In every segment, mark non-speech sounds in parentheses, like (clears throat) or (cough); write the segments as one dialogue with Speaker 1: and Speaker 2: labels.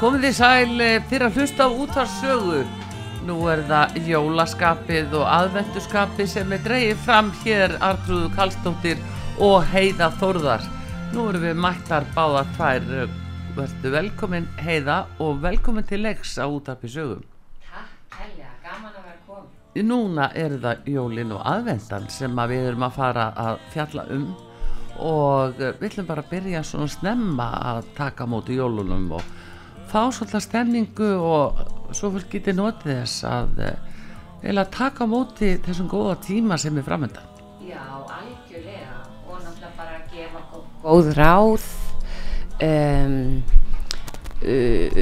Speaker 1: Komið þið sæl eh, fyrir að hlusta á útarsögu. Nú er það jólaskapið og aðvenduskapið sem er dreigið fram hér Artrúðu Kallstóttir og Heiða Þórðar. Nú erum við mættar báða tvær. Verðu velkomin Heiða og velkomin til leiks á útarpi sögum.
Speaker 2: Takk helga, gaman að vera komin.
Speaker 1: Núna eru það jólin og aðvendan sem að við erum að fara að fjalla um og eh, við ætlum bara að byrja svona snemma að taka á móti jólunum og fá svolítið stemningu og svo fólk getið notið þess að eða taka á móti þessum góða tíma sem er framöndan.
Speaker 2: Já, algjörlega og náttúrulega bara að gefa gó- góð ráð. Um, uh,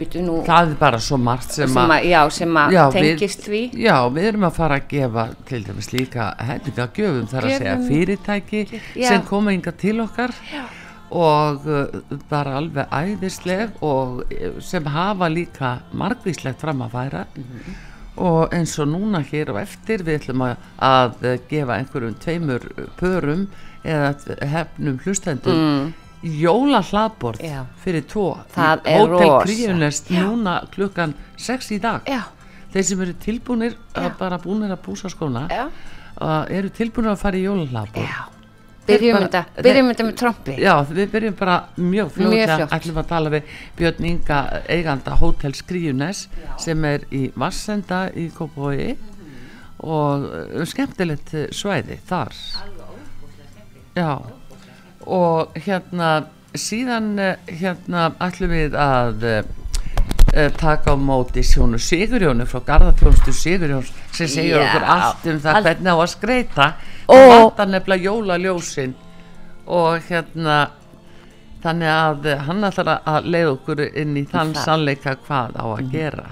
Speaker 2: Byttu nú,
Speaker 1: Það er bara svo margt sem
Speaker 2: sem
Speaker 1: að
Speaker 2: að, já, sem að
Speaker 1: Já, við-
Speaker 2: tengist því.
Speaker 1: Já, við erum að fara að gefa til dæmis líka hendingagjöfum þar að segja
Speaker 2: Gjöfum.
Speaker 1: fyrirtæki
Speaker 2: Já.
Speaker 1: sem koma yngar til okkar já. og uh, bara alveg æðisleg og eh, sem hafa líka margvíslegt fram að færa
Speaker 2: Mhm.
Speaker 1: og eins og núna hér og eftir við ætlum að, að eh, gefa einhverjum tveimur eh, pörum eða eh, hefnum hlustendum mm. Jóla hlaðborð
Speaker 2: Já.
Speaker 1: fyrir tvo
Speaker 2: Það
Speaker 1: í
Speaker 2: er rosa.
Speaker 1: Hotel Kríunest núna klukkan 6 í dag
Speaker 2: Já,
Speaker 1: Þeir sem eru tilbúinir að bara búinir að púsa skóna
Speaker 2: já,
Speaker 1: að eru tilbúinir að fara í jólahlapu
Speaker 2: já. Byrjum
Speaker 1: Bara-
Speaker 2: þetta, byrjum þetta með trombi.
Speaker 1: Já, við byrjum bara mjög fljóðlega
Speaker 2: fljótt.
Speaker 1: ætlum að tala við Björn Inga eiganda Hotel Skríunes sem er í Vassenda í Kópavogi og uh, skemmtilegt uh, svæði þar Já og hérna síðan uh, hérna ætlum við að uh, uh, taka á móti Sjónu Sigurjónu frá Garðarfjónstu Sigurjóns sem segir
Speaker 2: Já,
Speaker 1: okkur allt um það
Speaker 2: allt.
Speaker 1: hvernig á að skreita
Speaker 2: Ó.
Speaker 1: og vantar nefnilega jólaljósin og hérna þannig að eh, hann ætlar að- að leiða okkur inn í þann
Speaker 2: Það. Mhm.
Speaker 1: sannleika hvað á að gera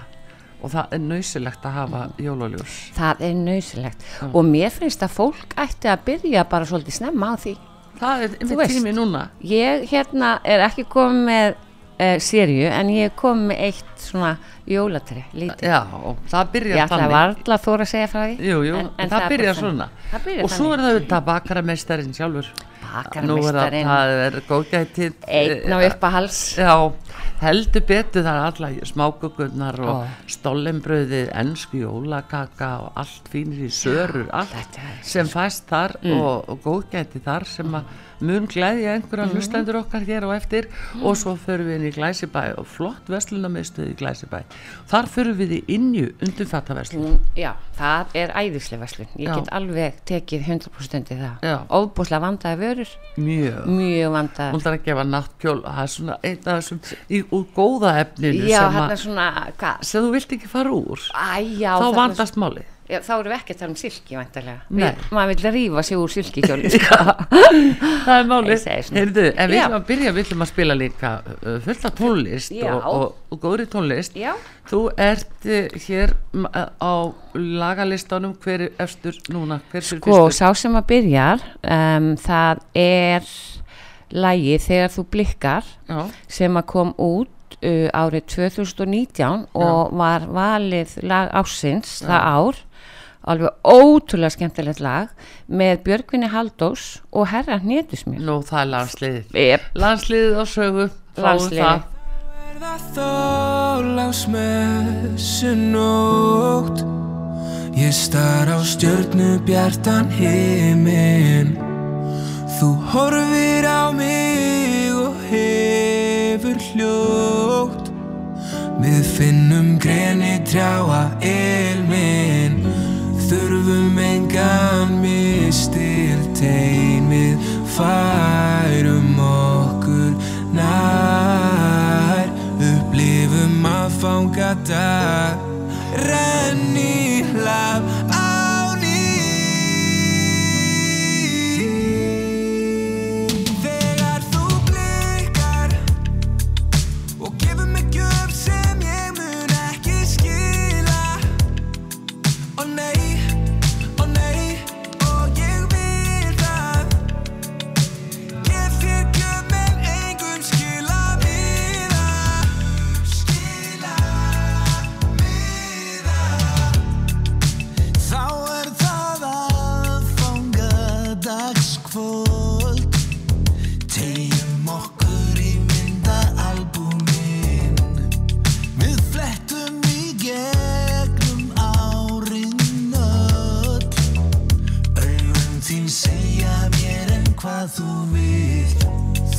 Speaker 1: og það er nausilegt að hafa jólaljós
Speaker 2: Það er nöðsilegt og mér finnst að fólk ætti að byrja bara svolítið snemma á því.
Speaker 1: það er yfir
Speaker 2: veist.
Speaker 1: tími núna
Speaker 2: Ég hérna er ekki komið með uh, sériu en ég er komið með eitt svona jólatri, lítið.
Speaker 1: já, og það
Speaker 2: Ég
Speaker 1: byrjar
Speaker 2: ætla
Speaker 1: þannig
Speaker 2: varla að þóra að segja frá því
Speaker 1: Jú, jú,
Speaker 2: en, en
Speaker 1: það,
Speaker 2: er
Speaker 1: byrjar
Speaker 2: bara
Speaker 1: svona
Speaker 2: Það byrjar
Speaker 1: og svo er
Speaker 2: þannig.
Speaker 1: það auðvitað bakaramestarinn sjálfur Nú er það,
Speaker 2: Bakarameistarinn,
Speaker 1: það er góðgætið
Speaker 2: einn á
Speaker 1: eh,
Speaker 2: uppahals
Speaker 1: Já, heldur betur það er alla smákökurnar og
Speaker 2: Ó.
Speaker 1: stollenbröðið, ennsku jólakaka og allt fínir í sörur, allt
Speaker 2: þetta er- Mm.
Speaker 1: sem fæst þar og, og góðgæti þar sem að mun glæðja einhverja
Speaker 2: Mm.
Speaker 1: hlustendur okkar hér og eftir og svo förum við inn í Glæsibæ og flott verslunamistuð í Glæsibæ. Þar förum við í innju undurfattaverslun.
Speaker 2: Hún- Já, það er æðislega verslun Ég
Speaker 1: Já.
Speaker 2: get alveg tekið 100% undir það
Speaker 1: Já.
Speaker 2: Óbúslega vandaði vörur
Speaker 1: Mjög.
Speaker 2: Mjög vandaði
Speaker 1: Hún þarf að gefa náttkjól og það er svona einn af þessum í, úr góða efninu
Speaker 2: Já,
Speaker 1: sem,
Speaker 2: hérna
Speaker 1: að,
Speaker 2: svona, hvað
Speaker 1: sem þú vilt ekki fara úr.
Speaker 2: Æ, já,
Speaker 1: Þá
Speaker 2: þarna-
Speaker 1: vandast málið.
Speaker 2: Já, Þá erum við ekki að tala um silki, vantarlega
Speaker 1: Nei.
Speaker 2: Maður vil rífa sig úr
Speaker 1: (laughs)
Speaker 2: silkikjóli
Speaker 1: það er
Speaker 2: Ég
Speaker 1: málið
Speaker 2: segi svona.
Speaker 1: Heyrðu, en við
Speaker 2: Já.
Speaker 1: ætlum að byrja, við ætlum að spila líka uh, fullt af tónlist
Speaker 2: Já.
Speaker 1: og, og, og góðri tónlist
Speaker 2: Já.
Speaker 1: þú ert uh, hér m- á lagalistanum hver er efstur núna hver er
Speaker 2: Sko,
Speaker 1: fyrstur?
Speaker 2: sá sem að byrjar um, Það er Lægi þegar þú blikkar
Speaker 1: Já,
Speaker 2: sem að kom út uh, árið 2019 og var valið lag ásins það ár alveg ótrúlega skemmtilegt lag með Björgvinni Haldós og Herra Hnetusmjör
Speaker 1: nú það er landsliðið
Speaker 2: yep.
Speaker 1: landsliðið á sögu fáum
Speaker 2: Landsliðið.
Speaker 1: það.
Speaker 3: Það þólás með sunnótt Ég star á stjörnu bjartan heimin Þú horfir á mig og hefur hljótt Við finnum greni trjáa ilmin Þurfum engan mistil teimið Færum okkur nær Upplifum að fanga dag Renni hlaf á ný Þegar þú blikar og gefur mig gjöf sem ég mun ekki skila Ó nei, ó nei, og ég vil það Gef þér gjöf en engum skila mína Skila Þín segja mér en hvað þú vilt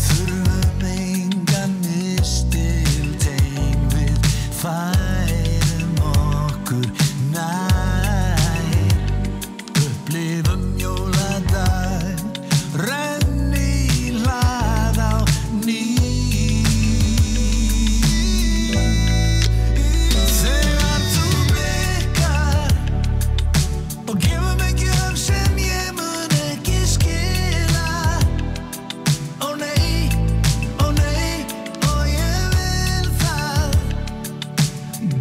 Speaker 3: Þurfum engan mistil Þeim við færum okkur nær upplifum jóladag renni í hlað á ný þegar þú blikkar og gefur mér gjöf sem ég mun ekki skila ó nei, ó nei og ég vil það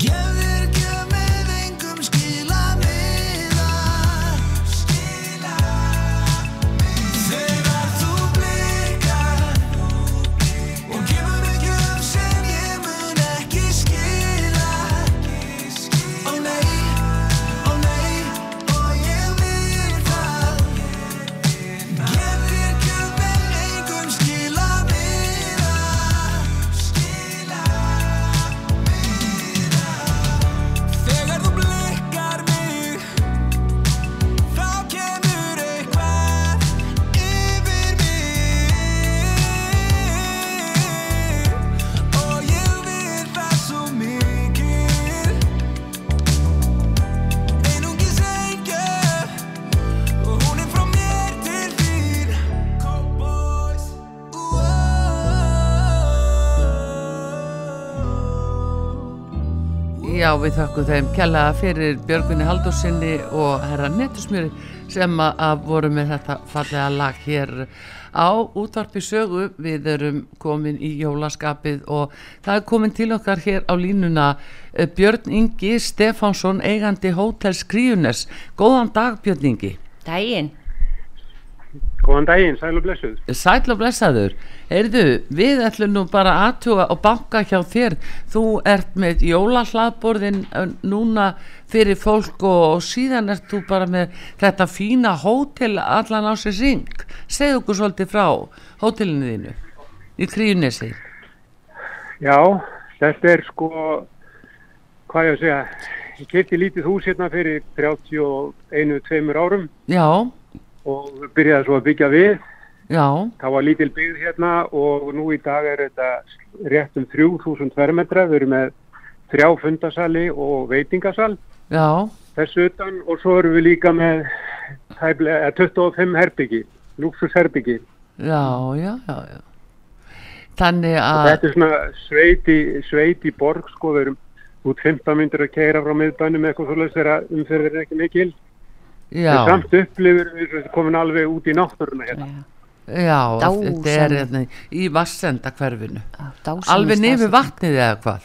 Speaker 3: Gefðir gjöf með engum skila miða Skila miða Þegar þú blikar Og gefur mig gjöf sem ég mun ekki skila Ó nei, ó nei, og ég vil það Gefðir gjöf með engum skila miða Skila Þegar þú blikkar mig Þá kemur eitthvað yfir mig Og ég vil það svo mikið Einungis ein gjöf Og hún er frá mér til þín Cowboys oh. Wow
Speaker 1: Já, við þökkum þeim kjallaða fyrir Björgunni Haldósinni og herra Nettusmjöri sem að- að voru með þetta fallega lag hér á útvarpi sögu. Við erum komin í jólaskapið og það er komin til okkar hér á línuna eh, Björn Ingi Stefánsson, eigandi Hótels Kríunes. Góðan dag Björn Ingi.
Speaker 2: Dægin,
Speaker 4: Góðan daginn, sæl og blessuð.
Speaker 1: Sæl og blessaður, heyrðu, við ætlum nú bara aðtuga og banka hjá þér. Þú ert með jólahlaðborðin núna fyrir fólk og, og síðan ert þú bara með þetta fína hótel allan á sig syng. Segðu okkur svolítið frá hótelinu þínu í Kríunesi.
Speaker 4: Já, þetta er sko, hvað ég að segja, ég kefti lítið hús hérna fyrir 31-2 árum
Speaker 1: Já,
Speaker 4: og byrjaði svo að byggja við.
Speaker 1: já,
Speaker 4: Það var lítil byggð hérna og nú í dag er þetta rétt um 3000 fermetra. Við erum með þrjá fundasali og veitingasal
Speaker 1: já,
Speaker 4: þessu utan og svo erum við líka með tæplega, eh, 25 herbyggi, luxusherbyggi.
Speaker 1: já, já, já, já. Þannig að,
Speaker 4: Þetta er svona sveit í, sveit í borg, sko, við erum út 15 myndir að keira frá miðbænum eða eitthvað svolítið þegar umferðin er ekki mikil. En
Speaker 1: já,
Speaker 4: samt upplifur við erum komin alveg út í náttúruna hérna.
Speaker 1: já, þetta
Speaker 2: Dásamlegt.
Speaker 1: er hérna í Vassenda hverfinu.
Speaker 2: dásamlega
Speaker 1: Alveg nefið vatnið eða hvað?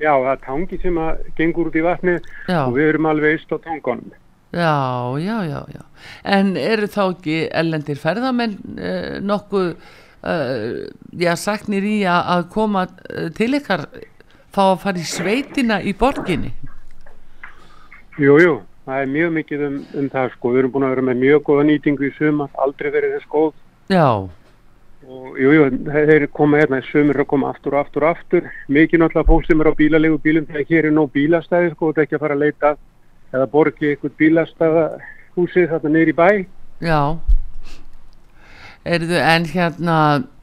Speaker 4: Já, það er tangi sem að gengur út í vatnið
Speaker 1: Já.
Speaker 4: og við erum alveg eist á tangunum.
Speaker 1: Já, já, já, já. En eru þá ekki ellendir ferðamenn uh, nokkuð, uh, já, saknir í að, að koma eh, til ykkar, fá að fara í sveitina í borginni?
Speaker 4: Jú, jú, það er mjög mikið um, um það, sko. Við erum búin að vera með mjög góða nýtingu í sumar, aldrei verið þess góð.
Speaker 1: Já,
Speaker 4: Og jú, jú, þeir koma hérna í sumir að koma aftur og aftur og aftur. Mikið náttúrulega fólk sem er á bílalegu bílum þegar hér er nóg bílastæði sko og þetta ekki að fara að leita eða borgi eitthvað bílastæða húsið þarna niður í bæ.
Speaker 1: já. Erðu, en hérna,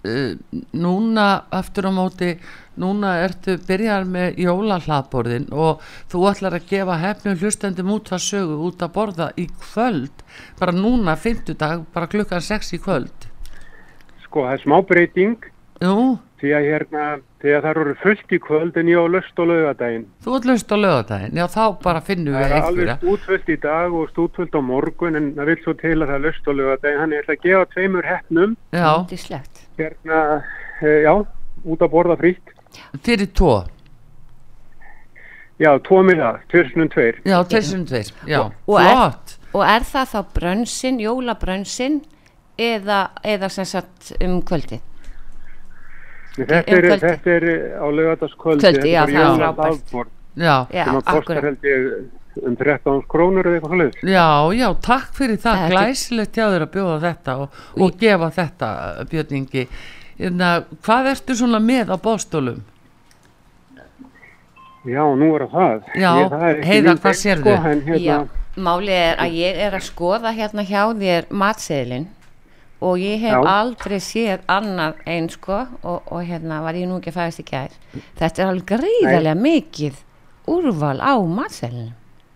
Speaker 1: uh, núna, aftur á móti, núna ertu byrjar með jólahlaðborðin og þú ætlar að gefa hefnum hlustendum út að sögu út að borða í kvöld, bara núna, fimmtudag, bara klukkan 6 í kvöld.
Speaker 4: Sko það er smá breyting
Speaker 1: Jú,
Speaker 4: því að hérna, því að það eru fullt í kvöld en ég á löst og laugadaginn.
Speaker 1: Þú ert laust á lögadaginn, já þá bara finnum
Speaker 4: Það
Speaker 1: við
Speaker 4: er
Speaker 1: einhverja.
Speaker 4: alveg stútfullt í dag og stútfullt á morgun en það vil svo til að það er löst og laugadaginn. Hann er að gefa tveimur hefnum
Speaker 1: Já,
Speaker 2: Yndislegt.
Speaker 4: hérna, eh, já, út að borða frýtt.
Speaker 1: fyrir tvo,
Speaker 4: Já, tvo miða, tvirsunum tveir.
Speaker 1: já þessum tveir, já,
Speaker 2: og er-
Speaker 1: flott.
Speaker 2: Og er það þá brönsin, jólabrönsin eða, eða sem sagt um kvöldi?
Speaker 4: Þetta
Speaker 2: Um
Speaker 4: er,
Speaker 2: kvöldið.
Speaker 4: þetta er á lögataskvöldi,
Speaker 2: Kvöldi, já, það er frábært.
Speaker 4: frábært.
Speaker 1: Já,
Speaker 2: Já,
Speaker 4: Sem að kostar
Speaker 2: akkurat.
Speaker 4: held ég um 13 krónur eða eitthvað hlut.
Speaker 1: já, já, takk fyrir það,
Speaker 2: Það er ekki-
Speaker 1: glæsilegt hjá þér að bjóða þetta og, og gefa þetta, Björn Ingi. Hérna, hvað ertu svona með á bóðstólum?
Speaker 4: Já, nú er það.
Speaker 1: Já,
Speaker 4: Ég- það er ekki
Speaker 1: Heiða,
Speaker 4: mín
Speaker 1: hvað
Speaker 4: deild,
Speaker 1: sérðu?
Speaker 4: en hérna,
Speaker 2: Já, Máli er að ég er að skoða hérna hjá þér matseðilinn og ég hef
Speaker 4: Já.
Speaker 2: aldrei séð annað eins sko og, og hérna var ég nú ekki að fæðast í gær. Þetta er alveg gríðarlega mikið úrval á matseðilinn.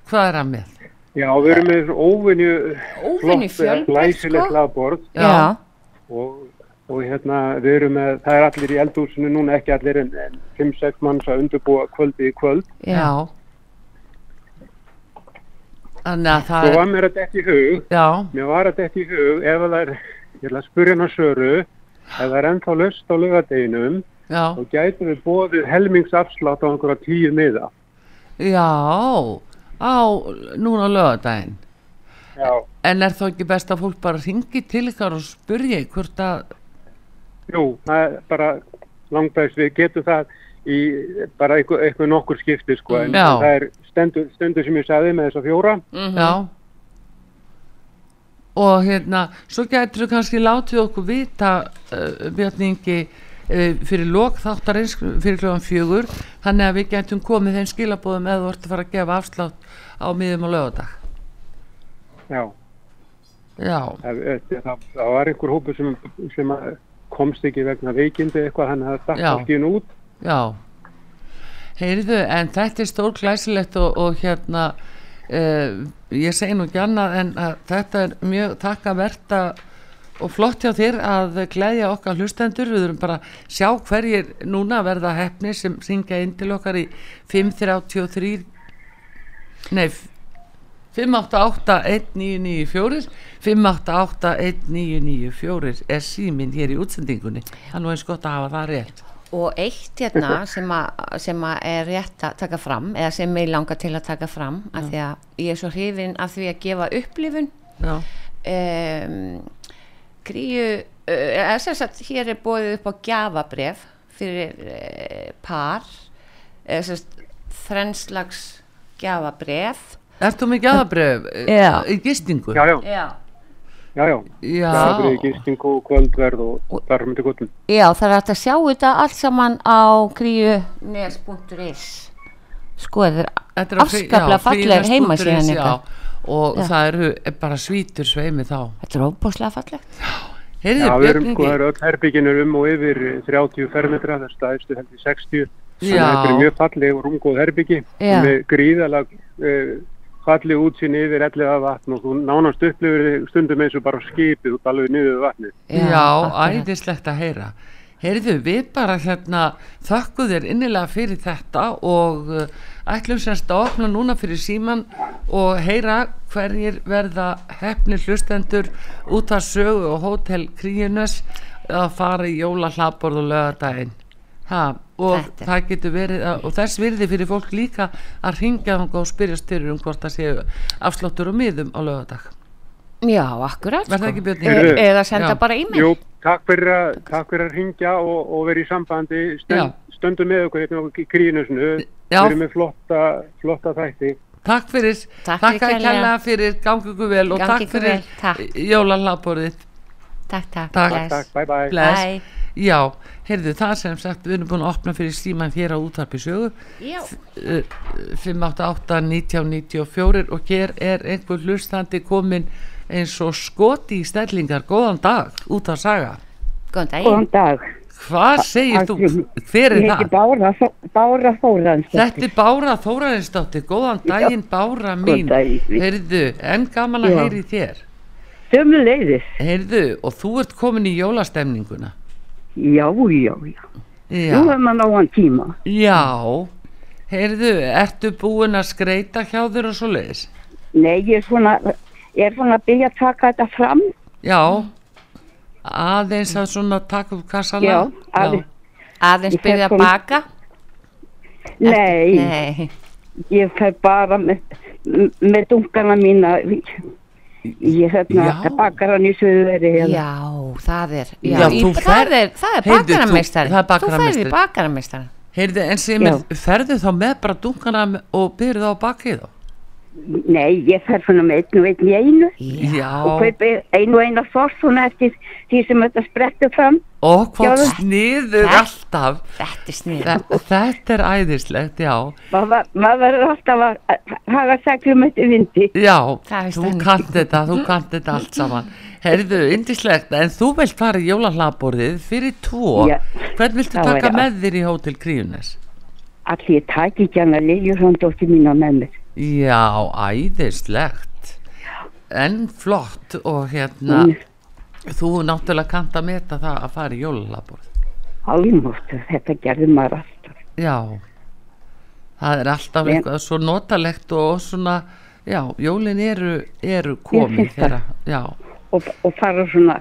Speaker 1: Hvað er hann með?
Speaker 4: Já, við erum með óvinni
Speaker 2: Óvenju fjölbreytt, sko.
Speaker 4: Læsilegt laðborð
Speaker 1: Já.
Speaker 2: Já,
Speaker 4: eh, og, og hérna við erum með, það er allir í eldhúsinu núna ekki allir en, en 5-6 manns að undurbúa kvöldi í kvöld
Speaker 2: já, já.
Speaker 1: Þannig að það
Speaker 4: og
Speaker 1: er,
Speaker 4: var mér að detti í hug
Speaker 1: já,
Speaker 4: mér var að detti í hug ef það er, ég ætla að spurja hann að söru ef það er ennþá löst á laugardeginum
Speaker 1: já,
Speaker 4: þá gætum við bóðið helmingsafslátt á einhverja tíu miða
Speaker 1: já, á, núna á lögadaginn.
Speaker 4: Já,
Speaker 1: En er þá ekki best að fólk bara ringi til ykkar og spurja hvort að,
Speaker 4: jú, það er bara langbæst, við getum það í bara eitthvað, eitthvað nokkur skipti sko, en
Speaker 1: Já.
Speaker 4: það er stendur, stendur sem ég sagði með þessa fjóra
Speaker 1: já. Og hérna, svo gætur þú kannski látið okkur vita, uh, Björn Ingi, uh, fyrir lok þáttarins, fyrir kljóðan fjögur, þannig að við gætum komið þeim skilabóðum eða þú ert að fara að gefa afslátt á miðum á lögadag.
Speaker 4: Já,
Speaker 1: Já,
Speaker 4: það, það, það var einhver hópu sem, sem að komst ekki vegna veikindi eitthvað, hann hafði dætt
Speaker 1: Já.
Speaker 4: allt í hún út
Speaker 1: já. Heyrðu, en þetta er stór glæsilegt og, og hérna, uh, ég segi nú ekki annað en að þetta er mjög takkavert að og flott hjá þér að gleðja okkar hlustendur, við erum bara að sjá hverjir núna verða hefni sem syngja inn til okkar í 533 nei 588-1994 588-1994 er síminn hér í útsendingunni það er nú eins gott að hafa það rétt
Speaker 2: Og eitt
Speaker 1: (laughs)
Speaker 2: hérna sem, að, sem að er rétt að taka fram eða sem mig langar til að taka fram af því að ég er svo hrifin af því að gefa upplifun
Speaker 1: Já.
Speaker 2: um, gríu uh, sem sagt hér er bóðið upp á gjafabref fyrir uh, par uh, sagt, þrennslags gjafabref
Speaker 1: Ertu með gæðabröf
Speaker 2: Já.
Speaker 1: eh, í gistingu?
Speaker 4: Já, já,
Speaker 2: Já.
Speaker 4: já, já
Speaker 1: Já.
Speaker 4: Það er ekki stingu kvöldverð og þar myndi gottum
Speaker 2: Já, það er hægt að sjá þetta allt saman á gríu nes.is sko, þetta er
Speaker 1: Þetta er á frí-
Speaker 2: afskaplega
Speaker 1: já,
Speaker 2: fallegar
Speaker 1: fríðarspunkturinn,
Speaker 2: heimasíðan
Speaker 1: já.
Speaker 2: ykkar.
Speaker 1: Og
Speaker 2: Já.
Speaker 1: það eru er bara svítur sveimi þá
Speaker 2: Þetta er óbúslega fallegt.
Speaker 1: Heyrðu,
Speaker 4: Já, við erum sko, það
Speaker 1: Björn Ingi
Speaker 4: eru öll herbygginu um og yfir 30 fermetra, það er staðistu held í 60 þannig
Speaker 1: Já.
Speaker 4: að þetta er mjög falleg og rungóð herbyggi
Speaker 2: Já.
Speaker 4: með gríðalega uh, falleg útsýni yfir ellega vatn og þú nánast upplifir þig stundum eins og bara á skipi út alveg niður við vatnið.
Speaker 1: Já,
Speaker 2: akkurat.
Speaker 1: æðislegt að heyra Heyrðu, við bara hérna þökkum þér innilega fyrir þetta og uh, ætlum semst að opna núna fyrir síman og heyra hverjir verða hefni hlustendur út af sögu og hótel Kríunes að fara í jóla hlaðborð og lögadaginn. Ha, og
Speaker 2: Þetta er-
Speaker 1: það getur verið að, og þess virði fyrir fólk líka að ringja þangað og spyrja styrir um hvort það séu afsláttur og miðum á lögadag.
Speaker 2: Já, akkurat.
Speaker 1: Verða
Speaker 2: sko.
Speaker 1: ekki
Speaker 2: E
Speaker 1: björn Ingi?
Speaker 4: Heyrðu.
Speaker 2: eða senda
Speaker 1: Já.
Speaker 2: bara e-mail.
Speaker 4: Jú, takk fyrir að, takk fyrir að ringja og, og vera í sambandi,
Speaker 1: Já.
Speaker 4: Stund, stöndum með okkur hérna okkur í krínusnu,
Speaker 1: Já.
Speaker 4: verið með flotta, flotta þætti.
Speaker 1: Takk fyrir,
Speaker 2: Takk
Speaker 1: takk
Speaker 2: fyrir
Speaker 1: að kella fyrir, gangi ykkur vel og
Speaker 2: Gangi
Speaker 1: takk
Speaker 2: ykkur
Speaker 1: fyrir
Speaker 2: vel, takk.
Speaker 1: jólalabborðið.
Speaker 2: Takk, takk.
Speaker 1: Takk,
Speaker 2: bless.
Speaker 4: Takk, bye bye.
Speaker 1: Bless.
Speaker 2: Bye.
Speaker 1: Já, heyrðu það sem sagt, við erum búin að opna fyrir síman hér á útarpi sögu
Speaker 2: Já.
Speaker 1: 588-1994 og hér er einhver hlustandi komin eins og skoti í stellingar. Góðan dag, út að saga.
Speaker 2: Góðan daginn.
Speaker 5: Góðan dag.
Speaker 1: Hvað segir þú?
Speaker 5: Arngrímur. Ég
Speaker 1: Hver er
Speaker 5: heiti
Speaker 1: það?
Speaker 5: Bára, Þó- Bára Þóransdóttir.
Speaker 1: Þetta er Bára Þórarinsdóttir, góðan daginn Bára mín.
Speaker 5: daginn.
Speaker 1: Heyrðu, en gaman að
Speaker 5: Já.
Speaker 1: heyri þér.
Speaker 5: Sömu leiðis.
Speaker 1: Heyrðu, og þú ert komin í jólastemninguna.
Speaker 5: Já, já, já.
Speaker 1: Já,
Speaker 5: Nú hefum við náðan tíma.
Speaker 1: já. Heyrðu, ertu búin að skreita hjá þér og svo leiðis?
Speaker 5: Nei, ég er svona, ég er svona að byrja að taka þetta fram.
Speaker 1: Já, aðeins að svona taka upp kassana.
Speaker 5: Já, aðeins.
Speaker 2: Aðeins
Speaker 5: Ég
Speaker 2: byrja
Speaker 5: fer
Speaker 2: að
Speaker 5: kom-
Speaker 2: baka.
Speaker 5: Nei,
Speaker 2: Nei.
Speaker 5: ég fer bara með, með dunkana mína. Ég
Speaker 1: Já.
Speaker 5: hérna bakar hann í suðveri hérna.
Speaker 2: Já, það er, já,
Speaker 1: Já,
Speaker 2: í,
Speaker 1: þú
Speaker 2: það,
Speaker 1: fer-
Speaker 2: er, það er
Speaker 1: Heyrðu, þú-
Speaker 2: bakarameistari.
Speaker 1: það er
Speaker 2: Þú
Speaker 1: bakarameistari.
Speaker 2: ferði bakarameistari.
Speaker 1: Heyrðu, en sem er, ferðu þá með bara dunkana og byrðu á bakið þá?
Speaker 6: Nei, ég fer svona með einn og einn í einu og
Speaker 1: Já,
Speaker 6: kaupi einu og eina sort svona eftir því sem þetta sprettur fram.
Speaker 1: og hvað
Speaker 6: Já.
Speaker 1: sniður
Speaker 2: Þetta-
Speaker 1: alltaf
Speaker 2: Þetta er snið.
Speaker 1: Þe- Þetta er æðislegt, já
Speaker 6: Maður maður verður alltaf að að haga seglum eftir vindi.
Speaker 1: Já,
Speaker 2: Það er
Speaker 1: þú
Speaker 2: stemning.
Speaker 1: kannt þetta, þú kannt þetta allt saman Herðu, indislegt, en þú vilt fara í jólahlaðborðið fyrir tvo
Speaker 6: Já.
Speaker 1: Hvern viltu
Speaker 6: Það
Speaker 1: taka
Speaker 6: væri
Speaker 1: með þér í Hótel Kríunes?
Speaker 6: Allir ég taki ekki hana Liljurhjóndóttir mína með mér.
Speaker 1: Já, æðislegt En flott og hérna
Speaker 6: Mm.
Speaker 1: Þú náttúrulega kannt að meta það að fara í jólahlaðborðið
Speaker 6: Álmóttur, þetta gerði maður alltaf.
Speaker 1: Já, það er alltaf
Speaker 6: Ég-
Speaker 1: eitthvað svo notalegt og svona Já, jólin eru, eru komin
Speaker 6: finnst
Speaker 1: þeirra Já,
Speaker 6: Og, og fara svona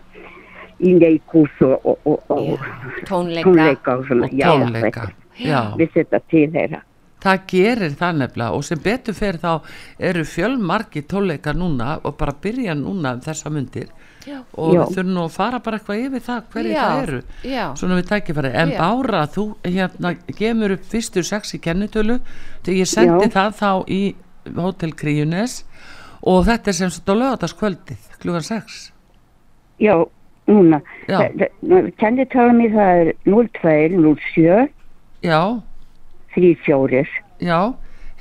Speaker 6: í leikús og, og, og, og
Speaker 2: Tónleika.
Speaker 6: tónleika og svona.
Speaker 1: og tónleika Já,
Speaker 6: Við setja til þeirra.
Speaker 1: Það gerir það nefnilega og sem betur fer þá eru fjölmarki tóleika núna og bara byrja núna um þessa myndir
Speaker 2: Já.
Speaker 1: og
Speaker 6: Já.
Speaker 1: við þurfum nú að fara bara eitthvað yfir það hverju
Speaker 2: Já,
Speaker 1: það eru
Speaker 2: já.
Speaker 1: svona við tækifæri en
Speaker 2: Já.
Speaker 1: Bára þú hérna gemur upp fyrstur sex í kennitölu þegar ég sendi
Speaker 6: Já.
Speaker 1: það þá í Hotel Kríunes og þetta er sem sagt á lögataskvöldið klukkan 6
Speaker 6: Já, núna.
Speaker 1: Já.
Speaker 6: Kennitala mér það er 02, 07,
Speaker 1: já,
Speaker 6: 34.
Speaker 1: já,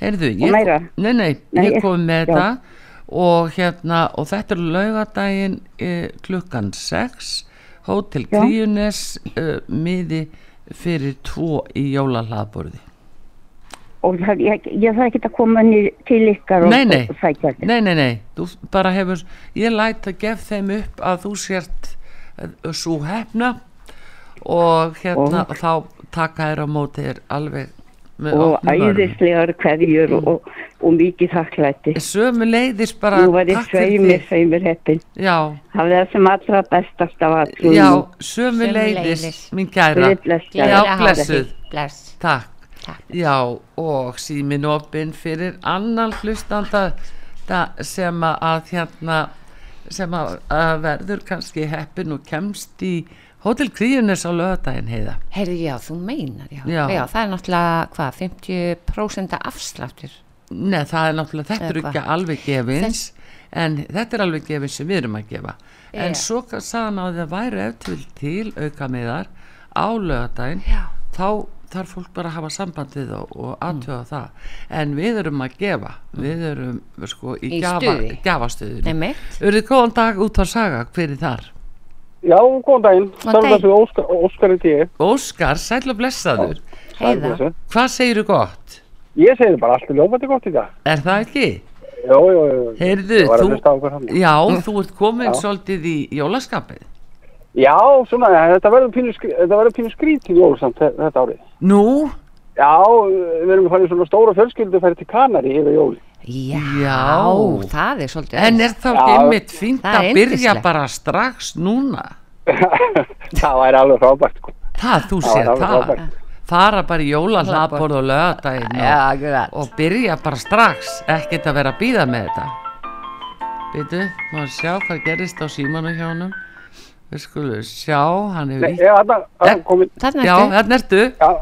Speaker 1: heyrðu
Speaker 6: Og
Speaker 1: ég,
Speaker 6: meira?
Speaker 1: nei, nei,
Speaker 6: Nei,
Speaker 1: ég
Speaker 6: ég-
Speaker 1: kom
Speaker 6: já.
Speaker 1: með þetta og hérna og þetta er laugadaginn e, klukkan 6 Hótel
Speaker 6: Já.
Speaker 1: Kríunes e, miði fyrir tvo í jólahlaðborði
Speaker 6: Og það, ég, ég þarf ekki að koma niður til ykkar og,
Speaker 1: Nei, nei.
Speaker 6: og sækja þetta.
Speaker 1: Nei, nei, nei, þú bara hefur ég læt að gef þeim upp að þú sért svo hefna og hérna
Speaker 6: Og-
Speaker 1: þá taka þér á móti þér alveg með
Speaker 6: Og
Speaker 1: opnum örmum.
Speaker 6: æðislegar hverjur og, og mikið þakklæti.
Speaker 1: Sömu leiðis bara
Speaker 6: Nú var ég
Speaker 1: takk fyrir
Speaker 6: sveimir,
Speaker 1: þig.
Speaker 6: sveimir heppin.
Speaker 1: Já,
Speaker 6: Það var það sem allra bestast af allum.
Speaker 1: já, sömu leiðis
Speaker 2: Sömuleiðis.
Speaker 1: mín kæra
Speaker 6: Guði blessi.
Speaker 1: Já,
Speaker 2: Gleðilega hátíð.
Speaker 1: blessuð.
Speaker 2: Bless.
Speaker 1: Takk.
Speaker 2: Takk.
Speaker 1: Já, og símin opinn fyrir annan hlustanda da- sem að- að hérna sem að, að verður kannski heppin og kemst í Hotel Kríunes á lögadaginn heiða.
Speaker 2: Herðu, já, þú meinar, já.
Speaker 1: Já.
Speaker 2: það er náttúrulega, hvað, 50% afsláttur.
Speaker 1: Nei, það er náttúrulega, þetta eru
Speaker 2: Eða
Speaker 1: ekki alveg gefins, en þetta er alveg gefins sem við erum að gefa. En
Speaker 2: Já.
Speaker 1: svo ka- sagði hann að það væru ef til til aukamiðar á lögadaginn
Speaker 2: Já. Mm.
Speaker 1: þá þarf fólk bara að hafa samband við og, og aðtöða það en við erum að gefa við erum sko í,
Speaker 2: Í
Speaker 1: gjafa,
Speaker 2: stuði.
Speaker 1: gafastöðunni
Speaker 2: Nei,
Speaker 1: Urðu góðan dag út á saga hver er þar
Speaker 7: Já, góðan daginn.
Speaker 2: Góðan
Speaker 7: Góðan
Speaker 2: daginn.
Speaker 7: daginn. Óskar, Óskari T.
Speaker 1: Óskar, sæl og blessaður
Speaker 2: heiða.
Speaker 1: hvað segirðu gott?
Speaker 7: Ég segi bara allt ljómandi gott í dag.
Speaker 1: Er það ekki?
Speaker 7: Já, já, já.
Speaker 1: Heyrðu,
Speaker 7: Ég var að
Speaker 1: þú-
Speaker 7: hlusta á okkur hann.
Speaker 1: Já, þú ert komin svolítið í jólaskapið
Speaker 7: Já, svona, þetta verður pínu, skrí- þetta verður pínu skrítið jól samt þe- þetta árið.
Speaker 1: Nú?
Speaker 7: Já, við erum að fara í svona stóra fjölskyldu að fara til Kanari yfir jóli.
Speaker 2: Já,
Speaker 1: Já.
Speaker 2: það er svolítið.
Speaker 1: En er það ekki
Speaker 7: Já.
Speaker 1: einmitt fínt
Speaker 2: Það er
Speaker 1: að byrja
Speaker 2: yndislegt.
Speaker 1: bara strax núna?
Speaker 7: (laughs) það væri alveg frábært. sko.
Speaker 1: Það, þú
Speaker 7: Já,
Speaker 1: sér
Speaker 7: það var
Speaker 1: það
Speaker 7: frábært.
Speaker 1: Fara bara í jólahlaðborð og lögadaginn og
Speaker 2: Já, grænt.
Speaker 1: og byrja bara strax ekkert að vera að býða með þetta Býtu, maður sjá hvað gerist á símanu hjá honum Við skulum sjá, hann hefur
Speaker 7: Nei,
Speaker 1: ítt
Speaker 7: já, þarna- þarna
Speaker 1: Eh.
Speaker 7: komin-
Speaker 2: Þannig
Speaker 1: Já,
Speaker 2: ertu.
Speaker 1: þarna ertu
Speaker 7: já,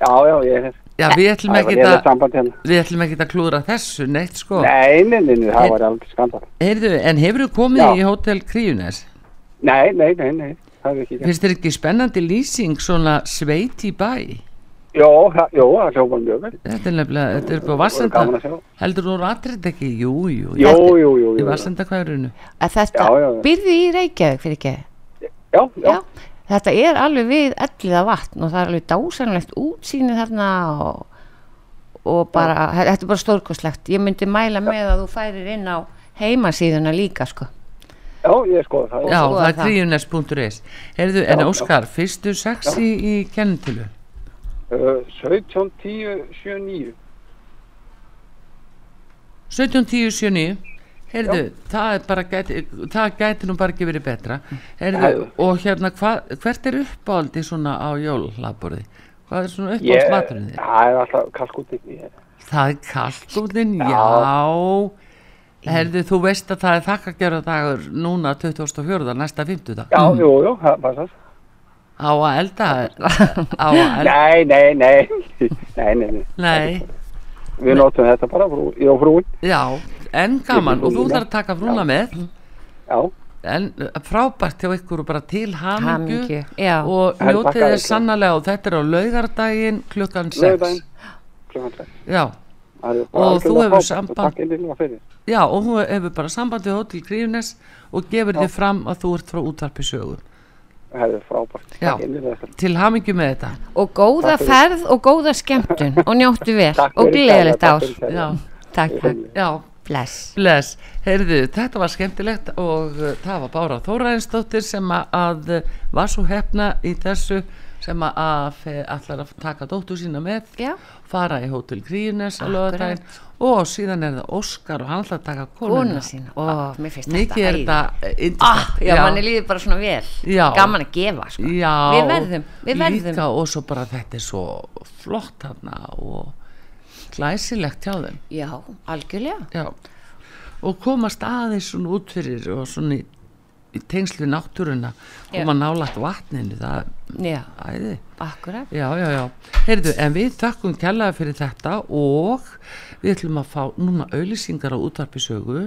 Speaker 7: já, já, ég er hér.
Speaker 1: Já, við ætlum
Speaker 7: Það
Speaker 1: ekki
Speaker 7: var
Speaker 1: að
Speaker 7: eða samband hérna.
Speaker 1: við ætlum ekki að klúðra þessu neitt sko
Speaker 7: Nei, nei, nei, nei,
Speaker 1: Eh.
Speaker 7: það var alveg skandal.
Speaker 1: Heyrðu, en hefur þú komið
Speaker 7: Já.
Speaker 1: í Hotel Kríunes?
Speaker 7: Nei, nei, nei, nei, það er ekki gert.
Speaker 1: Finnst þér ekki spennandi lýsing svona sveit í bæ?
Speaker 7: Jó, það, jó, það hljópar mjög vel.
Speaker 1: Þetta er nefnilega, þetta er
Speaker 7: Það er
Speaker 1: upp á
Speaker 7: gaman að
Speaker 1: Vassenda
Speaker 7: sjá.
Speaker 1: Heldur þú atrið ekki? Jú,
Speaker 7: Jú,
Speaker 1: jú,
Speaker 7: jú, jú, jú.
Speaker 1: Í
Speaker 7: jú.
Speaker 1: Vassenda hverjunu
Speaker 2: Að þetta,
Speaker 7: Já, já, já.
Speaker 2: byrði í Reykjavík fyrir ekki.
Speaker 7: Já, já.
Speaker 2: Já. Þetta er alveg við elliða vatn og það er alveg dásanlegt útsýni þarna og, og bara, þetta er bara stórkostlegt. Ég myndi mæla með að þú færir inn á heimasíðuna líka, sko.
Speaker 7: Já, ég skoði það.
Speaker 1: Já,
Speaker 2: skoða
Speaker 1: það er
Speaker 2: það.
Speaker 1: kríunes.is Heyrðu, en
Speaker 7: Já, já.
Speaker 1: Óskar, fyrstu sexi í kennitölu
Speaker 7: Uh, 17, 10, 7, 9.
Speaker 1: 17.10.79 Heyrðu, það er bara gæti, það gæti nú bara ekki verið betra Heyrðu,
Speaker 7: Já.
Speaker 1: og hérna, hva, hvert er uppáldi svona á jólaborði? Hvað er svona
Speaker 7: Ég,
Speaker 1: uppálds maturinn þér?
Speaker 7: það er alltaf kalkúti. Ég-
Speaker 1: Það er kalkúnin,
Speaker 7: Já.
Speaker 1: já Heyrðu, þú veist að það er þakkagjörða dagur núna 24. næsta 50.
Speaker 7: Já, jú, jú, það passast.
Speaker 1: Á að
Speaker 7: (laughs)
Speaker 1: elda, á að elda
Speaker 7: Nei, nei, nei, nei, nei, nei.
Speaker 1: Nei,
Speaker 8: við notum þetta bara, frú, ég og frúin
Speaker 1: Já, en gaman og þú þarf að taka frúna með
Speaker 8: já,
Speaker 1: en uh, frábært hjá ykkur og bara til hamingju
Speaker 2: Hamingju, já.
Speaker 1: og
Speaker 8: En
Speaker 1: njótið
Speaker 8: þakka
Speaker 1: þér
Speaker 8: ykkur.
Speaker 1: sannarlega og þetta er á laugardaginn klukkan 6
Speaker 8: laugardaginn klukkan sex.
Speaker 1: já,
Speaker 8: Það er bara
Speaker 1: Og
Speaker 8: algjörlega
Speaker 1: þú hefur
Speaker 8: frábært og
Speaker 1: samband-
Speaker 8: Takk innilega fyrir
Speaker 1: já og hún hefur bara sambandið hótel Grífnes og gefur þið fram að þú ert frá útvarpi sögu
Speaker 8: Það er frábært
Speaker 1: Já.
Speaker 8: Takk innilega fyrir
Speaker 1: til hamingju með þetta
Speaker 2: og góða ferð og góða skemmtun og njóttu vel
Speaker 8: Takk
Speaker 2: og
Speaker 8: fyrir
Speaker 2: gleðilegt
Speaker 8: kærlega,
Speaker 2: ár
Speaker 8: takk fyrir
Speaker 1: já,
Speaker 2: takk, takk,
Speaker 1: já,
Speaker 2: bless
Speaker 1: bless heyrðu, þetta var skemmtilegt og uh, það var Bára Þóraðinsdóttir sem að- að uh, var svo hefna í þessu sem að- að fe- ætlar að taka dóttur sína með
Speaker 2: já,
Speaker 1: fara í Hotel Gríunes á
Speaker 2: Akkurat.
Speaker 1: lögadaginn og síðan er það Óskar og hann ætlar að taka konuna
Speaker 2: góna sína og mér finnst
Speaker 1: mikið er
Speaker 2: þetta æði.
Speaker 1: þetta eh,
Speaker 2: ah,
Speaker 1: yndislegt.
Speaker 2: já, manni líður bara svona vel
Speaker 1: Já.
Speaker 2: gaman að gefa sko.
Speaker 1: já,
Speaker 2: við verðum, við verðum
Speaker 1: líka og svo bara þetta er svo flott hann og glæsilegt hjá þeim
Speaker 2: já, algjörlega
Speaker 1: já. og komast aðeins svona út fyrir og svona í, í tengslu við náttúruna
Speaker 2: Já.
Speaker 1: koma nálagt vatninu það er
Speaker 2: já,
Speaker 1: æði
Speaker 2: akkurat
Speaker 1: Já, já, já. Heyrðu, en við þakkum kjallaði fyrir þetta og við ætlum að fá núna auðlýsingar á útvarpisögu.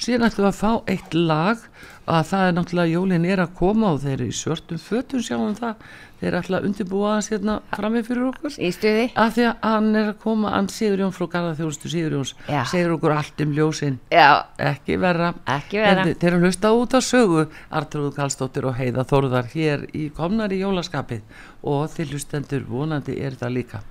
Speaker 1: Síðan ætlum við að fá eitt lag að það er náttúrulega jólin er að koma og þeir eru í svörtum fötum sjáum það. Þeir eru alltaf undirbúa aðeins hérna frammi fyrir okkur.
Speaker 2: í stuði,
Speaker 1: Af því að hann er að koma, hann Sigur Jón frá Garðaþjóðustu Sigur Jóns,
Speaker 2: Já.
Speaker 1: segir okkur allt um ljósinn.
Speaker 2: já,
Speaker 1: Ekki verra.
Speaker 2: Ekki verra.
Speaker 1: Heyrðu, Þeir eru hlusta út á sögu, Artrúðu Karlsdóttir og Heiða Þórðar hér í komnar í jólaskapið og þeir hlustendur vonandi er það líka.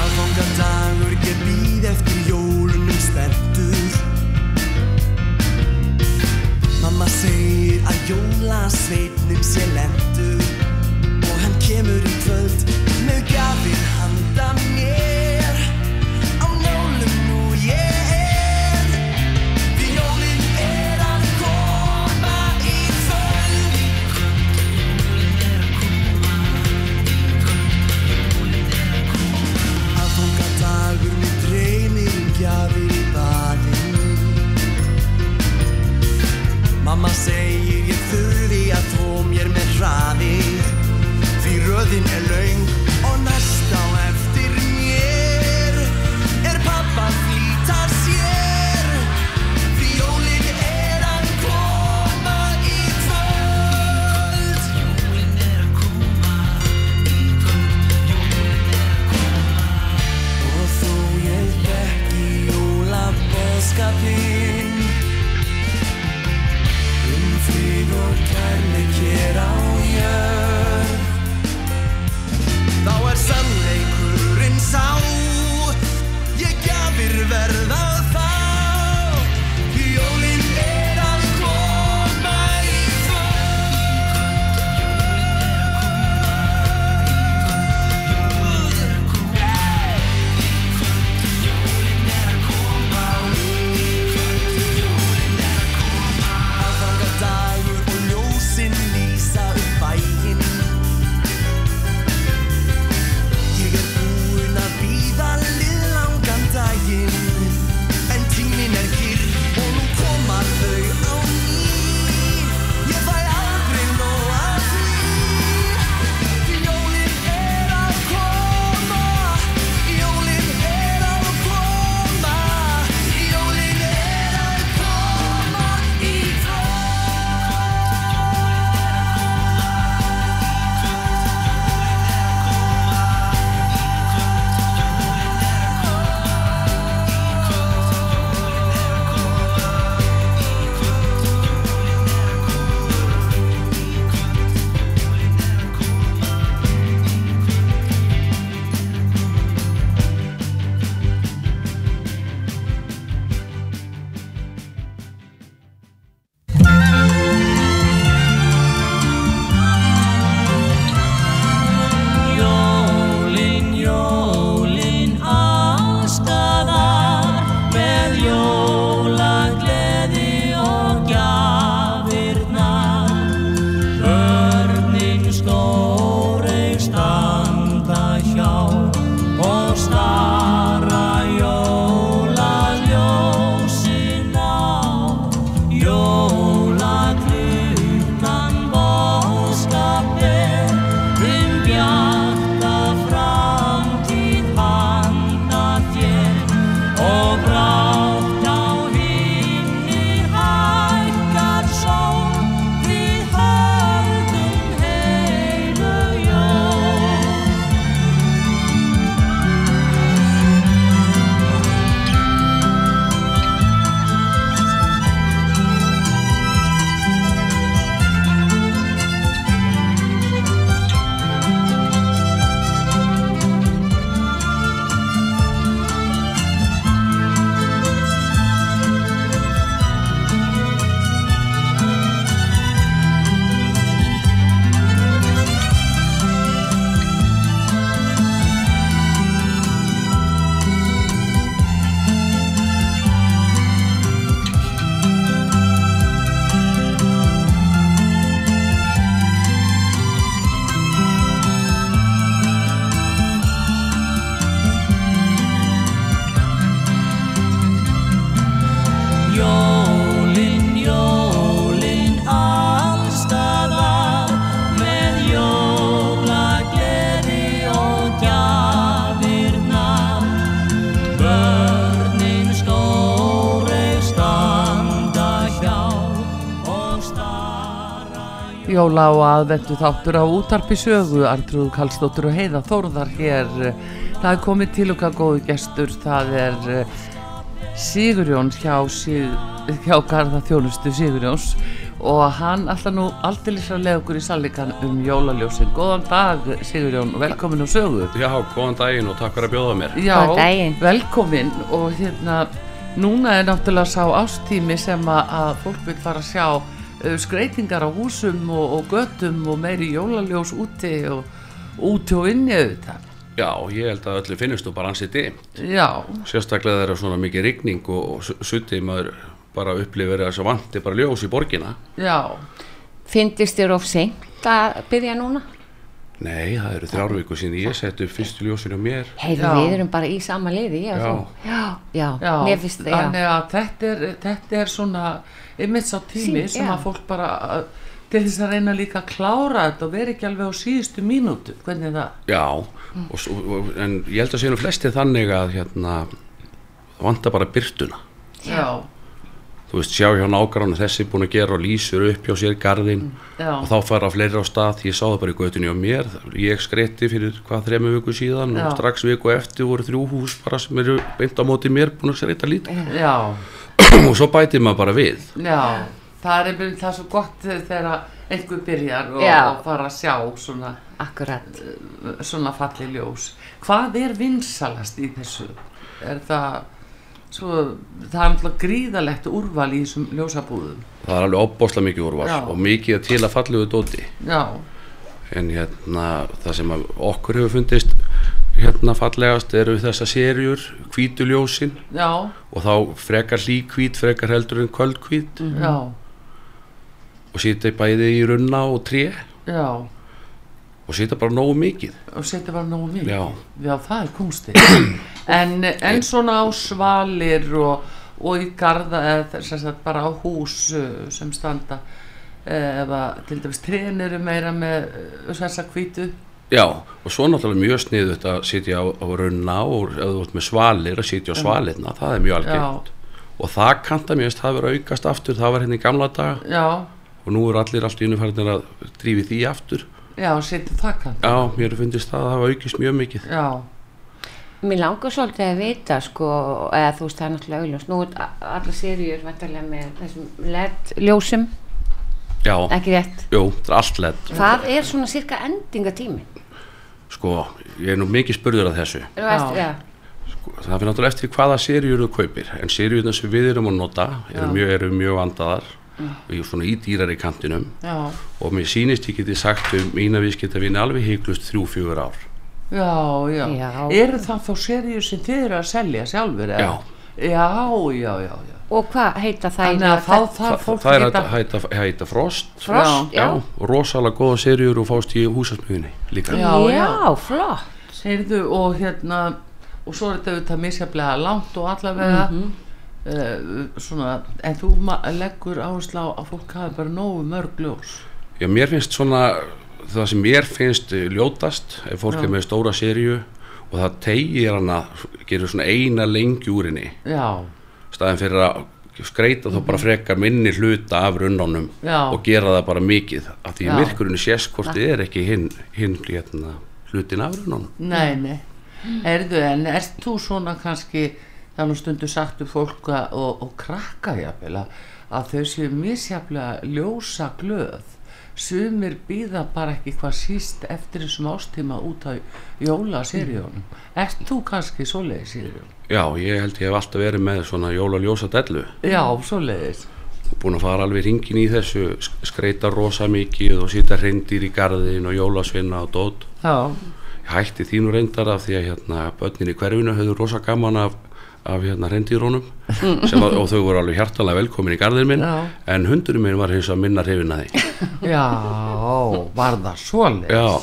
Speaker 3: Aðfangadagur get býð eftir jólunum spenntur Mamma segir að jólasveitnum sé lendur Og hann kemur í kvöld með gafir handa mér Á nálum nú ég er Því jólin er að koma í kvöld Aðfangadagur minn dreymir um gjafir í baðinu Mamma segir ég þurfi að þó mér með hraði Því röðin er laung um
Speaker 1: Jóla og aðvendu þáttur á útarpi sögu, Artrúð Kallstóttur og Heiða Þórðar hér. Það er komið til okkar góðu gestur, það er eh, Sigurjóns hjá, Sig- hjá Garða Þjónustu Sigurjóns og hann alltaf nú aldrei að leiða okkur í sallikan um jólaljósin. Góðan dag Sigurjón, velkomin á sögu.
Speaker 9: Já, góðan daginn og takk fyrir að bjóða mér.
Speaker 1: Já,
Speaker 2: Góðan daginn.
Speaker 1: velkomin og hérna núna er náttúrulega sá ástími sem að, að fólk vil fara að sjá uh, skreitingar á húsum og, og götum og meiri jólaljós úti og úti og inni auðvitað.
Speaker 9: Já, ég held að öllu finnist þú bara ansið dimt.
Speaker 1: Já,
Speaker 9: Sérstaklega þegar er svona mikið rigning og, og suttið maður bara upplifir að þessu vanti bara ljós í borgina.
Speaker 1: já,
Speaker 2: Fyndist þér of seint að byrja núna?
Speaker 9: Nei, það eru þrjár viku síðan ég setti upp fyrstu ljósinu á mér.
Speaker 2: Heyrðu,
Speaker 1: Já.
Speaker 2: við erum bara í sama liði, ég og
Speaker 9: Já.
Speaker 2: þú. Já, já,
Speaker 1: já.
Speaker 2: mér finnst það, já.
Speaker 1: Þannig að þetta er, þetta er svona ymmits á tími
Speaker 2: Sí,
Speaker 1: sem
Speaker 2: já.
Speaker 1: að fólk bara uh, til þess að reyna líka að klára þetta og vera ekki alveg á síðustu mínútu, hvernig er það?
Speaker 9: Já, og, s- og, og, en ég held að séu nú flesti þannig að hérna, það vantar bara byrtuna.
Speaker 1: Já,
Speaker 9: Þú veist, sjá hjá nágrann þessi búin að gera og lýsur upp hjá sér garðin
Speaker 1: Mm, já,
Speaker 9: og þá fara fleiri á stað, ég sá það bara í götunni á mér, ég skreitti fyrir hvað þrema viku síðan
Speaker 1: Já.
Speaker 9: og strax viku eftir voru þrjú hús bara sem eru beint á móti mér búin að skreita lít
Speaker 1: já.
Speaker 9: (clears throat) og svo bæti maður bara við.
Speaker 1: Já, það er einhvern það er svo gott þegar að einhver byrjar og,
Speaker 2: Já.
Speaker 1: og fara að sjá svona, eh,
Speaker 2: akkurat.
Speaker 1: svona falli ljós. Hvað er vinsalast í þessu? Er það, svo, það er alltaf gríðalegt úrval í þessum ljósabúðum.
Speaker 9: Það er alveg opbósla mikið úrval
Speaker 1: Já.
Speaker 9: og mikið til að fallegu dóti
Speaker 1: Já,
Speaker 9: en hérna það sem að okkur hefur fundist hérna fallegast eru þessa serjur, hvítuljósin
Speaker 1: já,
Speaker 9: og þá frekar líkvít, frekar heldur en kvöldvít
Speaker 2: Mhm.
Speaker 1: já,
Speaker 9: og sýta bæði í runna og tré
Speaker 1: já.
Speaker 9: og sýta bara nógu mikið.
Speaker 1: Og setja bara nógu mikið.
Speaker 9: Já.
Speaker 1: Já, það er
Speaker 2: (coughs)
Speaker 1: kunsti. en, en svona á svalir og, og í garda eða sem sagt bara á hús uh, sem standa eh, eða til dæmis trén eru meira með uh, þessa hvítu.
Speaker 9: Já, og svo náttúrulega mjög sniðut að sitja á, á runna og ef þú ert með svalir að sitja á svalirna, það er mjög algengt. Og það kanta mér, veist, það verður aukast aftur, það var hérna í gamla daga
Speaker 1: Já,
Speaker 9: og nú eru allir allt í innfærdin að drífi því aftur.
Speaker 1: já, setja þakkan.
Speaker 9: Já, mér finnst það að það hafa aukist mjög mikið.
Speaker 1: Já,
Speaker 2: Mér langar svolítið að vita, sko, eða þú veist, það er náttúrulega auðljós. Nú er alla sériur vantarlega með þessum E LED-ljósum,
Speaker 9: Já,
Speaker 2: ekki rétt.
Speaker 9: jú, það er allt lett.
Speaker 2: Hvað er svona cirka endingatími?
Speaker 9: Sko, ég er nú mikið spurður að þessu.
Speaker 2: Þú veist,
Speaker 1: Já.
Speaker 2: já.
Speaker 9: Það fyrir náttúrulega eftir hvaða serjur þú kaupir, en serjurna sem við erum að nota eru
Speaker 1: Já.
Speaker 9: mjög, eru mjög vandaðar og svona í dýrari kantinum
Speaker 1: já,
Speaker 9: og mér sýnist ég geti sagt um mína viðskiptavinni alveg heiklust þrjú-fjögur ár.
Speaker 1: já, já.
Speaker 2: Já.
Speaker 1: Eru það þá serjur sem þið eru að selja sjálfur? eða?
Speaker 9: Já.
Speaker 1: Já, já, já, já.
Speaker 2: Og hvað heita það?
Speaker 1: Þannig að þá
Speaker 9: Þa,
Speaker 1: þarf fólk
Speaker 9: það er
Speaker 1: að
Speaker 9: hægt
Speaker 1: geta...
Speaker 9: að hætta, hætta frost
Speaker 2: Frost, já.
Speaker 9: og rosalega góða serjur og fást í húsasmiðinni líka.
Speaker 1: Já.
Speaker 2: Já, flott.
Speaker 1: Heyrðu og hérna og svo er þetta auðvitað misjaflega langt og allavega mm svona, en þú ma- leggur áherslu á að fólk hafi bara nógu mörg ljós
Speaker 9: Já, mér finnst svona, það sem mér finnst eh, ljótast ef fólk
Speaker 1: Já.
Speaker 9: er með stóra serju og það tegir hana, gerir svona eina lengju úr henni,
Speaker 1: Já,
Speaker 9: staðin fyrir að skreita þá bara frekar minni hluta af runnanum
Speaker 1: Mhm. Já.
Speaker 9: og gera það bara mikið af því
Speaker 1: Já.
Speaker 9: að myrkurinn sést hvort þið er ekki hinn, hinn hérna, hlutin af runnanum.
Speaker 1: nei, nei Heyrðu, en ert þú svona kannski það er nú stundu sagt um fólk að, og, og krakka jafnvel að- að þau séu misjaflega ljósa glöð sumir býða bara ekki hvað síst eftir þessum ástíma út á jólaserjónum Ert þú kannski svoleiðis serjón?
Speaker 9: Já, ég held ég hef alltaf verið með svona jólaljósa dellu.
Speaker 1: Já, svoleiðis
Speaker 9: búin að fara alveg ringin í þessu sk- skreita rosa mikið og sýta hreindýr í garðin og jólasvinna og dót
Speaker 1: Já,
Speaker 9: ég hætti þínu reyndar af því að hérna, börnin í hverfinu höfðu rosa gaman af, af hérna, hreindýrónum sem að, og þau voru alveg hjartalega velkomin í garðin minn
Speaker 1: Já.
Speaker 9: en hundurinn minn var hins að minna hrifin að því
Speaker 1: Já, var það svoleið?
Speaker 9: já,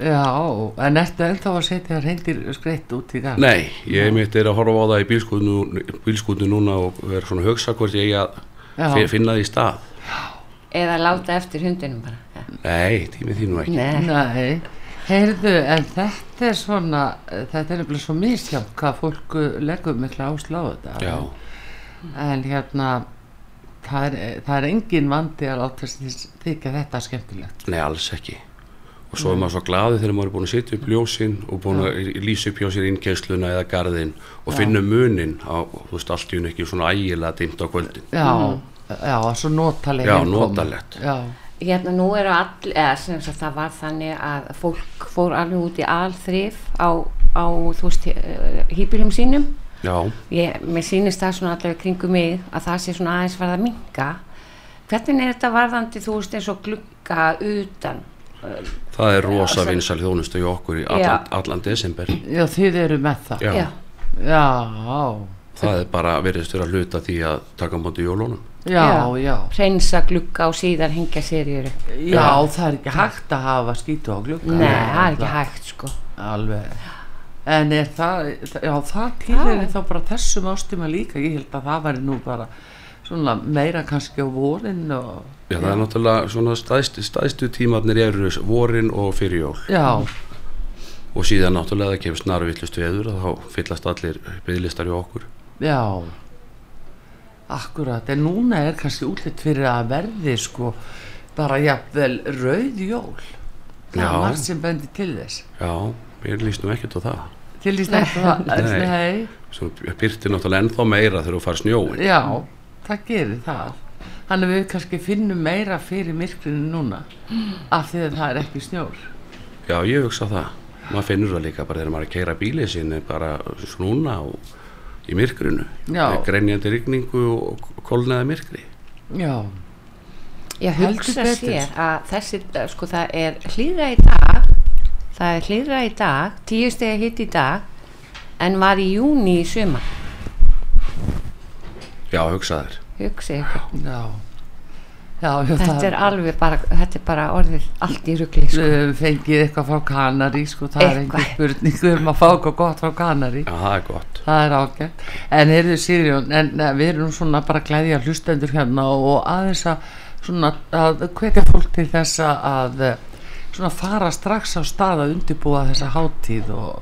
Speaker 1: en ertu ennþá að setja reyndir skreitt út í garð?
Speaker 9: nei, ég mitt er að horfa á það í bílskútinu, bílskútinu núna og vera svona hugsa hvort ég eigi að
Speaker 1: Já.
Speaker 9: fi- finna því stað
Speaker 2: Eða láta eftir hundinum bara. Já.
Speaker 9: nei, tími þínu ekki
Speaker 2: Nei.
Speaker 1: Nei, heyrðu, en þetta er svona, þetta er nefnilega svo misjátt hvað fólk uh, leggur mikla ásláðu þetta.
Speaker 9: já,
Speaker 1: En hérna, það er, það er engin vandi að láta þess- þykja þetta skemmtilegt
Speaker 9: Nei, alls ekki. Og svo er maður svo glaðið þegar maður er búin að setja upp ljósin og búin að lýsa upp hjá sér innkeisluna eða garðin og finna munin á, þú veist, allt í hún ekki svona ægilega dimt á kvöldin.
Speaker 1: já, já, svo notaleg
Speaker 9: Já,
Speaker 1: innkomu.
Speaker 9: notalegt.
Speaker 1: já,
Speaker 2: Hérna nú eru all, eða sem sagt það var þannig að fólk fór alveg út í alþrif á, á þú veist, eh, hýbílum sínum.
Speaker 9: Já,
Speaker 2: Ég, mér sýnist það svona allavega kringum mig að það sé svona aðeins varða minga. Hvernig er þetta varðandi, þú veist, eins og glugga utan? eh,
Speaker 9: það er rosa
Speaker 2: sem-
Speaker 9: vinsal þjónustu í okkur í
Speaker 2: Já.
Speaker 9: allan, allan desember.
Speaker 1: já, þið eru með það
Speaker 9: Já,
Speaker 1: já,
Speaker 9: það er bara veriðst verið að hluta því að taka á móti jólunum.
Speaker 1: já, já, já.
Speaker 2: Hreinsa glugga og síðan hengja serjur upp.
Speaker 1: það er ekki hægt að hafa skýtu á glugga
Speaker 2: Nei, það er ekki hægt, sko.
Speaker 1: alveg en er það, já það tilheri þá bara þessum ástíma líka ég held að það væri nú bara svona meira kannski á vorin og
Speaker 9: Já, það er náttúrulega svona stæðstu, stæðstu tímarnir eru vorin og fyrir jól
Speaker 1: já,
Speaker 9: og síðan náttúrulega það kemur snarvillust veður og þá fyllast allir bygglistar í okkur.
Speaker 1: já akkurat, en núna er kannski útlitt fyrir að verði sko bara jafnvel rauð jól það
Speaker 9: Já.
Speaker 1: er margt sem bendi til þess
Speaker 9: Já, mér líst nú ekkert á það.
Speaker 1: til þess að
Speaker 9: Nei.
Speaker 1: nei,
Speaker 9: sem byrtir náttúrulega ennþá meira þegar þú far snjóin
Speaker 1: já, það gerir það þannig að við kannski finnum meira fyrir myrkrinu núna af því að það er ekki snjór
Speaker 9: já ég hugsa það, maður finnur það líka bara þegar maður er að keira bílið sinni bara snúna og í myrkrinu
Speaker 1: Já.
Speaker 9: Með grenjandi rigningu og kolnaði myrkri
Speaker 1: já
Speaker 2: Ég
Speaker 1: Heldur
Speaker 2: hugsa
Speaker 1: betur.
Speaker 2: sér að þessi, eh, sko það er hlýra í dag, það er hlýra í dag, tíu stegi hitt í dag, en var í júni í suma,
Speaker 9: já hugsa þér,
Speaker 2: hugsa ykkur.
Speaker 1: Já, já, já
Speaker 2: Þetta
Speaker 1: það
Speaker 2: er alveg bara, þetta er bara orðið allt í rugli, sko.
Speaker 1: uh, fengið eitthvað frá Kanari sko, það er
Speaker 2: Eitthvað.
Speaker 1: engin spurning um að fá eitthvað gott frá Kanari
Speaker 9: já það er gott
Speaker 1: það er ágætt, en heyrðu Sirjón en eh, við erum svona bara að glæðja hlustendur hérna og aðeins að svona að hvetja fólk til þess að eh, svona fara strax á stað að undirbúa þessa hátíð og,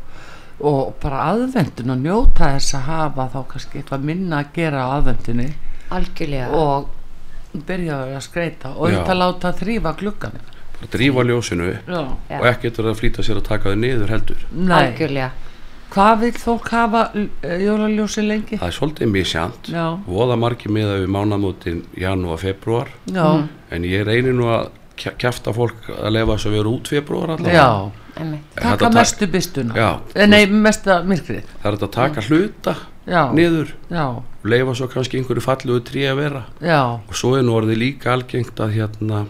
Speaker 1: og bara aðvendun og njóta þess að hafa þá kannski eitthvað minna að gera á aðvendunni
Speaker 2: Algjörlega.
Speaker 1: og byrja að skreita og
Speaker 9: Já.
Speaker 1: þetta láta þrýfa gluggan
Speaker 9: bara drífa ljósinu upp
Speaker 1: Já.
Speaker 2: Já.
Speaker 9: og ekkert verið að flýta sér að taka þau niður heldur
Speaker 1: Nei,
Speaker 2: algjörlega.
Speaker 1: hvað vil fólk hafa eh, jólaljósi lengi?
Speaker 9: það er svolítið misjant
Speaker 1: Já.
Speaker 9: voða margir miða við mánamótin janúar, februar
Speaker 1: Já,
Speaker 9: en ég reynir nú að kja- kjafta fólk að lefa þess að vera út februar allavega
Speaker 1: já,
Speaker 2: Einmitt.
Speaker 9: Þetta
Speaker 1: taka
Speaker 9: tak-
Speaker 1: mestu bystuna
Speaker 9: Já.
Speaker 1: Eh, Nei, mesta myrkrið
Speaker 9: það er hægt að taka hluta
Speaker 1: Já.
Speaker 9: niður
Speaker 1: Já,
Speaker 9: leifa svo kannski einhverju falluðu trí að vera
Speaker 1: já,
Speaker 9: og svo er nú orðið líka algengt að hérna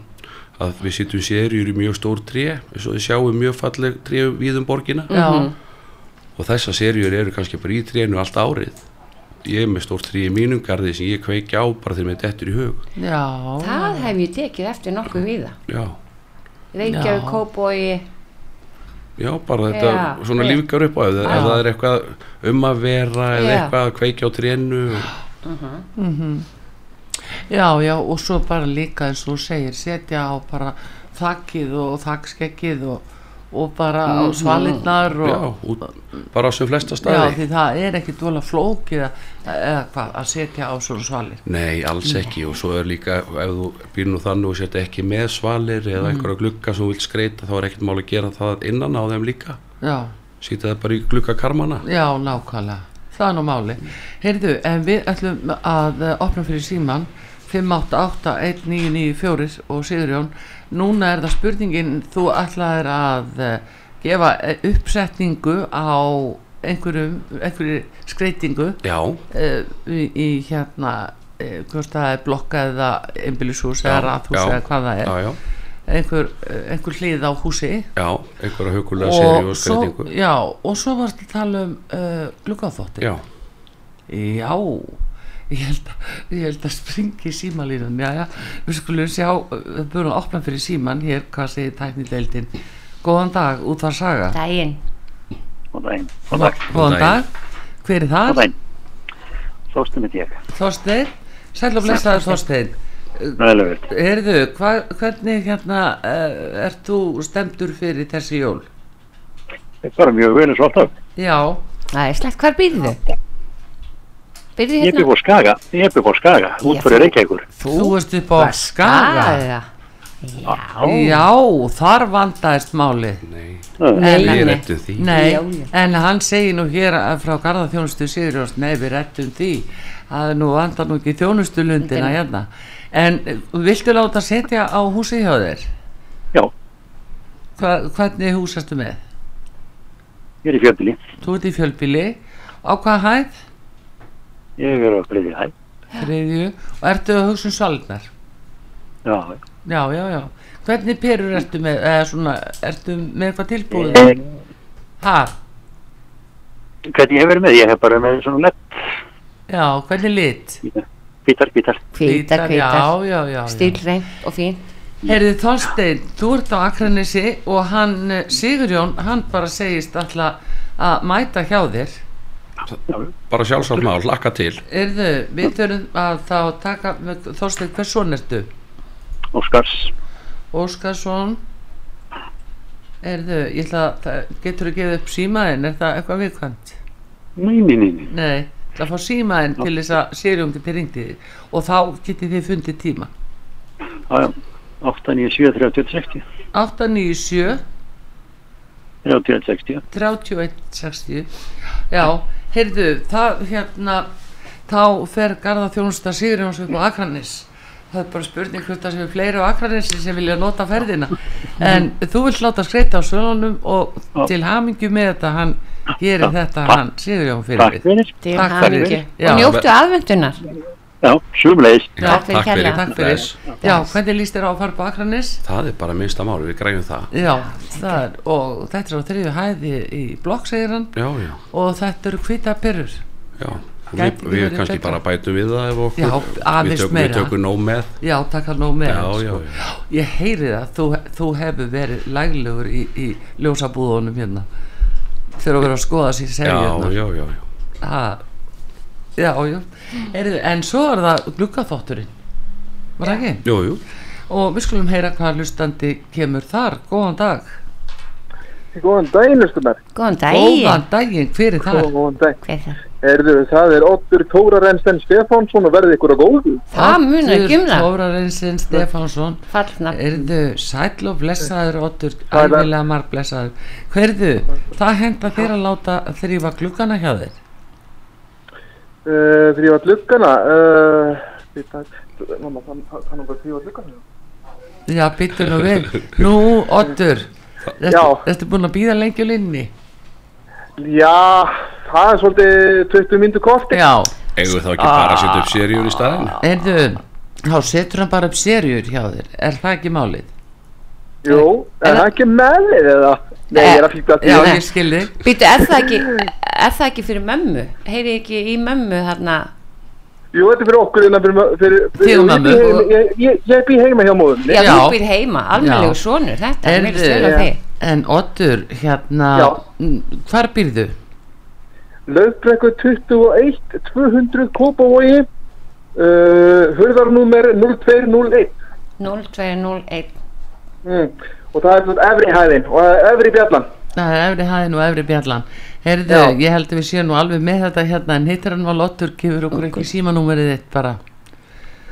Speaker 9: að við sittum sérjur í mjög stór tré eins og við sjáum mjög falleg tré við um borgina
Speaker 1: já
Speaker 9: og þessar sérjur eru kannski bara í trénu allt árið ég er með stór tré í mínum garði sem ég kveiki á bara þegar mér dettur í hug
Speaker 1: Já,
Speaker 2: Það hef ég tekið eftir nokkuð við það.
Speaker 9: já,
Speaker 2: Reykjavík,
Speaker 1: Já.
Speaker 2: Kóbói,
Speaker 9: já bara þetta
Speaker 2: Já,
Speaker 9: svona
Speaker 2: rétt.
Speaker 9: lífgar upp á ef, ef það er eitthvað um að vera eða
Speaker 2: Já.
Speaker 9: eitthvað að kveiki á trénu
Speaker 1: Mhm. já, já og svo bara líka eins og þú segir setja á bara þakkið og þakkskekkið og, og bara á
Speaker 2: Mhm.
Speaker 1: svalinnar og
Speaker 9: já, út, bara á sem flesta
Speaker 1: Já,
Speaker 9: staði
Speaker 1: því það er ekki dvola flókið að- eða hvað, að setja á svona svalir
Speaker 9: Nei, alls ekki og svo er líka ef þú býr nú þannig og sért ekki með svalir
Speaker 1: Mm.
Speaker 9: eða einhverja glugga sem þú vilt skreita þá er ekkert mál að gera það innan á þeim líka
Speaker 1: Já,
Speaker 9: sýta það bara í glugga karmana
Speaker 1: Já, nákvæmlega. Það er nú máli. Heyrðu, en við ætlum að eh, opna fyrir síman 588-1994 og Sigurjón, núna er það spurningin, þú ætlaðir að eh, gefa eh, uppsetningu á einhverjum, einhverju skreitingu
Speaker 9: Já,
Speaker 1: uh, í, í hérna, uh, hvort það er blokka eða einbýlishús eða rathús eða hvað það er,
Speaker 9: Já, já,
Speaker 1: einhver, eh, einhver hlið á húsi
Speaker 9: já, einhverja hugulega séri og
Speaker 1: svo,
Speaker 9: skreitingu
Speaker 1: já, og svo varst að tala um uh, gluggaþóttir
Speaker 9: Já,
Speaker 1: Já, ég held að, ég held að springi símalínum, já, já, við skulum sjá, við búum að opna fyrir síman hér, hvað segir tæknideildin. Góðan dag, út var saga.
Speaker 2: daginn.
Speaker 10: Góðan daginn, góðan dag,
Speaker 1: Góðan
Speaker 9: daginn.
Speaker 1: dag, hver er það?
Speaker 10: góðan daginn. Þórstum mitt ég,
Speaker 1: Þorsteinn, sæl og blessaður Þorsteinn.
Speaker 10: næðilega vel.
Speaker 1: Heyrðu, hva, hvernig hérna uh, ert þú stemdur fyrir þessi jól?
Speaker 10: Þetta var mjög vel eins og alltaf.
Speaker 1: Já,
Speaker 2: Það er slegt, hvar býrðu? Byrði
Speaker 11: Ég
Speaker 2: hérna
Speaker 11: bygg á Skaga, ég bygg á Skaga, út
Speaker 2: Já.
Speaker 11: fyrir Reykjavíkur.
Speaker 1: Þú, ert upp á skaga
Speaker 11: Já.
Speaker 1: Já, þar vandaðist málið
Speaker 2: Nei,
Speaker 9: Við
Speaker 2: nei,
Speaker 9: rettum því
Speaker 1: Nei,
Speaker 2: Já, já.
Speaker 1: en hann segir nú hér að- frá Garðaþjónustu Sigurjóns, nei við rettum því að nú vandar nú ekki þjónustulundina hérna, en eh, viltu láta setja á húsið hjá þér?
Speaker 11: Já.
Speaker 1: Hva, hvernig hús ertu með?
Speaker 11: Ég er í fjöndinni,
Speaker 1: Þú ert í fjölbíli, á hvað hæð?
Speaker 11: ég er á Breiði Hæ.
Speaker 1: Þriðju, og ertu að hugsa um svalnar?
Speaker 11: Já,
Speaker 1: Já, já, já. Hvernig perur ertu með, eða svona, ertu með eitthvað tilbúið?
Speaker 11: Eh,
Speaker 1: Ha,
Speaker 11: hvernig ég hef verið með, ég hef bara með svona lett,
Speaker 1: já, hvernig lit?
Speaker 11: bítar, bítar.
Speaker 2: hvítar, hvítar
Speaker 1: Já, já, já. já.
Speaker 2: stílreint og fín
Speaker 1: Herði Þorstein, þú ert á Akranesi og hann eh, Sigurjón, hann bara segist alltaf að mæta hjá þér.
Speaker 9: Bara sjálfsagt mál, lakka til
Speaker 1: Erðu, við þurfum að þá taka, með Þorstein, hvers son ertu?
Speaker 11: Óskars,
Speaker 1: Óskarsson, erðu, ég ætla að, það- geturðu gefið upp símaðinn, er það eitthvað viðkvæmt?
Speaker 11: nei, nei, nei, nei.
Speaker 1: Nei, það fá símaðinn til þess að Sigurjón geti ringti þig og þá getið þið fundið tíma.
Speaker 11: Já, já, 8, 9, 7, 30, 60,
Speaker 1: 897
Speaker 11: 30, 60,
Speaker 1: 3160 Já, heyrðu, það hérna þá fer Garða þjónusta Sigurjóns upp á Akranis það er bara spurning hvort það séu fleiri á Akranisi sem vilja nota ferðina en þú vilt láta skreita á svölunum og
Speaker 11: Já.
Speaker 1: til hamingju með þetta hann gerir
Speaker 11: Já.
Speaker 1: þetta
Speaker 11: Takk.
Speaker 1: hann Sigurjón fyrir
Speaker 11: takk
Speaker 1: við
Speaker 11: fyrir.
Speaker 2: til
Speaker 1: Takk
Speaker 2: hamingju.
Speaker 1: fyrir. Já.
Speaker 2: og njóttu aðvendunar
Speaker 11: Já, sumleis.
Speaker 9: Já,
Speaker 2: fyrir kærlega.
Speaker 1: Takk fyrir.
Speaker 9: Bless.
Speaker 1: Já, hvernig líst þér á að fara upp á Akranis?
Speaker 9: Það er bara minnsta mál, við græjum það
Speaker 1: Já, það er, og þetta er á þriðu hæði í blokk, segir hann
Speaker 9: Já, já,
Speaker 1: og þetta eru hvita perur
Speaker 9: já Við,
Speaker 1: Gæti ekki
Speaker 9: við
Speaker 1: verið
Speaker 9: kannski
Speaker 1: betra.
Speaker 9: bara bætum við það ef okkur
Speaker 1: Já, aðeins
Speaker 9: við tökum,
Speaker 1: meira.
Speaker 9: Við tökum nóg með
Speaker 1: Já, taka nóg með
Speaker 9: Já,
Speaker 1: hann,
Speaker 9: já,
Speaker 1: sko.
Speaker 9: já,
Speaker 1: Ég heyri það, þú, þú hefur verið laglegur í, í ljósabúðunum hérna þegar að vera að skoða sér segja
Speaker 9: já,
Speaker 1: hérna
Speaker 9: já, já, já.
Speaker 1: ha, Já, já Heyrðu, En svo er það gluggaþátturinn Var það ekki?
Speaker 9: Jú, jú,
Speaker 1: Og við skulum heyra hvað hlustandi kemur þar Góðan dag
Speaker 7: Góðan daginn, Östumar.
Speaker 2: góðan
Speaker 1: Góðan
Speaker 2: daginn
Speaker 1: daginn, hver er það?
Speaker 7: Góðan daginn.
Speaker 2: Hver er það?
Speaker 7: Erðu, það er Oddur Tórarensen Stefánsson og verði ykkur á góðu.
Speaker 2: það munar ekki um það
Speaker 1: Tórarinsin Stefánsson
Speaker 2: fallna
Speaker 1: Erðu sæll og blessaður Óttur,
Speaker 7: er það.
Speaker 1: æfilega marg blessaður Hverðu, það henda þér að láta þrýfa gluggana hjá þér
Speaker 7: Uh, þrýfa gluggana. Uh, við takk. Mamma, kann- kann hún bara þrýfa gluggana?
Speaker 1: Já, byttu nú við Nú, Óttur
Speaker 7: Já.
Speaker 1: Þetta er búin að býða lengi á linni
Speaker 7: Já, það er svolítið 20 myndu korti.
Speaker 1: Já,
Speaker 9: eigum við þá ekki bara að setja upp seríur í staðin
Speaker 1: erðu Þá setur hann bara upp serjur hjá þér Er það ekki málið?
Speaker 7: Jú, er
Speaker 2: Er
Speaker 7: það
Speaker 2: það-
Speaker 7: ekki meðlið eða? Nei, ég er að flýta
Speaker 1: Eh, Já,
Speaker 7: því.
Speaker 2: Nei.
Speaker 1: ég skilði
Speaker 2: Býtu, er það ekki, er það ekki fyrir mömmu? Heyri ekki í mömmu þarna?
Speaker 7: Jú, þetta er fyrir okkur innan fyrir... fyrir,
Speaker 1: Þig og mömmu.
Speaker 7: Ég bý heima- Ég, ég, ég bý heima hjá móðunni.
Speaker 2: Já,
Speaker 1: Já.
Speaker 2: þú býr heima, almennlegu
Speaker 1: Já.
Speaker 2: sonur, þetta er mjög
Speaker 1: Heyrðu,
Speaker 2: stöð á
Speaker 7: já.
Speaker 2: þig.
Speaker 1: En Óttur, hérna
Speaker 7: Já.
Speaker 1: mm, Hvar býrðu?
Speaker 7: Laufbrekku 21 200 Kópavogi uh, Hurðarnúmer 0201
Speaker 2: 0201.
Speaker 7: mm. og það er svona efri hæðin og það er efri bjallan
Speaker 1: Það er efri hæðin og efri bjallan Herðu,
Speaker 7: Já.
Speaker 1: ég held að við séum nú alveg með þetta hérna en hittar hann var Lottur, gefur okkur ekki símanúmerið þitt bara
Speaker 7: 770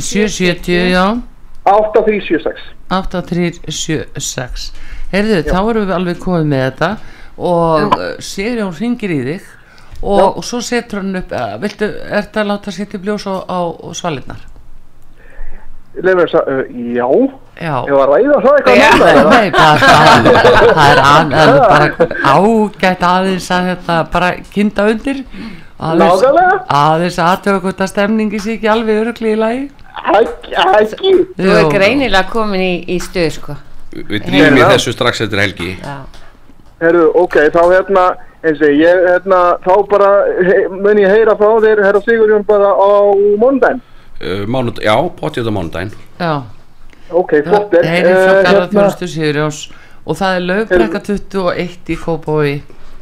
Speaker 1: 770, já
Speaker 7: 8376
Speaker 1: 8376 Herðu, þá erum við alveg komið með þetta og uh, Sigurjón hringir í þig og, og svo setur hann upp uh, viltu, ertu að láta setja upp ljós á, á, á svalinnar?
Speaker 7: Leifur sa- uh, já,
Speaker 1: Já,
Speaker 7: ég var að ræða það eitthvað
Speaker 1: Nei,
Speaker 7: núna, eða?
Speaker 1: nei, bara- bara- það er an- það er bara ágætt aðeins að þetta bara kynda undir aðeins
Speaker 7: Nákvæmlega.
Speaker 1: aðeins aðtöku hvort að stemningi sé ekki alveg örugli í lagi
Speaker 7: Ekki, ekki
Speaker 2: Þú er greinilega komin í, í stöð, sko.
Speaker 9: Við drýjum í
Speaker 7: Heyrðu.
Speaker 9: þessu strax eftir helgi
Speaker 2: Já.
Speaker 7: Herru, ok, þá hérna eins og ég, hérna, þá bara he, mun ég heyra frá þér, herra Sigurjón bara á mondan
Speaker 9: uh, mánud, Já, potið á mánudaginn
Speaker 1: Já,
Speaker 7: Ok, flott
Speaker 1: það
Speaker 7: er
Speaker 1: er frá
Speaker 7: eh,
Speaker 1: Garðarþjónustu Sigurjóns og það er lögbrekka 21 í Kópói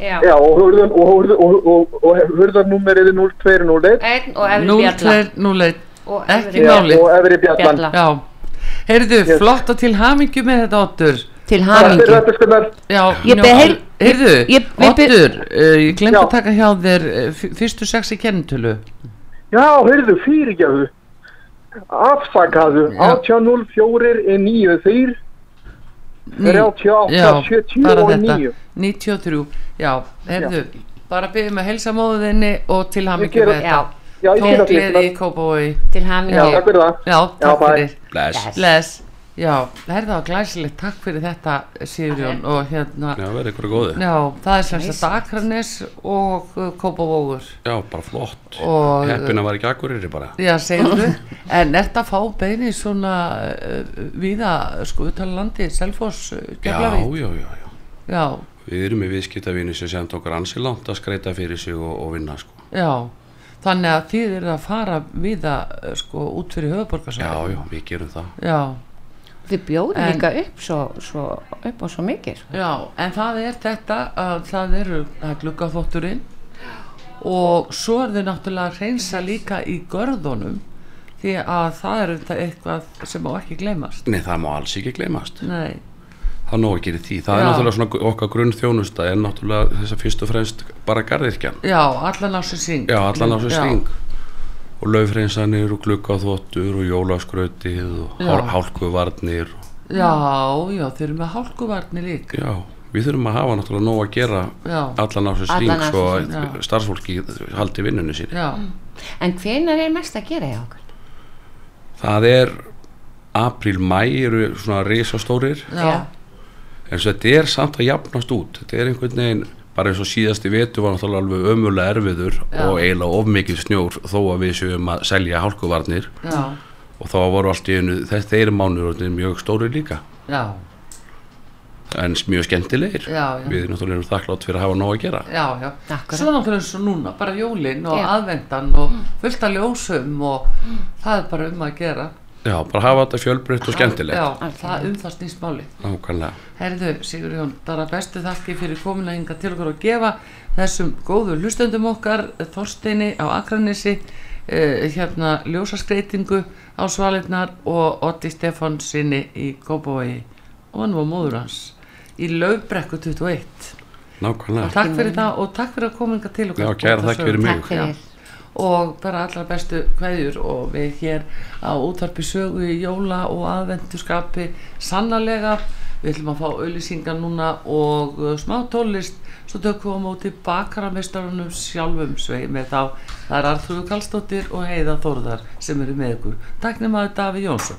Speaker 2: Já.
Speaker 7: Já, og hurðan, og, hurðan, og, og, og, og hurðarnúmer er 0201
Speaker 2: Einn og efri bjalla.
Speaker 1: 0201
Speaker 2: Og efri
Speaker 1: ekki máli.
Speaker 7: og efri bjallan
Speaker 2: bjalla.
Speaker 1: Já, heyrðu,
Speaker 7: Yes.
Speaker 1: flott og til hamingju með þetta Ottur
Speaker 2: Til
Speaker 7: Takk fyrir
Speaker 2: hamingi.
Speaker 7: þetta sko, skunnar
Speaker 1: Já,
Speaker 2: Ég
Speaker 1: njóttu-
Speaker 2: beð heil,
Speaker 1: Heyrðu,
Speaker 2: Ég- við byr-
Speaker 1: Otur, uh, ég glemt að
Speaker 7: Já.
Speaker 1: taka hjá þér uh, f- fyrstu sex í kennitölu.
Speaker 7: Já, heyrðu, fyrirgjöðu. Afsakaðu,
Speaker 1: Já.
Speaker 7: 1804 er 94,
Speaker 1: Ný-
Speaker 7: 38, 70
Speaker 1: bara
Speaker 7: og
Speaker 1: þetta.
Speaker 7: 9.
Speaker 1: 93, já, heyrðu, bara byggjum að helsa móðinni og til hann
Speaker 7: Ég
Speaker 1: ekki
Speaker 7: geri-
Speaker 1: með
Speaker 2: Já,
Speaker 1: þetta.
Speaker 7: Já, ég
Speaker 1: Tók
Speaker 7: skil
Speaker 1: gleði í
Speaker 7: það.
Speaker 1: Kópavói.
Speaker 2: til hann
Speaker 7: Já, takk fyrir það.
Speaker 1: Já, takk
Speaker 7: bye.
Speaker 1: fyrir.
Speaker 9: bless
Speaker 1: Bless. Já, herða og glæsilegt, takk fyrir þetta, Sigurjón, og hérna,
Speaker 9: Já, verði ykkur góði
Speaker 1: já, það er sem sagt Akranes og uh, Kópavógur
Speaker 9: Já, bara flott
Speaker 1: og...
Speaker 9: Heppin að var ekki akkurýri bara
Speaker 1: Já, segirðu, en ert að fá beini svona uh, viða sko utalandi, Selfoss, uh,
Speaker 9: Já,
Speaker 1: Keflavík?
Speaker 9: já, já, já
Speaker 1: Já,
Speaker 9: Við erum í viðskiptavínu sem sem tókar ansi langt að skreita fyrir sig og, og vinna sko.
Speaker 1: já, þannig að þið eru að fara viða uh, sko út fyrir
Speaker 9: Já,
Speaker 1: höfuborgarsvæði.
Speaker 9: já, við gerum það
Speaker 1: já. Já,
Speaker 2: Við bjóðum
Speaker 1: En-
Speaker 2: líka upp, svo, svo, upp á svo mikið. sko.
Speaker 1: já, en það er þetta að það eru það er gluggaþvotturinn og svo er þau náttúrulega að reynsa líka í görðunum því að það er auðvitað eitthvað sem má ekki gleymast.
Speaker 9: Nei, það má alls ekki gleymast
Speaker 1: Nei,
Speaker 9: Það er nóg að gera í því Það er
Speaker 1: Já.
Speaker 9: náttúrulega svona okkar grunn þjónusta er náttúrulega þess að fyrst og fremst bara garðirkjan
Speaker 1: já, allan á sér syng.
Speaker 9: Já, allan á sér
Speaker 1: Já.
Speaker 9: sting og laufreinsanir og gluggaþvottur og jólaskrautið og
Speaker 1: Já.
Speaker 9: hál, hálkuvarnir og,
Speaker 1: Já, já, þeir eru með hálkuvarni líka.
Speaker 9: Já, við þurfum að hafa náttúrulega nóg að gera
Speaker 1: Já,
Speaker 9: allan á sér
Speaker 2: Allan
Speaker 9: sting
Speaker 2: ársins
Speaker 9: svo
Speaker 2: hring,
Speaker 1: já.
Speaker 9: að starfsfólki haldi vinnunni sín
Speaker 1: já,
Speaker 2: En hvenar er mest að gera hjá
Speaker 1: (laughs)
Speaker 2: okkur?
Speaker 9: Það er apríl, mæ eru svona risastórir
Speaker 1: já,
Speaker 9: en svo þetta er samt að jafnast út þetta er einhvern veginn bara eins og síðasti vetu var náttúrulega alveg ömulega erfiður
Speaker 1: Já.
Speaker 9: og eiginlega of mikið snjór þó að við séum að selja hálkuvarnir
Speaker 1: já,
Speaker 9: og þá voru allt í einu þess þeir mánur og þetta er mjög stóri líka
Speaker 1: já,
Speaker 9: en s- mjög skemmtilegir
Speaker 1: já, já,
Speaker 9: við náttúrulega erum þakklátt fyrir að hafa nóg að gera
Speaker 1: já, já.
Speaker 2: Akkurat.
Speaker 1: Svo náttúrulega eins og núna, bara jólin og
Speaker 2: Já.
Speaker 1: aðvendan og fullt að ljósum og það er bara um að gera.
Speaker 9: já, bara hafa þetta fjölbreytt og skemmtilegt
Speaker 1: Já, það um það snýst máli.
Speaker 9: nákvæmlega,
Speaker 1: Herðu, Sigurjón, bara bestu þakki fyrir komina hinga til okkur að gefa þessum góðu hlustendum okkar, Þorsteini á Akranesi, eh, hérna ljósaskreitingu á Svalirnar og Otti Stefán sinni í Kópavogi og hann var móður hans í Laufbrekku 21.
Speaker 9: nákvæmlega
Speaker 1: Takk fyrir það og takk fyrir að koma hinga til okkar.
Speaker 9: Já, kæra þakki fyrir mig.
Speaker 2: Takk fyrir.
Speaker 1: Og bara allra bestu kveðjur og við hér á útvarpi sögu í jóla og aðvenduskapi sannarlega. Við ætlum að fá auðlýsingar núna og uh, smá tónlist. Svo tökum við á móti bakaramestarunum sjálfum svei með þá. Það er Arþrúðu Kallstóttir og Heiða Þórðar sem eru með ykkur. Takk nema að Daví Jónsson.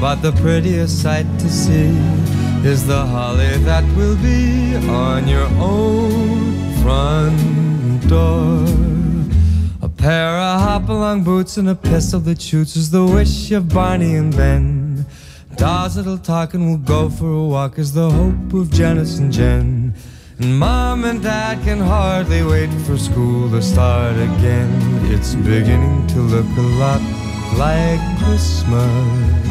Speaker 12: But the prettiest sight to see is the holly that will be on your own front door. A pair of hop-along boots and a pistol that shoots is the wish of Barney and Ben. Dolls that'll talk and will go for a walk is the hope of Janice and Jen. And Mom and Dad can hardly wait for school to start again. It's beginning to look a lot like Christmas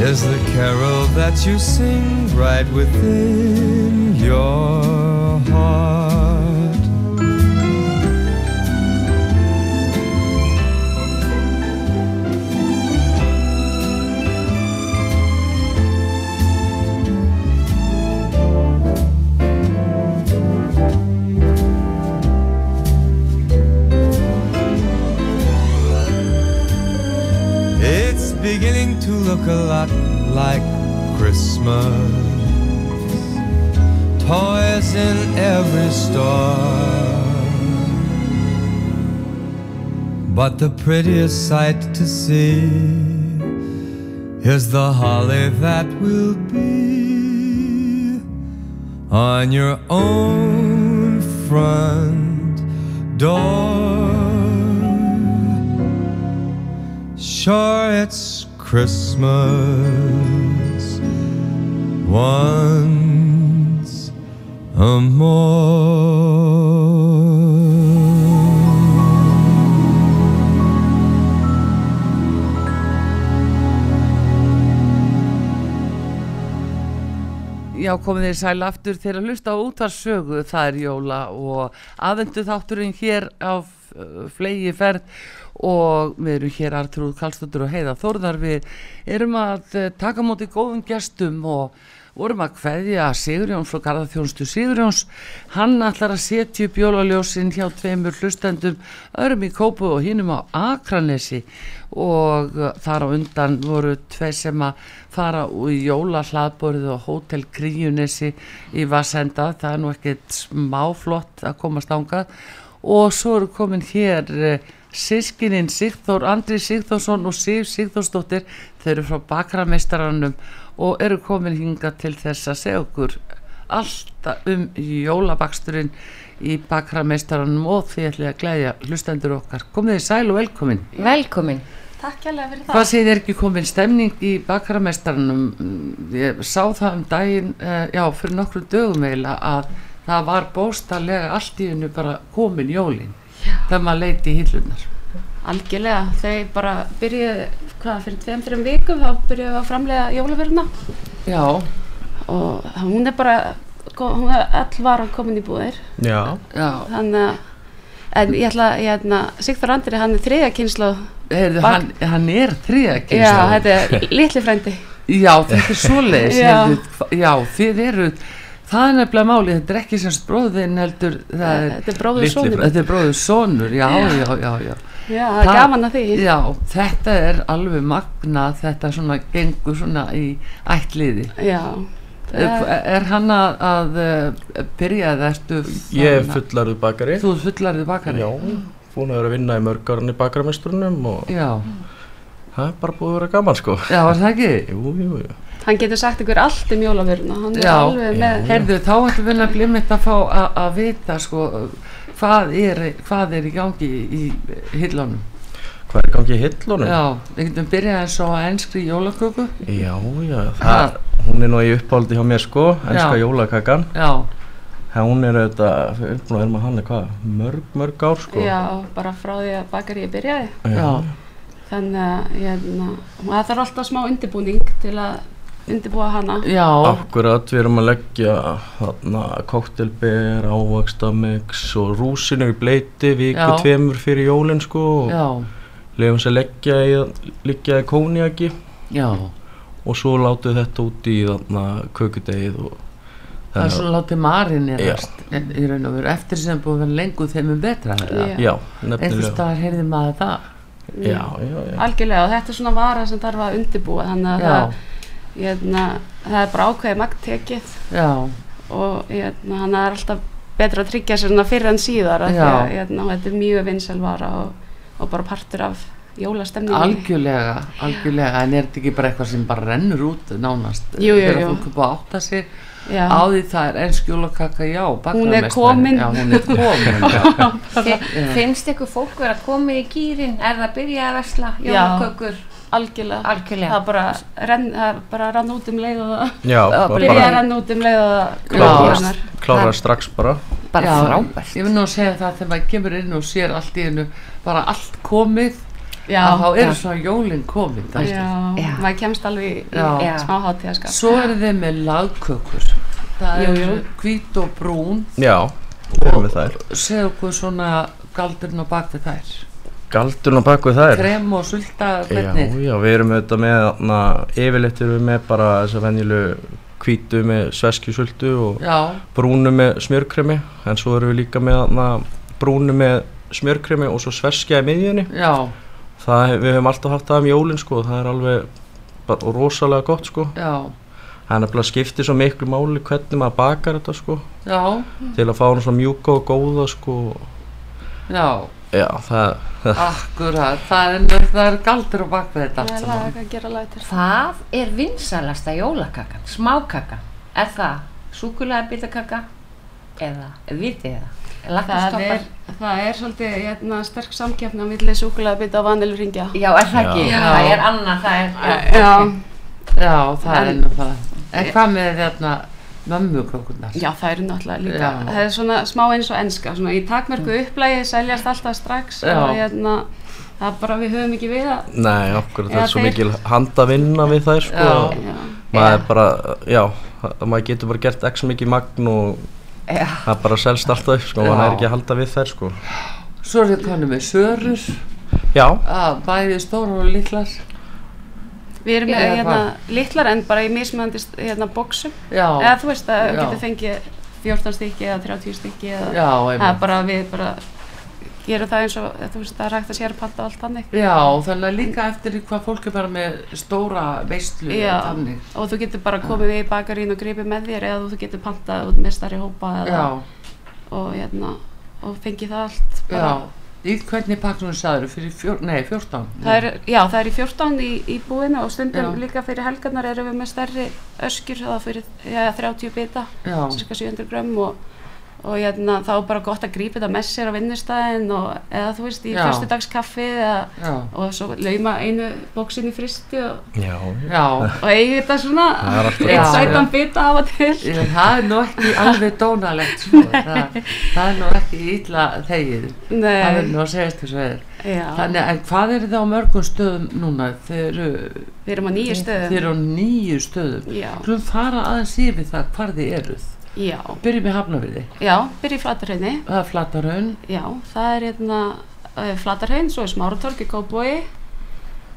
Speaker 12: is the carol that you sing right within your heart. It's beginning to look a lot like Christmas. Toys in every store. But the prettiest sight to see is the holly that will be on your own front door. Sure, it's Christmas once a more.
Speaker 1: Já, komið þér sæl aftur þegar að hlusta á útvarsögu, það er jóla og aðvendu þátturinn hér á uh, flegi ferð og við erum hér Artrúð Kallstóttur og Heiða Þórðar, við erum að eh, taka á móti góðum gestum og vorum að kveðja Sigurjóns og Garðarþjónustu Sigurjóns, hann ætlar að setja upp jólaljósin hjá tveimur hlustendum örum í Kópu og hinnum á Akranesi og uh, þar á undan voru tveir sem að fara úr jóla hlaðborðu og hótel Kríunesi í Vassenda, það er nú ekkert smáflott að komast ángað og svo eru komin hér uh, sískininn Sigþór, Andri Sigþórsson og Sif Sigþórsdóttir, þau eru frá bakrameistaranum og eru komin hinga til þess að segja okkur alltaf um jólabaksturinn í bakrameistaranum og því ætlum ég að glæðja hlustendur okkar. Komið þið sæl og velkomin.
Speaker 2: Velkomin.
Speaker 13: Takk hérlega fyrir það.
Speaker 1: Hvað segir þér ekki komin stemning í bakrameistaranum? Ég sá það um daginn, eh, já, fyrir nokkru dögum eiginlega að það var bóstarlega allt í hennu bara komin jólin þegar maður leiti í hillunar.
Speaker 13: Algjörlega, þau bara byrjuðu, hvað, fyrir tveim, þreim vikum þá byrjuðu við að framlega jólaveruna
Speaker 1: Já.
Speaker 13: og hún er bara, ko- hún er öll varan komin í búðir.
Speaker 14: Já.
Speaker 1: Já.
Speaker 13: Þannig að, en ég ætla, ég ætla, Sigþór Andri, hann er þriðja kynslu.
Speaker 1: Heyrðu, hann, hann er þriðakynslóð.
Speaker 13: Já, þetta er litli frændi.
Speaker 1: Já, þetta er svoleiðis.
Speaker 13: Já.
Speaker 1: heyrðu, Já, þið eru, það er nefnilega málið, þetta er ekki sem bróðin heldur, það er...
Speaker 13: Þetta er bróður Litli sonur. frændi.
Speaker 1: Þetta er bróður sonur, já,
Speaker 13: Já.
Speaker 1: já, já, já.
Speaker 13: Já, það er gaman að því.
Speaker 1: Já, þetta er alveg magna, þetta svona gengur svona í ættliði.
Speaker 13: Já.
Speaker 1: Er, er hann að, að eh, byrja eða ertu...
Speaker 14: Ég er fullarðu bakari.
Speaker 1: Þú ert fullarðu bakari?
Speaker 14: Já, búin að vera að vinna í mörg árin í bakarameistrunum og
Speaker 1: Já.
Speaker 14: það er bara búið að vera gaman sko.
Speaker 1: Já, var það ekki?
Speaker 14: Jú, jú, jú.
Speaker 13: Hann getur sagt ykkur allt um jólaveruna, hann er alveg með.
Speaker 1: Herðu, þá ætlum við nefnilega einmitt að fá a- að vita sko, hvað, er, hvað er í gangi í hillunum.
Speaker 14: Hvað er í gangi í hillunum?
Speaker 1: Já, við getum byrjað eins og að enskri jólaköku.
Speaker 14: Já, já, það, hún er nú í uppáldi hjá mér sko, enska
Speaker 1: Já.
Speaker 14: jólakakan.
Speaker 1: Já.
Speaker 14: Það hún er auðvitað, við erum búin að vera með hann í hvað, mörg, mörg ár sko.
Speaker 13: Já, bara frá því að bakar ég byrjaði.
Speaker 14: Já.
Speaker 13: Þannig að hérna, það þarf alltaf smá undirbúning til að undirbúa hana.
Speaker 14: Akkurat, við erum að leggja þarna koktelber, ávakstamix og rúsinu í bleiti viku
Speaker 1: Já.
Speaker 14: tveimur fyrir jólinn sko
Speaker 1: Já.
Speaker 14: og lefum sér leggja í, liggja í kóniaki
Speaker 1: Já.
Speaker 14: og svo látum við þetta út í þarna kökudegið og
Speaker 1: Það er svona látið marinn
Speaker 14: Já.
Speaker 1: erast, en í raun og veru eftir sem búið að vera lengur þeim er betra.
Speaker 14: Já. Já, nefnilega.
Speaker 1: Einhvers staðar heyrði maður það.
Speaker 14: Já, já,
Speaker 13: Algjörlega og þetta er svona vara sem þarf að undirbúa þannig að
Speaker 1: Já.
Speaker 13: það, hérna, það er bara ákveðið magt tekið
Speaker 1: Já.
Speaker 13: og hérna, hann er alltaf betra að tryggja sér svona fyrr en síðar af því að,
Speaker 1: Já.
Speaker 13: hérna, og þetta er mjög vinsæl vara og, og bara partur af jólastemningu.
Speaker 1: Algjörlega, algjörlega, en er þetta ekki bara eitthvað sem bara rennur út nánast?
Speaker 13: Jú, jú,
Speaker 1: Þegar
Speaker 13: jú.
Speaker 1: fólk er búið að átta sig
Speaker 13: Já.
Speaker 1: á því það er ensk jólakaka, já,
Speaker 13: Hún er
Speaker 1: bakarameistari.
Speaker 13: komin.
Speaker 1: Já, hún er
Speaker 13: (laughs)
Speaker 1: komin. Já.
Speaker 2: Finnst ykkur fólk vera komið í gýrin? Er það byrjað að vesla
Speaker 13: Já.
Speaker 2: jólakökur?
Speaker 13: Algjörlega.
Speaker 2: Algjörlega.
Speaker 13: Það bara, renn, það bara rann út um leið og það.
Speaker 14: Já,
Speaker 13: það
Speaker 14: bara-
Speaker 13: byrja að rann út um leið og það.
Speaker 14: klárar, klárar strax bara.
Speaker 2: Bara
Speaker 1: Já,
Speaker 2: frábært.
Speaker 1: Ég vil nú að segja það þegar maður kemur inn og sér allt í hennu bara allt komið
Speaker 13: Já.
Speaker 1: að þá
Speaker 13: Já.
Speaker 1: eru svona jólinn komin dálítið.
Speaker 13: Já, maður kemst alveg í, í
Speaker 1: Já.
Speaker 13: smá hátíðaskap.
Speaker 1: Svo eru þið með lagkökur Það
Speaker 13: Jú,
Speaker 1: eru
Speaker 13: jú.
Speaker 1: hvít og brún
Speaker 14: Já, við erum við þær
Speaker 1: Segðu okkur svona galdurinn á bak við þær
Speaker 14: Galdurinn á baku þær
Speaker 1: Krem og sulta,
Speaker 14: Já,
Speaker 1: hvernig?
Speaker 14: já, við erum auðvitað með na, yfirleitt erum við með bara þess að venjulu hvítu með sveskjusöldu og
Speaker 1: Já.
Speaker 14: brúnu með smjörkremi en svo erum við líka með na, brúnu með smjörkremi og svo sveskja í miðjunni
Speaker 1: Já.
Speaker 14: það, við höfum alltaf haft það um jólin sko, það er alveg bara- og rosalega gott sko
Speaker 1: Já.
Speaker 14: það er nefnilega skiptið svo miklu máli hvernig maður bakar þetta sko
Speaker 1: Já,
Speaker 14: til að fá hann svona mjúka og góða sko
Speaker 1: já,
Speaker 14: (laughs) já, það,
Speaker 1: akkurat Það er, það er galdur á bak við þetta allt saman
Speaker 13: að gera lætur
Speaker 2: Það er vinsalasta jólakakan, smákakan Er það súkulega bítakaka eða vitið eða
Speaker 13: Það
Speaker 2: lakkastoppar?
Speaker 13: er, það er svolítið hérna, sterk samkeppni á milli súkulega bita og vanilringja.
Speaker 2: Já, er það ekki?
Speaker 1: Já.
Speaker 2: Það er annað, það er
Speaker 13: Já.
Speaker 1: Já, það er
Speaker 13: En-
Speaker 1: nú það En hvað með þarna mömmukrókurnar?
Speaker 13: Já, það eru náttúrulega líka,
Speaker 1: Já.
Speaker 13: það er svona smá eins og enska, svona í takmörku
Speaker 2: Mm.
Speaker 13: upplægi seljast alltaf strax
Speaker 14: Já.
Speaker 13: og hérna, það er bara við höfum ekki við að,
Speaker 14: Nei, okkur, það
Speaker 13: Eða
Speaker 14: er svo
Speaker 13: þeir-
Speaker 14: mikil handavinna við þær sko.
Speaker 13: Já. Já.
Speaker 14: Maður er bara, já, það- maður getur bara gert x mikið magn og
Speaker 1: Já.
Speaker 14: það bara selst alltaf upp sko,
Speaker 1: Já.
Speaker 14: maður er ekki að halda við þær sko.
Speaker 1: Svo er þið konum með sörur
Speaker 14: Já,
Speaker 1: að Bæði stórar og litlar
Speaker 13: við erum með
Speaker 1: Eða
Speaker 13: hérna,
Speaker 1: hvað?
Speaker 13: litlar en bara í mismöndi hérna bóksum,
Speaker 1: Já.
Speaker 13: eða þú veist að við
Speaker 1: Já.
Speaker 13: getum fengið 14 stykki eða 30 stykki eða,
Speaker 1: Já, einmitt.
Speaker 13: það er bara við bara gerum það eins og, þú veist, það er hægt að sérpatta og allt þannig.
Speaker 1: Já, þannig að líka eftir því hvað fólk er bara með stóra veistlu og
Speaker 13: Já,
Speaker 1: þannig.
Speaker 13: og þú getur bara komið við í bakarín og gripið með þér eða þú getur pantað út með starri hópa eða,
Speaker 1: Já.
Speaker 13: og, hérna, og fengið það allt bara.
Speaker 1: Já, í hvernig pakkunum sagður fyrir fjór, nei, 14?
Speaker 13: Það er, já, það er í 14 í, í búinu og stundum
Speaker 1: Já.
Speaker 13: líka fyrir helgarnar erum við með stærri öskjur það fyrir já, 30 bita,
Speaker 1: Já.
Speaker 13: cirka 700 grömm og, og hérna, þá er bara gott að grípa þetta með sér á vinnustæðin og, eða þú veist, í
Speaker 1: Já.
Speaker 13: fyrstudagskaffi
Speaker 1: Já.
Speaker 13: og svo lauma einu bóksin í fristi og,
Speaker 14: Já.
Speaker 13: (laughs)
Speaker 1: Já.
Speaker 13: og eigi þetta svona
Speaker 1: Það er alltaf-
Speaker 13: einn
Speaker 1: Já,
Speaker 13: sætan
Speaker 1: já.
Speaker 13: bita af og til
Speaker 1: Já, það er nú ekki alveg dónalegt
Speaker 13: (laughs)
Speaker 1: sko. það, það er nú ekki illa þegið
Speaker 13: Nei.
Speaker 1: það er nú að segja þessu veður
Speaker 13: Já.
Speaker 1: þannig en hvað eru það á mörgum stöðum núna þeir eru
Speaker 13: Við erum á níu stöðum.
Speaker 1: þeir eru á nýju stöðum
Speaker 13: Já.
Speaker 1: skulum fara aðeins yfir það hvar þið eruð
Speaker 13: Já.
Speaker 1: byrjum við hafnafyrði
Speaker 13: Já, byrja í flatarhraunni.
Speaker 1: það er flatarhaun
Speaker 13: Já, það er hérna uh, flatarhaun, svo er smáratorg í Kóbói,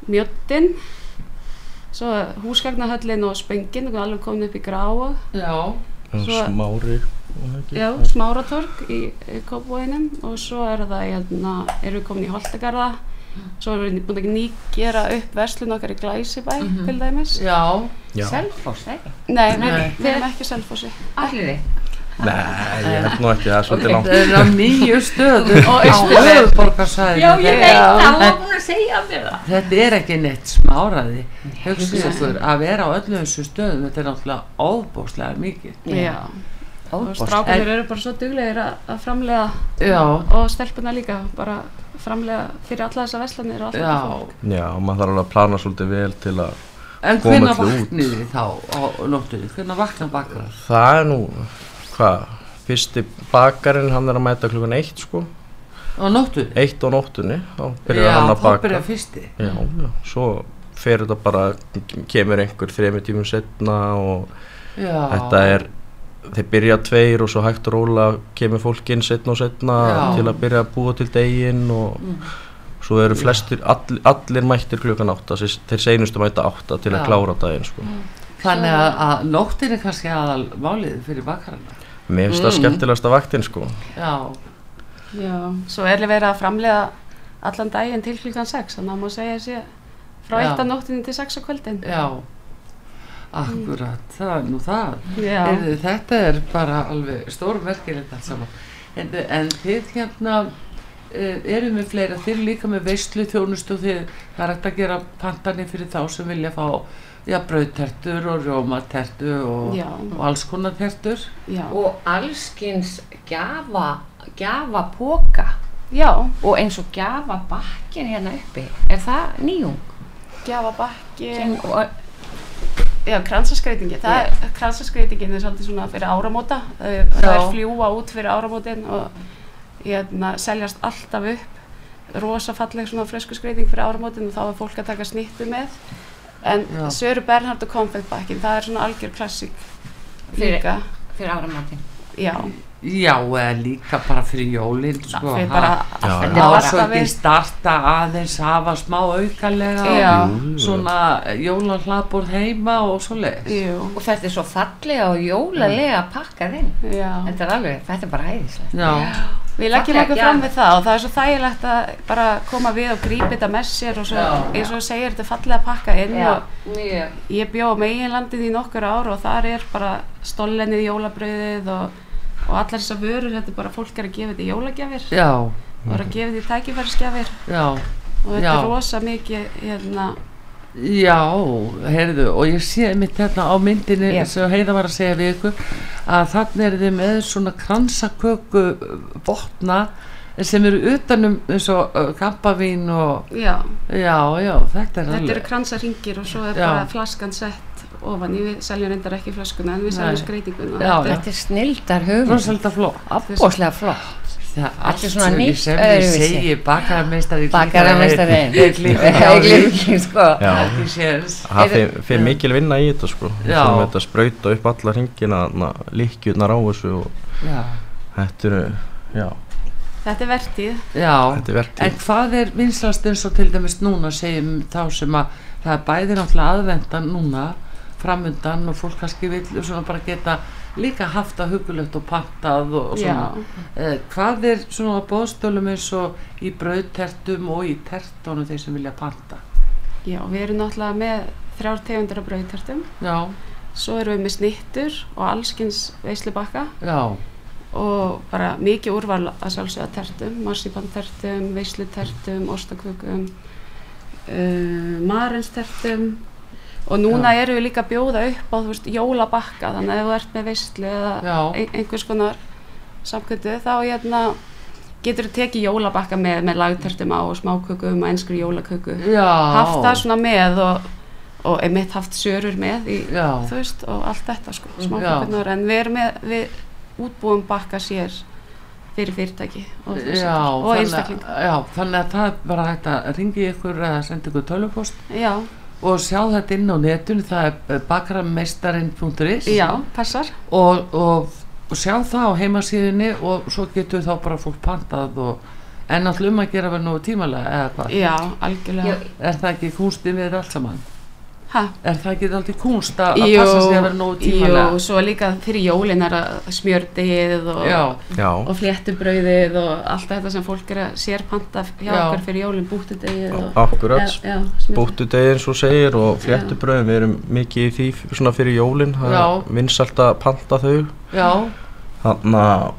Speaker 13: mjöttin, svo húsgagnahöllin og spöngin, og alveg komin upp í gráa.
Speaker 1: Já.
Speaker 13: Svo,
Speaker 14: smári og ekki.
Speaker 13: já, smáratorg í Kóbóinum og svo er það, hérna, erum við komin í Holtagarða, svo erum við búin að nýgera upp verslun okkar í Glæsibæ, til dæmis.
Speaker 1: Já.
Speaker 14: Já.
Speaker 2: Selfoss, ekki?
Speaker 13: Nei,
Speaker 2: Nei.
Speaker 13: Nei. við erum ekki á selfossi.
Speaker 2: Allir þið?
Speaker 14: Nei, ég held nú ekki, það er svolítið langt.
Speaker 1: það er á nýju
Speaker 14: (laughs)
Speaker 1: stöðum
Speaker 2: Og
Speaker 1: á
Speaker 2: Austurvelli.
Speaker 1: höfuborgarsæðinu
Speaker 2: Já, ég veit það, hún var búin að segja mér það.
Speaker 1: Þetta er ekki neitt smáraði hugsið
Speaker 2: Nei.
Speaker 1: ykkur að vera á öllu þessu stöðum þetta er náttúrulega óbóðslega mikið
Speaker 13: Já. Og
Speaker 1: Ofboðslega.
Speaker 13: strákarnir
Speaker 1: En-
Speaker 13: eru bara svo duglegir að, að framlega
Speaker 1: Já.
Speaker 13: og stelpuna líka bara framlega fyrir alla þessar veslanir og allt þetta fólk.
Speaker 14: Já, maður þarf alveg að plana svolítið vel til að
Speaker 1: En
Speaker 14: koma
Speaker 1: hvenær
Speaker 14: öllu út.
Speaker 1: vaknið þið þá á nóttunni? Hvenær vaknar bakar?
Speaker 14: Það er nú, hvað, fyrsti bakarinn hann er að mæta klukkan eitt sko.
Speaker 1: Á nóttunni?
Speaker 14: Eitt á nóttunni, þá byrjar
Speaker 1: Já,
Speaker 14: hann að
Speaker 1: þá
Speaker 14: baka.
Speaker 1: byrjar fyrsti.
Speaker 14: Já, já, svo fer þetta bara, kemur einhver þremi tímum setna og
Speaker 1: Já.
Speaker 14: þetta er, þeir byrja tveir og svo hægt og róla kemur fólk inn setna og setna
Speaker 1: Já.
Speaker 14: til að byrja að búa til deginn og
Speaker 1: Mm.
Speaker 14: svo eru flestir, all, allir mættir klukkan átta, þessi- þeir seinustu mæta átta til
Speaker 1: Já.
Speaker 14: að klára daginn sko.
Speaker 1: Þannig að, að nóttin er kannski aðal málið fyrir bakarana
Speaker 14: Mér finnst það
Speaker 1: Mm.
Speaker 14: skemmtilegasta vaktin sko.
Speaker 1: Já,
Speaker 13: Já. Svo er verið að framlega allan daginn til klukkan 6 þannig að maður segja sé frá 1
Speaker 1: Já.
Speaker 13: á nóttinni til 6 á kvöldin.
Speaker 1: Já. akkurat, það er nú það
Speaker 13: Já.
Speaker 1: Heyrðu, Þetta er bara alveg stórmerkilegt allt saman en, en þið hérna eh, eru með fleira, þið eru líka með veislu þjónustu og þið, það er hægt að gera pantanir fyrir þá sem vilja fá já, brauðtertur og rjómatertu og,
Speaker 2: Já.
Speaker 1: og alls konar tertur
Speaker 13: Já.
Speaker 2: Og allskins gjafa, gjafa póka.
Speaker 13: Já.
Speaker 2: Og eins og gjafa bakkin hérna uppi. Er það nýjung?
Speaker 13: Gjafa bakki.
Speaker 2: Sem, og,
Speaker 13: Já, kransaskreitingi. Það er, kransaskreitingin er svolítið svona fyrir áramóta. Eh, Það er
Speaker 2: Já.
Speaker 13: fljúa út fyrir áramótin og hérna, seljast alltaf upp. rosa falleg svona fresku skreiting fyrir áramótin og þá var fólk að taka snittu með en
Speaker 2: Já.
Speaker 13: Söru Bernhard og konfektbakkin það er svona algjör klassík
Speaker 2: Fyrir-
Speaker 13: líka
Speaker 2: fyrir áramótin
Speaker 13: já,
Speaker 1: Já, eða líka bara fyrir jólinn sko,
Speaker 13: fyrir
Speaker 1: ha.
Speaker 13: bara
Speaker 1: Já,
Speaker 13: allt
Speaker 1: já.
Speaker 13: bara
Speaker 1: Má svo ekki
Speaker 13: við.
Speaker 1: starta aðeins hafa smá aukalega
Speaker 2: Já.
Speaker 1: og svona jólahlaðbúrð heima og svo leið
Speaker 2: og þetta er svo fallega og jólalega pakkað inn
Speaker 13: Mm. Já.
Speaker 2: þetta er alveg, þetta er bara æðislegt
Speaker 13: Við leggjum
Speaker 2: Fallega
Speaker 13: okkur
Speaker 2: gjafir.
Speaker 13: fram við það og það er svo þægilegt að bara koma við og grípa þetta með sér og svo,
Speaker 2: Já.
Speaker 13: eins og þú segir, þetta er fallega að pakka inn
Speaker 2: Já,
Speaker 13: og
Speaker 2: mjög.
Speaker 13: ég bjó á meginlandið í nokkur ár og þar er bara stollennið jólabröðið og, og allar þessar vörur, þetta er bara fólk er að gefa þetta í jólagjafir
Speaker 1: Já.
Speaker 13: og er að gefa þetta í tækifærisgjafir
Speaker 1: Já.
Speaker 13: og þetta
Speaker 1: Já.
Speaker 13: er rosa mikið hérna,
Speaker 1: Já, heyrðu, og ég sé mitt hérna á myndinni
Speaker 13: Já.
Speaker 1: sem Heiða var að segja við ykkur að þannig er þið með svona kransaköku botna sem eru utanum eins og uh, kampavín og
Speaker 13: já,
Speaker 1: já, já, þetta er
Speaker 13: þetta
Speaker 1: alveg
Speaker 13: eru kransaringir og svo er
Speaker 1: Já.
Speaker 13: bara flaskan sett ofan í, við seljum reyndar ekki flöskuna en við seljum
Speaker 2: Nei.
Speaker 13: skreitinguna
Speaker 2: Já, þetta er snildar hugum
Speaker 1: Rosalega flott
Speaker 2: Abboslega flott
Speaker 1: Það
Speaker 2: er svona
Speaker 1: sem ég-
Speaker 2: nýtt
Speaker 1: sem ég
Speaker 2: öðruvísi.
Speaker 1: segi bakarameistari
Speaker 2: Bakarameistarinn.
Speaker 1: ég glími
Speaker 2: Ég glími, sko.
Speaker 1: Já.
Speaker 14: Já.
Speaker 1: ekki séns
Speaker 14: Það fer, fer mikil vinna í þetta sko Við
Speaker 1: Já.
Speaker 14: þurfum þetta að sprauta upp alla hringina na, Líkjurnar á þessu og
Speaker 1: Já.
Speaker 14: Þetta eru, já
Speaker 13: Þetta er vertið
Speaker 1: Já,
Speaker 14: Þetta er vertíð.
Speaker 1: en hvað er vinslast eins og til dæmis núna segjum þá sem að það er bæði náttúrulega aðvendan núna framundan og fólk kannski vil svona bara geta líka haft að hugulegt og pantað og, og svona eh, hvað er svona bóðstölum eins og í brauðtertum og í tertónum þeir sem vilja panta
Speaker 13: Já, við erum náttúrulega með þrjár tegundir af brauðtertum.
Speaker 1: Já.
Speaker 13: Svo erum við með snittur og allskins veislubakka
Speaker 1: Já,
Speaker 13: og bara mikið úrval að sjálfsögja af tertum, marsipantertum, veislutertum, ostakökum, uh, marenstertum og núna erum við líka að bjóða upp á þú veist, jólabakka, þannig að ef þú ert með veislu eða
Speaker 1: Já.
Speaker 13: ein- einhvers konar samkvöndu þá hérna getur þú tekið jólabakka með, með lagtertum á og smákökum og einskri jólaköku
Speaker 1: Já.
Speaker 13: haft það svona með og, og einmitt haft sörur með í,
Speaker 1: Já.
Speaker 13: þú veist, og allt þetta sko,
Speaker 1: Já.
Speaker 13: smákökunar en við erum með, við útbúum bakka sér fyrir fyrirtæki og,
Speaker 1: já,
Speaker 13: og
Speaker 1: þannig,
Speaker 13: einstakling
Speaker 1: að- já, þannig að það er bara hægt að ringi ykkur eða sendi ykkur tölupost
Speaker 13: Já,
Speaker 1: og sjá þetta inn á netun það er bakarameistarinn.is
Speaker 13: já, passar
Speaker 1: og, og, og sjá það á heimasíðinni og svo getur þá bara fólk pantað og, en allum að gera verið nógu tímalega eða hvað
Speaker 13: Já, algjörlega.
Speaker 1: er það ekki kunstið við þetta allt saman
Speaker 13: Ha?
Speaker 1: er það ekki alltaf kunst að, að passa sig að vera nógu tímalega
Speaker 13: jú, svo líka fyrir jólin er að smjördegið og,
Speaker 1: Já. Já.
Speaker 13: og fléttubrauðið og allt þetta sem fólk er að sérpanta hjá
Speaker 1: Já.
Speaker 13: okkur fyrir jólin, búttudegið og-
Speaker 14: Akkurat,
Speaker 13: Já, já, smjörde-
Speaker 14: bóttudegi eins og segir og fléttubröðum, við erum mikið í því f- svona fyrir jólin, það
Speaker 13: Já.
Speaker 14: er vinsalt að panta þau
Speaker 1: Já.
Speaker 14: Þannig að,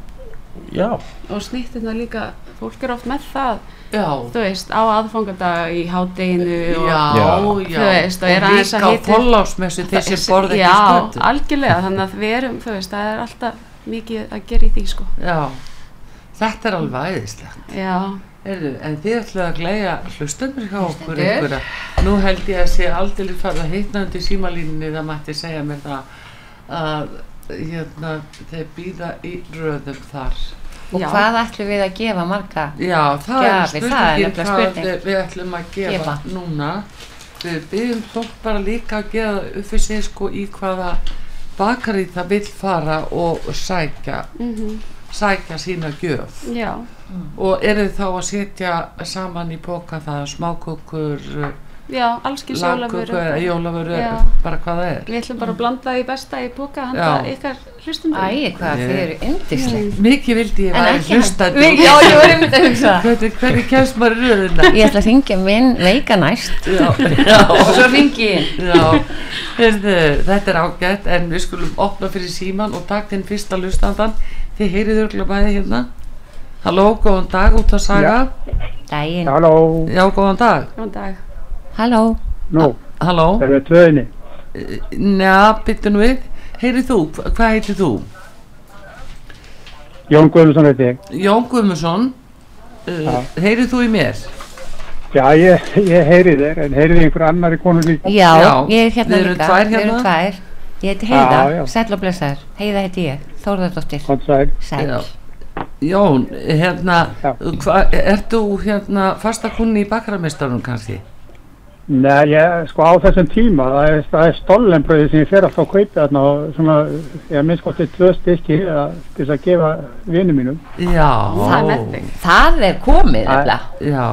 Speaker 14: já,
Speaker 13: og snýttina líka, fólk er oft með það
Speaker 1: já.
Speaker 13: þú veist, á aðfangadag í hádeginu og,
Speaker 1: Já, já.
Speaker 13: þú veist, og
Speaker 1: Og
Speaker 13: er aðeins að
Speaker 1: líka á
Speaker 13: hiti
Speaker 1: Þorláksmessu, þeir sem borða ekki
Speaker 13: já,
Speaker 1: skötu.
Speaker 13: algjörlega, þannig að við erum þú veist, það er alltaf mikið að gera í því sko.
Speaker 1: Já, þetta er alveg æðislegt.
Speaker 13: Já.
Speaker 1: Heyrðu, en þið ætlaðu að glæja hlustendur hjá okkur
Speaker 13: Hlustendur.
Speaker 1: einhverja. Nú held ég að sé aldrei farið að hitna undir símalínunni það mætti segja mér það að hérna, þeir býða í röðum þar.
Speaker 2: og hvað ætlum við að gefa marga
Speaker 1: Já, það er
Speaker 2: gjafir?
Speaker 1: spurningin
Speaker 2: það er nefnilega
Speaker 1: hvað
Speaker 2: spurning
Speaker 1: við- við ætlum að gefa,
Speaker 2: Gefa.
Speaker 1: núna. Við byggjum þótt bara líka að gera upp fyrir sig sko í hvaða bakari það vill fara og sækja,
Speaker 2: Mm.
Speaker 13: Mhm.
Speaker 1: sækja sína gjöf.
Speaker 13: Já.
Speaker 1: Mm. Og eru þið þá að setja saman í póka það smákökur,
Speaker 13: já, allskins
Speaker 1: lagkökur, jólavöru,
Speaker 13: Já.
Speaker 1: bara hvað það er?
Speaker 13: við ætlum bara að blanda í besta í boka
Speaker 1: Já.
Speaker 13: handa ykkar hlustum
Speaker 2: Æi, hvað þið eru yndisleg
Speaker 1: Mm. Mikið vildi ég
Speaker 2: En
Speaker 1: væri
Speaker 2: ekki-
Speaker 1: hlustandi.
Speaker 2: Mikið- (laughs) já, ég var einmitt að hugsa það.
Speaker 1: Hvernig, hvernig kemst maður í röðuna?
Speaker 2: ég ætla að ringja minn veika næst (laughs)
Speaker 1: Já,
Speaker 2: og svo ringi ég inn.
Speaker 1: Já, heyrðu, þetta er ágætt en við skulum opna fyrir síman og takk þinn fyrsta lustandan þið heyriður örugglega bæði hérna Halló, góðan dag út að saga
Speaker 2: Dæin
Speaker 1: Halló Já, góðan dag
Speaker 13: Góðan dag
Speaker 2: Halló
Speaker 1: Nú Ah, Halló Er
Speaker 11: við tvöðinni?
Speaker 1: Njá, byttu nú við Heyrið þú, hva- hvað heitir þú?
Speaker 11: Jón Guðmundsson heiti ég.
Speaker 1: Jón Guðmundsson uh, Heyrið þú í mér?
Speaker 11: Já, ég, ég heyri þér, en heyri þið einhver annar í konu líka?
Speaker 2: já, ég er hérna
Speaker 1: við erum
Speaker 2: líka
Speaker 1: tvær
Speaker 2: við erum
Speaker 1: hérna.
Speaker 2: tvær ég heiti
Speaker 11: Já, já.
Speaker 2: Heiða, sæll og blessaður Heiða heiti ég, Þórðardóttir
Speaker 11: Hann sæl.
Speaker 2: sæll
Speaker 1: Já. Jón, hérna, hva, ert þú hérna fastakunni í bakaramistarunum kannski?
Speaker 11: Nei, ég, sko á þessum tíma, það er, það er stollenbröði sem ég fer alltaf að kaupa þarna og svona, ég minnst gott tvö stykki eða til þess að gefa vinum mínum.
Speaker 1: Já.
Speaker 2: Það er, það er komið nefnilega.
Speaker 1: Já.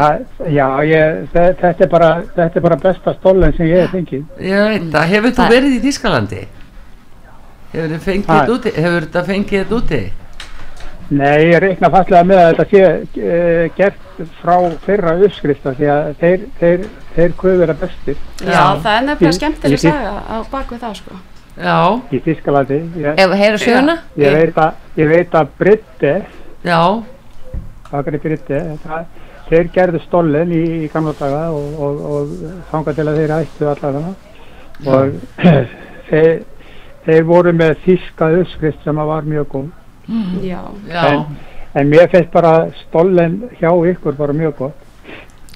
Speaker 11: Það- Já, ég, þe- þetta er bara, þetta er bara besta stollen sem ég hef fengið.
Speaker 1: Ég veit það, hefur þú
Speaker 11: Mm. Það-
Speaker 1: verið í Þískalandi? Hefur þú fengið
Speaker 11: Hæ?
Speaker 1: þetta úti? Hefur þetta fengið þetta úti?
Speaker 11: Nei, ég reikna fallega með að þetta sé e, gert frá fyrra uppskrifta því að þeir, þeir, þeir kvöður að bestir.
Speaker 13: Já, það er nefnilega skemmtileg
Speaker 11: Ég- ég-
Speaker 13: saga á bakvið það sko.
Speaker 1: Já.
Speaker 11: Í Þískalandi. ég-
Speaker 13: Ef- heyrðu söguna?
Speaker 11: Ég veit að, ég veit að Britte.
Speaker 1: Já.
Speaker 11: Bakari Britte. Það, þeir gerðu stollen í, í gamla daga og, og, og þangað til að þeir ættu allar hana. Og (clears throat) þeir, þeir voru með þíska uppskrift sem að var mjög góð.
Speaker 13: Já.
Speaker 1: Já.
Speaker 11: En, en mér finnst bara stollen hjá ykkur bara mjög gott.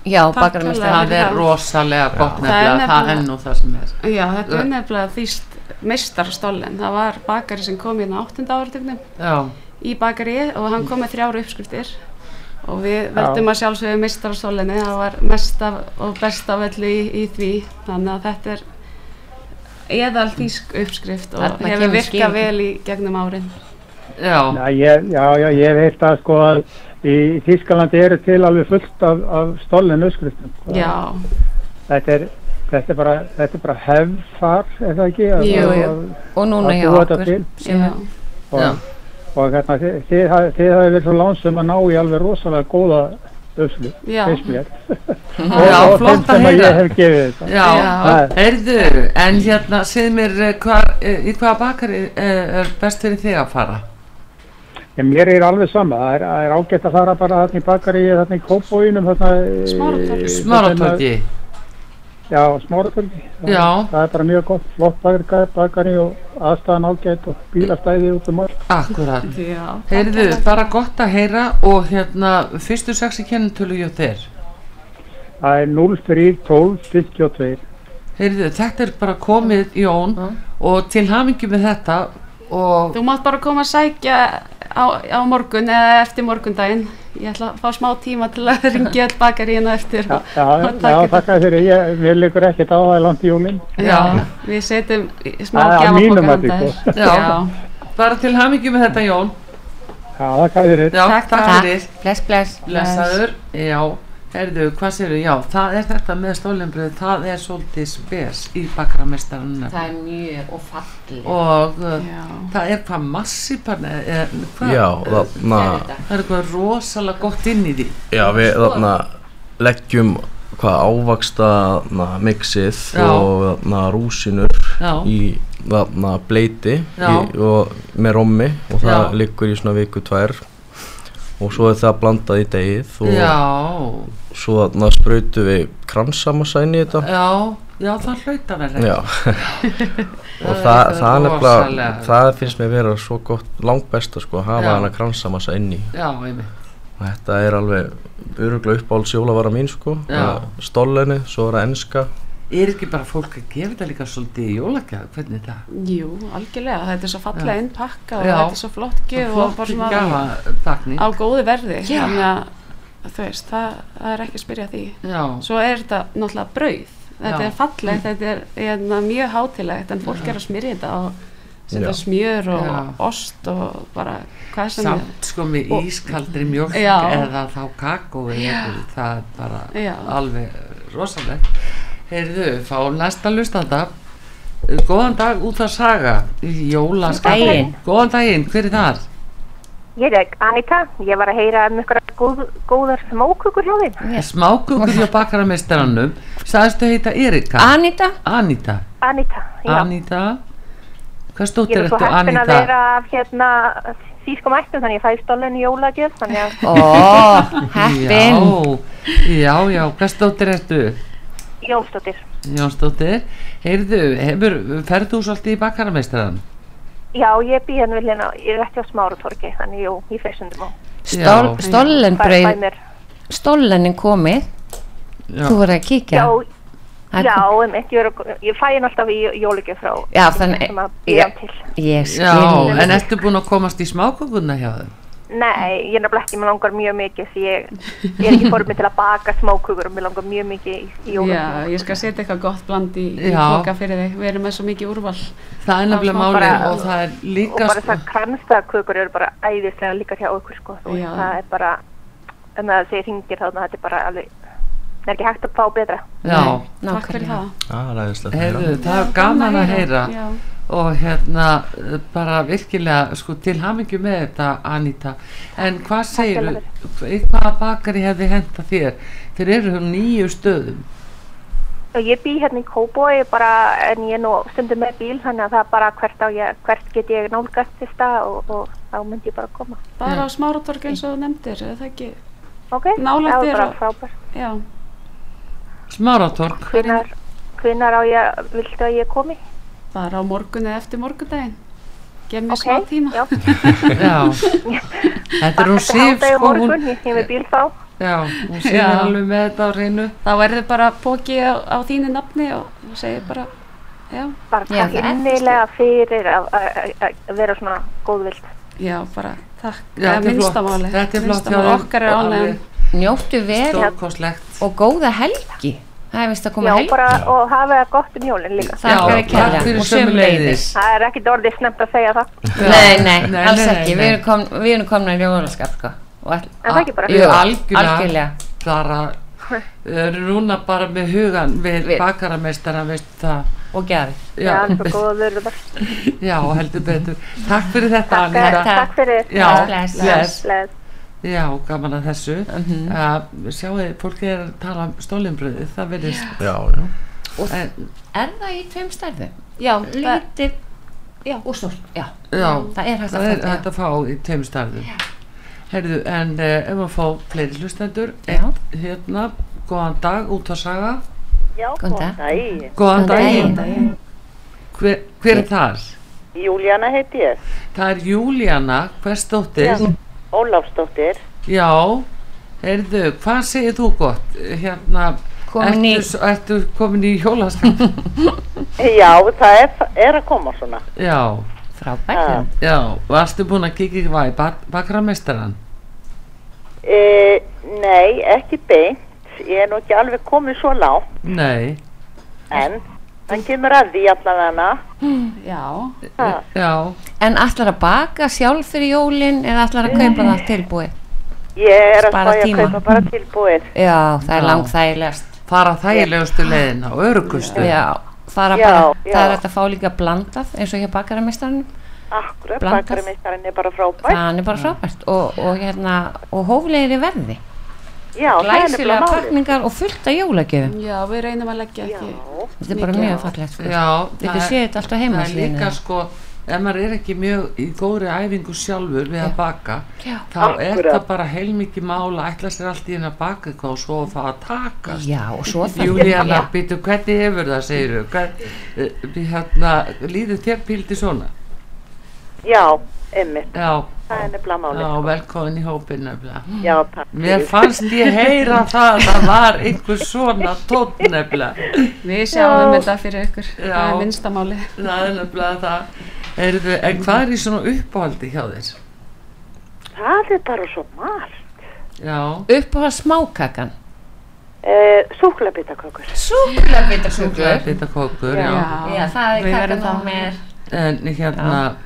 Speaker 2: Já,
Speaker 13: bakarameistarinn.
Speaker 1: Það er rosalega gott
Speaker 13: Það er
Speaker 1: nefnilega, það er
Speaker 13: nefnilega-
Speaker 1: nú það sem er.
Speaker 13: Já, þetta er nefnilega þýst meistarstollen. Það var bakari sem kom hérna á 8. áratugnum
Speaker 1: Já.
Speaker 13: í bakari og hann kom með þrjára uppskriftir og við veldum að sjálfsögðu meistarstollenni. Það var mest af, og best af öllu í, í því. Þannig að þetta er eðal þýsk uppskrift og
Speaker 2: Þarna
Speaker 13: hefur
Speaker 2: kemur
Speaker 13: virkað
Speaker 2: skýringin.
Speaker 13: vel í gegnum árin.
Speaker 1: Já.
Speaker 11: Já, ég, já, já, ég hef heilt að sko að í Þískalandi eru til alveg fullt af, af stollen uppskriftum. sko.
Speaker 13: Já.
Speaker 11: Þetta er, þetta er bara, þetta er bara hefð þar, er það ekki? Að-
Speaker 2: Jú, jú.
Speaker 11: að-
Speaker 2: Og núna
Speaker 11: að
Speaker 2: hjá
Speaker 11: búa þetta
Speaker 2: okkur.
Speaker 11: til.
Speaker 2: Já.
Speaker 11: Og,
Speaker 2: Já.
Speaker 11: og hérna, þið, þið, hafið- þið hafið verið svo lánsum að ná í alveg rosalega góða uppskrif,
Speaker 1: Já.
Speaker 11: finnst
Speaker 1: (laughs)
Speaker 11: mér.
Speaker 1: Já,
Speaker 11: og þeim
Speaker 1: flott að
Speaker 11: sem að
Speaker 1: heyra.
Speaker 11: ég hef gefið þetta.
Speaker 1: Já,
Speaker 11: Það er-
Speaker 1: heyrðu, en hérna, segð mér eh, hvar, eh, í hvaða bakari eh, er best fyrir þig að fara?
Speaker 11: En mér er alveg sama, það er, það er ágætt að fara bara þarna í bakari, þarna í kópóinum, þarna... eh,
Speaker 1: Smáratorgi. Smáratorgi.
Speaker 11: Já, smáratorgi. Það-
Speaker 1: Já.
Speaker 11: Það er bara mjög gott, flott bakari, bakari og aðstæðan ágætt og bílastæði út um allt.
Speaker 1: Akkurat.
Speaker 13: Já.
Speaker 1: Heyrðu, bara gott að heyra og hérna, fyrstu sexi kennitölu hjá þér.
Speaker 11: Það er 03 12 52.
Speaker 1: Heyrðu, þetta er bara komið Jón og til hamingi með þetta og
Speaker 13: Þú mátt bara koma að sækja á, á morgun eða eftir morgundaginn. Ég ætla að fá smá tíma til að (laughs) ringja all bakar í hérna eftir. og-
Speaker 11: Já,
Speaker 1: (laughs)
Speaker 13: og taka
Speaker 11: já,
Speaker 13: þetta.
Speaker 11: þakka þér fyrir, ég, mér liggur ekkert á það er langt í júlinn.
Speaker 13: Já, við setjum í smá
Speaker 11: Að- að mínum
Speaker 13: gjafabóka
Speaker 11: mati, sko.
Speaker 13: Já. Já.
Speaker 1: bara til hamingi með þetta Jón.
Speaker 11: Já, þakka þér fyrir.
Speaker 1: Já, takk, fyrir.
Speaker 2: Bless, bless.
Speaker 1: Blessaður, já, heyrðu, hvað séru, já, það er þetta með stólinbröð, það er svolítið spes í bakramestaranum.
Speaker 2: Það er mjög Hérna. og fallið.
Speaker 1: og uh, það er hvað massipan er, hvað,
Speaker 14: Já, þarna-
Speaker 1: það er eitthvað rosalega gott inn í því
Speaker 14: Já, við
Speaker 1: Sko-
Speaker 14: þarna leggjum hvað ávaksta na, mixið
Speaker 1: Já.
Speaker 14: og þarna rúsinur
Speaker 1: Já.
Speaker 14: í þarna bleiti í,
Speaker 1: Já.
Speaker 14: og með rommi og það
Speaker 1: Já.
Speaker 14: liggur í svona viku tvær og svo er það blandað í degið og
Speaker 1: Já.
Speaker 14: svo þarna sprautum við kransamasæn í þetta
Speaker 1: já, já, það hlaut að vera (laughs)
Speaker 14: Já. og
Speaker 1: Það
Speaker 14: það,
Speaker 1: er
Speaker 14: það, nefnilega,
Speaker 1: rosalega.
Speaker 14: það finnst mér vera svo gott langbesta sko að hafa
Speaker 1: Já.
Speaker 14: hana kransamassa inn í
Speaker 1: já, einmitt
Speaker 14: og þetta er alveg öruglega uppáhalds jólavara mín sko
Speaker 1: Já.
Speaker 14: Það er stollenni, svo er það enska
Speaker 1: er ekki bara fólk að gefa þetta líka svolítið í jólagjaðu, hvernig er það
Speaker 13: Jú, algjörlega, þetta er svo fallega
Speaker 1: Já.
Speaker 13: innpakka og
Speaker 1: Já.
Speaker 13: þetta er svo flott gjöf og bara svona
Speaker 1: gafapakning.
Speaker 13: á góðu verði.
Speaker 1: Já.
Speaker 13: Þannig að þú veist, það, það er ekki að spyrja því.
Speaker 1: Já.
Speaker 13: Svo er þetta náttúrulega brauð. Þetta
Speaker 1: Já.
Speaker 13: er fallegt, þetta er, er mjög hátilegt en fólk er að smyrja þetta og
Speaker 1: Já.
Speaker 13: setja smjör og
Speaker 1: Já.
Speaker 13: ost og bara hvað sem er.
Speaker 1: samt sko með
Speaker 13: Og-
Speaker 1: ískaldri mjólk
Speaker 13: Já.
Speaker 1: eða þá kakó eða
Speaker 13: Já.
Speaker 1: eitthvað, það er bara
Speaker 13: Já.
Speaker 1: alveg rosalegt heyrðu, fá næsta lustanda góðan dag út að saga í jólaskapin
Speaker 15: Daginn.
Speaker 1: góðan daginn, hver er þar?
Speaker 15: Ég er Anita, ég var að heyra um ykkur góð, góðar smákökur hjá þeim.
Speaker 1: smákukur hjá bakarameistaranum sagðist þau heita Erika
Speaker 2: Anita
Speaker 1: Anita,
Speaker 15: Anita, já.
Speaker 1: Anita. hvað
Speaker 15: ég
Speaker 1: stóttir
Speaker 15: er svo
Speaker 1: þetta
Speaker 15: heppin að
Speaker 1: Anita?
Speaker 15: vera af hérna sískum ættum þannig að ég fæ stólinn í jólagjöf þannig að
Speaker 1: Ó,
Speaker 15: heppin.
Speaker 1: Já, já, já, hvað stóttir þetta?
Speaker 15: Jónsdóttir.
Speaker 1: Jónsdóttir, heyrðu, hefur, ferð þú svolítið í bakkarameistaran?
Speaker 15: Já, ég býð hérna vilja, ég er ekki á Smárutorgi þannig jú, ég fer sundum á.
Speaker 2: Stol,
Speaker 1: Já.
Speaker 2: stollenbrauð-
Speaker 15: Fæ- fæ mér.
Speaker 2: Stollenin komið.
Speaker 1: Já.
Speaker 2: Þú voru að kíkja.
Speaker 15: Já,
Speaker 2: Það-
Speaker 15: já, einmitt, ég, er að- ég fæ hérna alltaf í jólagjöf frá.
Speaker 2: Já, þannig-
Speaker 15: sem að býða
Speaker 2: já.
Speaker 15: til.
Speaker 2: Ég skil.
Speaker 1: Já, en ertu búin að komast í smákökunna hjá þau?
Speaker 15: Nei, ég er nefnilega ekki, mér langar mjög mikið því ég, ég er ekki formið til að baka smákukur og mér langar mjög mikið í, í jólum.
Speaker 13: Já, ég skal setja eitthvað gott bland í, í
Speaker 1: Já.
Speaker 13: boka fyrir þig, við erum með svo mikið úrval
Speaker 1: Það er nefnilega
Speaker 13: Þá
Speaker 1: málið
Speaker 13: bara-
Speaker 1: og það er
Speaker 15: og
Speaker 1: líka sko-
Speaker 15: bara það kranstakukur eru bara æðislega líka hjá okkur sko Þú veist,
Speaker 13: Já.
Speaker 15: það er bara um að segja hringir þarna þetta er bara alveg það er ekki hægt að fá betra
Speaker 1: Já.
Speaker 13: Takk fyrir það
Speaker 14: Það er aðeinslega
Speaker 1: Heyrðu, það er gaman að heyra
Speaker 13: Já.
Speaker 1: og hérna eh, bara virkilega sko til hamingju með þetta Anita en hvað segir hvaða bakari hefði henda þér þeir eru um nýju stöðum
Speaker 15: og ég bý hérna í Kóboi bara en ég er nú stundum með bíl þannig að það er bara hvert, á ég, hvert get ég nálgast til stað og, og þá myndi ég bara koma
Speaker 13: Bara á smáratorg eins og þú nefndir, eða það ekki
Speaker 15: ok,
Speaker 13: Nálægt
Speaker 15: það er
Speaker 13: þér
Speaker 15: bara
Speaker 13: og-
Speaker 15: frábært
Speaker 13: já.
Speaker 1: Smáratorg
Speaker 15: hvenar, hvenar á ég, viltu að ég komi?
Speaker 13: bara á morgun eða eftir morgundaginn gef mér smá tíma (laughs)
Speaker 15: já.
Speaker 1: Já, þetta er hún síf
Speaker 15: hádegi á
Speaker 1: sko
Speaker 15: morgun,
Speaker 1: hún,
Speaker 15: ég hef með bíl þá
Speaker 1: já, hún síf
Speaker 13: Já.
Speaker 1: alveg með þetta á reynu
Speaker 13: þá er þið bara bóki á, á þínu nafni og þú segir bara já,
Speaker 15: bara takk innilega fyrir að- að að- að vera svona góðvild
Speaker 13: já, bara takk,
Speaker 1: Já,
Speaker 13: eða
Speaker 1: þetta er
Speaker 13: minnsta
Speaker 1: flott.
Speaker 13: máli.
Speaker 1: Þetta er flott
Speaker 13: Minnsta
Speaker 1: hjá
Speaker 13: máli.
Speaker 1: þér.
Speaker 13: okkar er
Speaker 1: Og
Speaker 13: ánægum
Speaker 2: njóttu vel
Speaker 1: Stórkostlegt.
Speaker 2: og góða helgi það er vist að koma
Speaker 15: Já,
Speaker 2: helgi
Speaker 15: bara og hafa það gott um jólinn líka
Speaker 2: Takk Já, fyrir takk kærlega. fyrir Og sömuleiðis. sömuleiðis.
Speaker 15: Það er ekkit orðið snemmt að segja það
Speaker 2: nei, nei,
Speaker 15: Nei,
Speaker 2: alls
Speaker 15: nei, nei,
Speaker 2: ekki
Speaker 15: nei.
Speaker 2: við erum, kom, við erum komin að jólaskap sko. Og all-
Speaker 15: En það ekki bara-
Speaker 2: Jú,
Speaker 1: algjörlega,
Speaker 2: algjörlega.
Speaker 1: bara
Speaker 15: (laughs)
Speaker 1: er núna bara með hugan við,
Speaker 2: Við-
Speaker 1: við. bakaramestara veist það
Speaker 2: og gerð
Speaker 1: já,
Speaker 15: Já, það er góður og það
Speaker 1: (laughs) já, heldur betur takk fyrir þetta
Speaker 15: Takk,
Speaker 1: Anita.
Speaker 15: takk fyrir.
Speaker 1: já,
Speaker 15: Bless.
Speaker 1: bless.
Speaker 15: Bless.
Speaker 1: já, gaman að þessu uh
Speaker 2: Mhm.
Speaker 1: sjáu, fólki er að tala um stólinbröði það verðist
Speaker 14: Já, já.
Speaker 1: en,
Speaker 2: er það í tveim stærðum
Speaker 13: já,
Speaker 2: lítið já. og stór já.
Speaker 1: já,
Speaker 2: það er hægt að
Speaker 1: það
Speaker 2: fá þetta, já.
Speaker 1: að fá í tveim starfum Herðu, en uh, ef að fá fleiri hlustendur
Speaker 2: Já.
Speaker 1: einn, hérna, góðan dag, út að saga
Speaker 16: Já,
Speaker 2: Góðan
Speaker 16: góðan daginn.
Speaker 1: góðan daginn hver, hver er þar?
Speaker 16: Júlíana heiti ég,
Speaker 1: það er Júlíana, hvers dóttir
Speaker 16: Já. Ólafsdóttir.
Speaker 1: Já, heyrðu, hvað segir þú gott? Hérna,
Speaker 16: Komin í-
Speaker 1: ertu, s- ertu komin í hjólaskap?
Speaker 2: (laughs)
Speaker 16: Já, það er, er að koma svona.
Speaker 1: Já,
Speaker 16: Já.
Speaker 1: frábært. Já, og ertu búin að kikið hvað í bak bakramestaran?
Speaker 16: E, nei, ekki beint. Ég er nú ekki alveg komið svo lág,
Speaker 1: Nei,
Speaker 16: en hann kemur að því allavega.
Speaker 13: Já.
Speaker 1: Já.
Speaker 2: en ætlar að baka sjálf fyrir jólin eða ætlar að kaupa það tilbúið
Speaker 16: Ég er að
Speaker 2: Spara
Speaker 16: spája að
Speaker 2: tíma.
Speaker 16: kaupa bara tilbúið.
Speaker 2: já, það er
Speaker 1: Já.
Speaker 2: langþægilegast
Speaker 1: fara þægilegustu leiðina og örugustu.
Speaker 2: já, fara
Speaker 16: Já,
Speaker 2: bara,
Speaker 16: já.
Speaker 2: það er hægt að fá líka blandað eins og hjá bakaramestarinn
Speaker 16: Akkurat,
Speaker 2: Blandað.
Speaker 16: bakaramestarinn er bara frábær.
Speaker 2: það er bara frábært og, og, hérna, og hóflegir í verði
Speaker 16: Já, það er nefnilega
Speaker 2: glæsilega
Speaker 16: málið.
Speaker 2: pakningar og fullt af jólagjöfum
Speaker 13: já, við reynum að leggja ekki
Speaker 2: þetta er bara
Speaker 13: mikið
Speaker 2: mjög
Speaker 13: á.
Speaker 2: fallegt sko.
Speaker 1: Já,
Speaker 2: þetta
Speaker 1: er-
Speaker 2: séu þetta allt á
Speaker 1: Það er
Speaker 2: heimasíðinu
Speaker 1: líka sko, ef maður er ekki mjög í góðri æfingu sjálfur við að baka,
Speaker 2: Já.
Speaker 1: þá er
Speaker 2: Akkurat.
Speaker 1: það bara heilmikið mál að ætla sér allt í henni að baka eitthvað og svo að það að taka.
Speaker 2: Já, og svo þarf-
Speaker 1: Júlíana,
Speaker 2: Já.
Speaker 1: býtu, hvernig hefur það, segir þau? Hérna, líður þér píldi svona?
Speaker 16: Já, emmitt.
Speaker 1: Já.
Speaker 16: Það er nefnilega málið. sko.
Speaker 1: Já, velkomin í hópin nefnilega.
Speaker 16: Já, takk.
Speaker 1: Mér fannst ég heyra það að það var einhver svona tótt nefnilega.
Speaker 13: við sjáum um
Speaker 1: Já.
Speaker 13: þetta fyrir ykkur það er minnsta máli
Speaker 1: það er nefnilega það Heyrðu, en hvað er í svona uppáhaldi hjá þér?
Speaker 16: Það er bara svo margt.
Speaker 1: Já.
Speaker 2: uppáhald smákakan
Speaker 16: Uh, Súklabitakokkur.
Speaker 2: súkulabitakökur
Speaker 1: Súklaðbitakökur, já.
Speaker 2: já, það er
Speaker 13: Við
Speaker 2: kakan
Speaker 13: verðum
Speaker 2: og
Speaker 13: það.
Speaker 2: mér
Speaker 1: En hérna,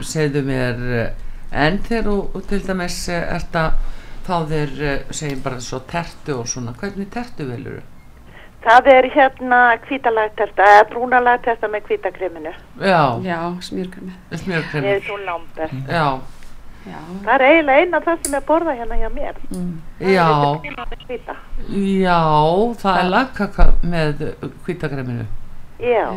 Speaker 1: segðu mér, eh, en þegar þú til dæmis eh, ert að fá þér, eh, segjum bara svo tertu og svona, hvernig tertu velur
Speaker 16: Það er hérna hvítalagterta, eða brúnalagterta með hvítakreminu.
Speaker 1: Já.
Speaker 13: já, smjörkremi
Speaker 16: Ég er
Speaker 1: Smjörkremi.
Speaker 16: svo lámbert.
Speaker 1: Já,
Speaker 16: Það er eiginlega eina það sem er borða hérna hjá mér. hérna,
Speaker 1: já,
Speaker 16: Kremið með hvíta.
Speaker 1: já, það er lagkaka með hvítakreminu.
Speaker 16: Já,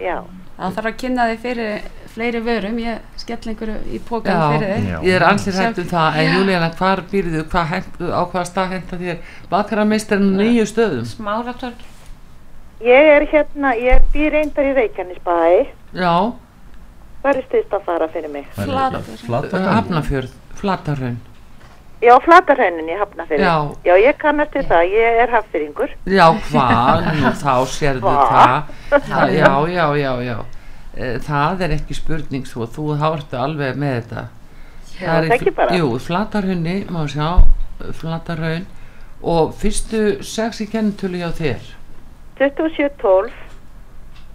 Speaker 16: já.
Speaker 13: það þarf að kynna þig fyrir fleiri vörum ég skell einhverju í pókan
Speaker 1: Já,
Speaker 13: fyrir þig
Speaker 1: ég er allir hægt um það, en
Speaker 13: Já.
Speaker 1: Júlíana, hvar býrðu, hva hent, á hvaða stað henda þér bakarameistarinn á nýju stöðum?
Speaker 2: Máratorg.
Speaker 16: Ég er hérna, ég býr reyndar í Reykjanesbæ.
Speaker 1: Já.
Speaker 16: Hvað er styrst að fara fyrir mig?
Speaker 1: Flatarhraun. Hafnafjörð, Flatarhraun.
Speaker 16: Já, flatarhaunin ég hafna fyrir.
Speaker 1: Já.
Speaker 16: já, ég kannast til það, ég er haffyringur.
Speaker 1: Já, hvað, nú þá sérðu
Speaker 16: Hva?
Speaker 1: það. það.
Speaker 16: Já.
Speaker 1: Já, já, já, já. Eh, Það er ekki spurning svo, þú hártu alveg með þetta.
Speaker 16: Já,
Speaker 1: Það er í-
Speaker 16: það ekki bara.
Speaker 1: Jú, flatarhunni, má sjá, flatarhaun og fyrstu sex í kennitölu hjá þér,
Speaker 16: 2712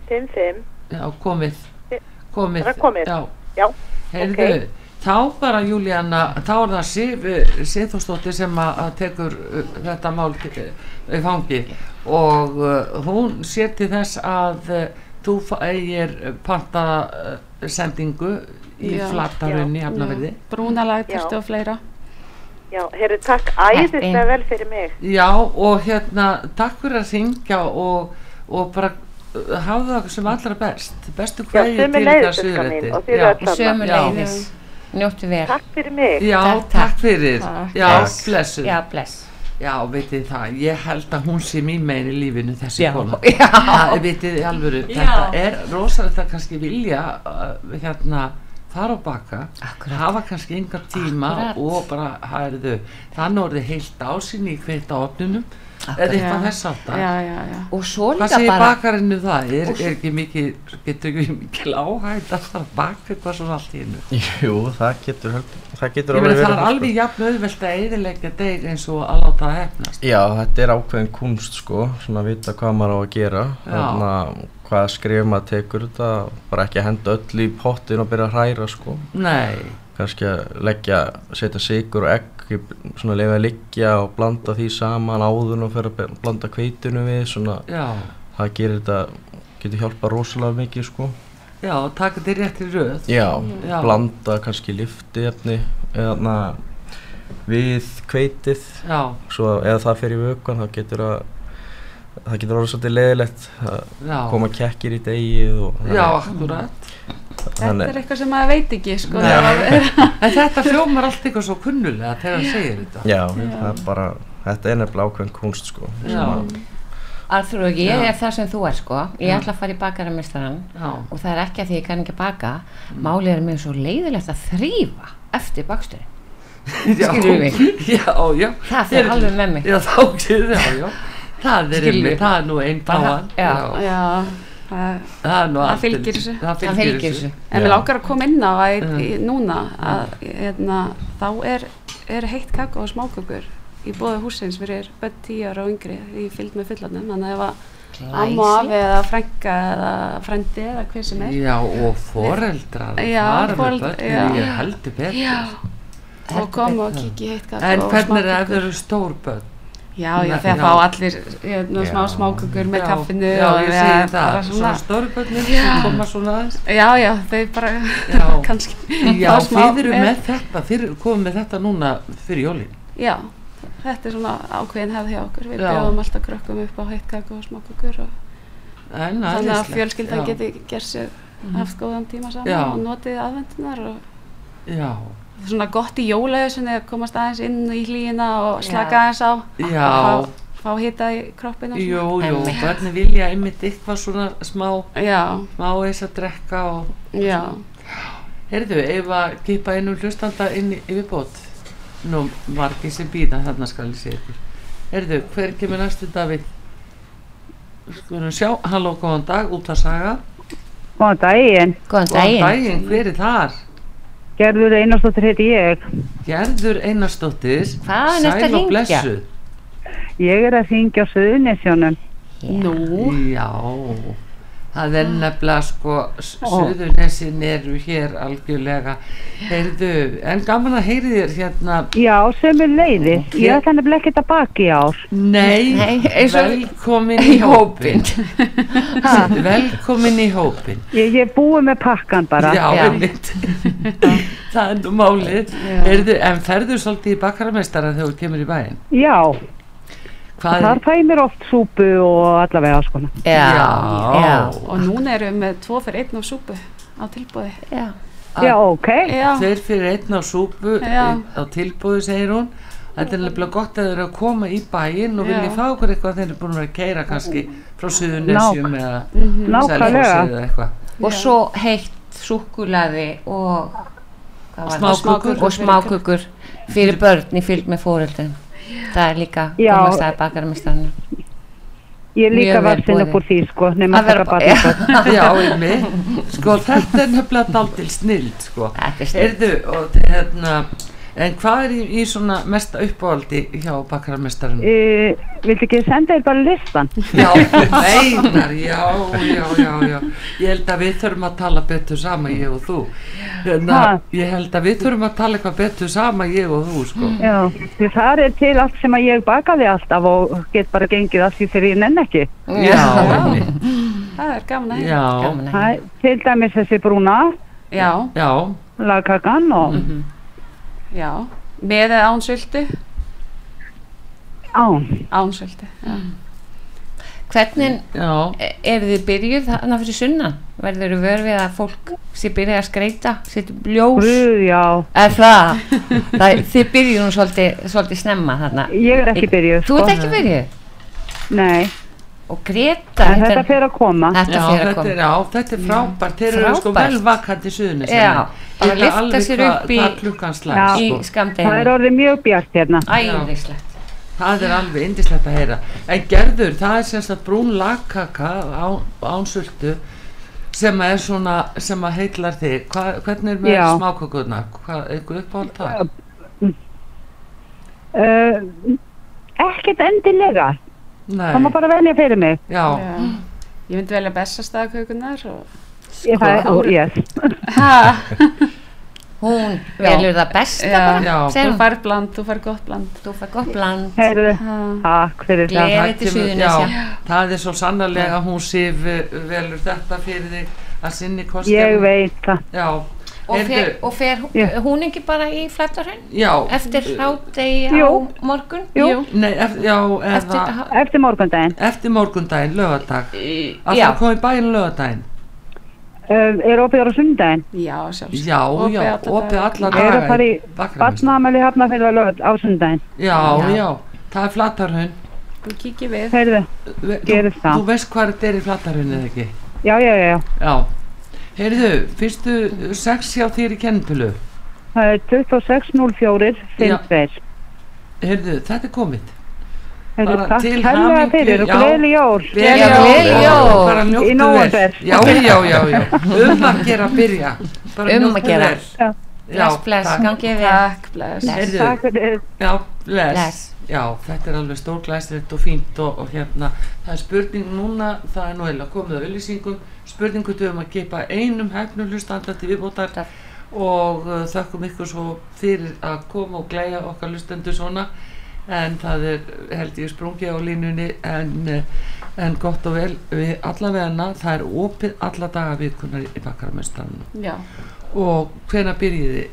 Speaker 16: 55
Speaker 1: já, komið, komið.
Speaker 16: Það er komið.
Speaker 1: Já,
Speaker 16: Já,
Speaker 1: heyrðu,
Speaker 16: ok.
Speaker 1: þá bara Júlíanna, þá er það Sif, eh, Sifþórsdóttir sem að að tekur eh, þetta mál eh, í fangi og eh, hún sér til þess að eh, þú fa- eigir panta sendingu í
Speaker 13: Já.
Speaker 1: flatarhunni,
Speaker 13: Já.
Speaker 1: hafnaverði.
Speaker 13: Brúnalag,
Speaker 16: Já.
Speaker 13: tertu og fleira.
Speaker 16: Já, heyrðu, takk æðislega vel fyrir mig.
Speaker 1: Já og hérna takk fyrir að syngja og, og bara uh, hafa það sem allra best bestu hverju til
Speaker 16: sömuleiðis,
Speaker 1: það
Speaker 16: Ulrika mín,
Speaker 1: suðuretti
Speaker 16: og þið öll saman. Sömuleiðis.
Speaker 2: Njóttu vel.
Speaker 16: Takk fyrir mig.
Speaker 1: Já, takk, fyrir
Speaker 2: Takk.
Speaker 1: Já,
Speaker 2: Bless.
Speaker 1: blessuð
Speaker 2: Já, bless
Speaker 1: Já, vitið það, ég held að hún sé mín megin í lífinu þessi
Speaker 2: Já.
Speaker 1: kona
Speaker 2: (laughs) Já.
Speaker 1: Það vitið í alvöru
Speaker 2: Já.
Speaker 1: Þetta er rosalega það kannski vilja uh, hérna þar á baka Akkurat. hafa kannski enga tíma
Speaker 2: Akkurat.
Speaker 1: og bara hæriðu þannig orðið heilt ásinni í kveita opnunum eða eitthvað
Speaker 2: Já.
Speaker 1: þess aftar
Speaker 2: Já, já, já. Og svo
Speaker 1: Hvað
Speaker 2: líka
Speaker 1: segir
Speaker 2: bara-
Speaker 1: bakarinn um það? Er,
Speaker 2: Og svo-
Speaker 1: er ekki mikið, getur ekki mikil áhætt að það baka eitthvað svona allt í hennu?
Speaker 14: Jú, það getur, heldur- það
Speaker 1: Ég
Speaker 14: getur
Speaker 1: meina
Speaker 14: verið
Speaker 1: það er
Speaker 14: sko.
Speaker 1: alveg jafn auðvelt að eðilegja deg eins og að láta það hefnast.
Speaker 14: Já, þetta er ákveðin kunst sko, svona að vita hvað maður á að gera,
Speaker 1: Já.
Speaker 14: þarna hvað skrif maður tekur þetta, bara ekki að henda öll í pottin og byrja að hræra sko.
Speaker 1: Nei.
Speaker 14: Kannski að leggja, setja sigur og egg, í- svona lefa að liggja og blanda því saman áður og fyrir að be- blanda kveitinu við, svona
Speaker 1: Já.
Speaker 14: það gerir þetta, getur hjálpað rosalega mikið sko.
Speaker 1: Já, taka þetta í réttri röð.
Speaker 14: Já,
Speaker 1: Já.
Speaker 14: blanda kannski liftiefni eða na, við kveitið
Speaker 1: Já.
Speaker 14: svo eða það fer í vökun þá getur að það getur orðið svolítið leðilegt að
Speaker 1: Já.
Speaker 14: koma kekkir í degið og
Speaker 1: Já, akkurat.
Speaker 13: Þetta er
Speaker 14: þannig,
Speaker 13: eitthvað sem maður veit ekki, sko.
Speaker 14: Nei.
Speaker 1: En þetta hljómar allt eitthvað svo kunnulega þegar hann segir þetta.
Speaker 14: já, það er bara þetta er nefnilega ákveðin kunst sko sem
Speaker 2: Já.
Speaker 14: að-
Speaker 2: Arþur og ég
Speaker 14: Já.
Speaker 2: er það sem þú er sko ég
Speaker 14: Já.
Speaker 2: ætla að fara í bakaramistaran
Speaker 1: Já. Mm.
Speaker 2: og það er ekki að því ég kann ekki að baka málið er mér svo leiðilegt að þrýfa eftir baksturinn
Speaker 1: Já.
Speaker 2: skilur mig
Speaker 1: Já, já.
Speaker 2: Það fer
Speaker 1: Er-
Speaker 2: alveg með mig.
Speaker 1: Já, þá getur það, já. Það er,
Speaker 2: Skilur.
Speaker 1: einmitt- það er nú einn dáan.
Speaker 13: Já, já. Það,
Speaker 1: Það er nú
Speaker 13: það
Speaker 1: allt-
Speaker 13: fylgir þessu
Speaker 1: það fylgir Það fylgir þessu. þessu.
Speaker 13: en við
Speaker 1: Já.
Speaker 13: lákar að koma inn á að, í,
Speaker 1: Mm.
Speaker 13: núna að hérna, þá er, er heitt kakó og smákökur í bóði húsins fyrir börn 10 ára og yngri í fylgd með fullanum þannig að ef að amma og afi eða frænka eða frendi eða hver sem er
Speaker 1: Já, og foreldrar.
Speaker 13: Já,
Speaker 1: það er með
Speaker 13: foreldrar,
Speaker 1: börnin,
Speaker 13: já.
Speaker 1: Ég heldur betur.
Speaker 13: Já. og koma og
Speaker 1: betur.
Speaker 13: kikki heitt kakó
Speaker 1: En
Speaker 13: og
Speaker 1: hvernig er það ef
Speaker 13: smákökur.
Speaker 1: þau eru stór börn?
Speaker 13: já, já,
Speaker 1: Nei,
Speaker 13: þegar
Speaker 1: já.
Speaker 13: fá allir hérna, smá
Speaker 1: Já.
Speaker 13: smákökur með
Speaker 1: Já,
Speaker 13: kaffinu
Speaker 1: já,
Speaker 13: og
Speaker 1: ég
Speaker 13: ja,
Speaker 1: segi það,
Speaker 13: bara
Speaker 1: svona stórbörnin sem
Speaker 13: Já.
Speaker 1: koma svona aðeins.
Speaker 13: já, já, þau bara (laughs) kannski
Speaker 1: Já,
Speaker 13: fá smá Eh.
Speaker 1: þið eru
Speaker 13: meira.
Speaker 1: með þetta, þið eru komið með þetta núna fyrir jólin.
Speaker 13: Já, þetta er svona ákveðin hefð hjá okkur. Við
Speaker 1: Já.
Speaker 13: bjóðum alltaf krökkum upp á heitt kakó og smákökur og
Speaker 1: En,
Speaker 13: þannig að
Speaker 1: æðislegt,
Speaker 13: fjölskyldan
Speaker 1: já. Mhm.
Speaker 13: geti gerð sér haft góðan tíma saman
Speaker 1: Já.
Speaker 13: og notið aðvendunar og
Speaker 1: Já,
Speaker 13: svona gott í jólauðsunni að komast aðeins inn í hlýina og slaka
Speaker 1: Já.
Speaker 13: aðeins á
Speaker 1: Já.
Speaker 13: og fá, fá hita í kroppin og
Speaker 1: jú,
Speaker 13: svona.
Speaker 1: jú, börnin vilja einmitt eitthvað svona smá,
Speaker 13: Já.
Speaker 1: smá eins að drekka og
Speaker 13: Já.
Speaker 1: Heyrðu, ef að kippa einum hlustanda inn í viðbót, nú margir sem býta þarna skal ég segja ykkur. Heyrðu, hver kemur næstu Davíð? Skulum sjá, halló, góðan dag, út að saga.
Speaker 6: Góðan daginn. Góðan
Speaker 1: Góðan daginn, hver er þar?
Speaker 6: Gerður Einarsdóttir heiti ég.
Speaker 1: Gerður Einarsdóttir,
Speaker 6: Hvaðan ertu að
Speaker 1: sæl og
Speaker 6: hringja?
Speaker 1: blessuð.
Speaker 6: Ég er að syngja á Suðunisjónum.
Speaker 1: Nú? Já, það er nefnilega sko,
Speaker 6: Ah. Ó.
Speaker 1: Suðurnesin eru hér algjörlega. Heyrðu, en gaman að heyri þér hérna.
Speaker 6: Já, sem er leiði. Ég
Speaker 1: Hér-
Speaker 6: ætla nefnilega ekkert að baka í ár.
Speaker 1: Nei, velkomin í hópin. velkomin í hópin.
Speaker 6: Ég, ég er búið með pakkan bara.
Speaker 1: Já, einmitt. (laughs) það er nú málið. Heyrðu, en ferðu svolítið í bakarameistara þegar þú kemur í bæinn?
Speaker 6: Já,
Speaker 1: Hvað
Speaker 6: þar fæ ég mér oft súpu og allavega sko. skona.
Speaker 1: Já. Já.
Speaker 13: Og núna erum við með tvo fyrir einn og súpu á tilbúði.
Speaker 2: Já.
Speaker 6: Já, ok.
Speaker 13: Já.
Speaker 1: Þeir fyrir einn á súpu
Speaker 13: Já.
Speaker 1: einn á tilbúðu, segir hún. Þetta er nefnilega gott að þeir eru að koma í bæinn og
Speaker 13: Já.
Speaker 1: vilja fá okkur eitthvað þeir eru búin að vera að keira kannski frá Suðunesjum
Speaker 2: Nák-
Speaker 1: eða
Speaker 2: Mhm.
Speaker 1: Selfossi
Speaker 2: Nákvæmlega.
Speaker 1: eða eitthvað.
Speaker 2: og svo heitt súkkulaði og hvað var það?
Speaker 1: Smákökur.
Speaker 2: og smákökur fyrir börn í fylg með fóreldin það er líka
Speaker 6: Já.
Speaker 2: komast að bakaramistaran
Speaker 6: Ég líka
Speaker 1: Mjög vel
Speaker 6: var sinna
Speaker 1: boðið.
Speaker 6: úr því sko, nema
Speaker 1: Að vera
Speaker 6: þetta
Speaker 1: bara-
Speaker 6: bara
Speaker 2: (laughs)
Speaker 6: það.
Speaker 1: Já, einmitt. Sko, þetta er nefnilega daldil snild, sko.
Speaker 2: Þetta er snilld.
Speaker 1: Heyrðu, og hérna, en hvað er í, í svona mesta uppáhaldi hjá bakkararmestarinn?
Speaker 6: Uh, viltu ekki senda þér bara listan?
Speaker 1: Já, meinar, já, já, já, já. Ég held að við þurfum að tala betur sama, ég og þú. Hérna,
Speaker 6: Ha?
Speaker 1: ég held að við þurfum að tala eitthvað betur sama, ég og þú, sko.
Speaker 6: Já, Mm. því það er til allt sem að ég bakaði alltaf og get bara gengið að því þegar ég nenn ekki.
Speaker 1: Já, einmitt.
Speaker 13: það er gaman að
Speaker 1: Já.
Speaker 13: heyra.
Speaker 6: Það er til dæmis þessi brúna,
Speaker 13: já,
Speaker 1: Já,
Speaker 6: lagkakan og
Speaker 13: já, með eða ánsöldu
Speaker 6: án.
Speaker 13: ánsöldu, já
Speaker 2: Hvernig
Speaker 1: Já.
Speaker 2: e- eru þið byrjuð þarna fyrir sunnan? Verður þið vör við að fólk sé byrjuð að skreita, setja upp ljós?
Speaker 6: Guð, já.
Speaker 2: Er það? það þið byrjuð nú svolítið, svolítið snemma þarna.
Speaker 6: Ég er ekki byrjuð,
Speaker 2: Þú ert
Speaker 6: sko.
Speaker 2: ekki byrjuð?
Speaker 6: Nei.
Speaker 2: Og Greta,
Speaker 6: En þetta fer að koma.
Speaker 2: Þetta
Speaker 1: Já,
Speaker 2: fer að
Speaker 1: þetta
Speaker 2: koma.
Speaker 1: er, já, þetta er frábært, þeir eru sko
Speaker 2: Frábært.
Speaker 1: vel vakandi suðunni
Speaker 2: Já, bara lyfta sér upp í-
Speaker 1: Það klukkan slag,
Speaker 6: Já.
Speaker 1: sko.
Speaker 6: Í skammdeginu. Það er orðið mjög bjart hérna.
Speaker 2: Æðislegt.
Speaker 1: Það er alveg indislegt að heyra. En gerður, það er sem sagt brún lagkaka án, ánsultu sem er svona, sem að heitlar þig. Hva, hvernig er með
Speaker 6: Já.
Speaker 1: smákökurna? Hvað, eitthvað uppáhald það?
Speaker 6: Uh, ekkert endilega.
Speaker 1: Nei.
Speaker 6: Það má bara velja fyrir mig.
Speaker 1: Já.
Speaker 13: Ég myndi velja bestastæðakökunar og...
Speaker 6: Ég
Speaker 1: Sko,
Speaker 6: fæ, og, yes.
Speaker 1: (laughs)
Speaker 2: Hún
Speaker 6: velur það besta
Speaker 13: já,
Speaker 6: bara,
Speaker 13: Já,
Speaker 6: segir
Speaker 13: þú
Speaker 6: hún.
Speaker 13: fær bland, þú fær gott bland.
Speaker 2: Þú fær gott bland.
Speaker 6: Heyrðu, takk fyrir það.
Speaker 1: já, það er svo sannarlega hún sif velur þetta fyrir þig að sinni kosti.
Speaker 6: Ég veit það.
Speaker 1: Já.
Speaker 2: Og fer,
Speaker 1: Heyrðu,
Speaker 2: og fer
Speaker 1: Já.
Speaker 2: hún ekki bara í flættarhraun?
Speaker 1: Já.
Speaker 2: Eftir hrádegi á
Speaker 1: Jú.
Speaker 2: morgun?
Speaker 1: Nei, eftir, já, eða...
Speaker 2: Eftir-
Speaker 6: Eftir morgundaginn.
Speaker 1: Eftir morgundaginn, lögadag. Að
Speaker 6: já.
Speaker 1: það komið bæinn lögadaginn.
Speaker 6: Uh, er opið ára sundaginn?
Speaker 13: Já, sjálfsagt.
Speaker 1: Já, já, opið alla
Speaker 6: Ég er að
Speaker 1: daga
Speaker 6: fara
Speaker 1: í
Speaker 6: í batnaðamæli hafna fyrir að lögð á sundaginn.
Speaker 1: Já, já, það er flatarhun.
Speaker 13: Þú kikið við.
Speaker 6: Heyrðu,
Speaker 1: Þú,
Speaker 6: gerir það.
Speaker 1: þú veist hvað þetta er í flatarhun eða ekki?
Speaker 6: Já, já, já, já.
Speaker 1: Já. Heyrðu, fyrstu sex hjá þér í kennitölu.
Speaker 6: Það er 26.04, 52.
Speaker 1: Heyrðu, þetta er komið.
Speaker 6: Heyrðu,
Speaker 1: Bara
Speaker 6: takk
Speaker 1: til
Speaker 6: helga
Speaker 1: hamingju,
Speaker 6: fyrir og
Speaker 1: já.
Speaker 6: gleðileg jól.
Speaker 1: Gleðileg jól. Gleðileg jól. Bara njóttu
Speaker 6: Í
Speaker 1: vel.
Speaker 6: nóvember.
Speaker 1: Já, já, já, já. Um að gera að byrja. Bara
Speaker 2: Um að
Speaker 1: njóttu
Speaker 2: gera.
Speaker 1: vel.
Speaker 6: Já.
Speaker 2: Bless, bless,
Speaker 1: takk.
Speaker 2: gangið við.
Speaker 13: Takk, bless.
Speaker 1: Heyrðu,
Speaker 13: Takk fyrir.
Speaker 1: Já, bless.
Speaker 13: Bless.
Speaker 1: Já, þetta er alveg stórglæsilegt og fínt og, og hérna, það er spurning núna, það er nú eða komið að auðlýsingum, spurningu til um að gefa einum hefnum hlustanda til viðbótar og uh, þökkum ykkur svo fyrir að koma og glæja okkar hlustendur svona en það er held ég sprungið á línunni en, uh, en gott og vel við allavegna, það er opið alla daga vikunar í bakkarmestranum
Speaker 13: Já,
Speaker 1: og hvena byrjiði?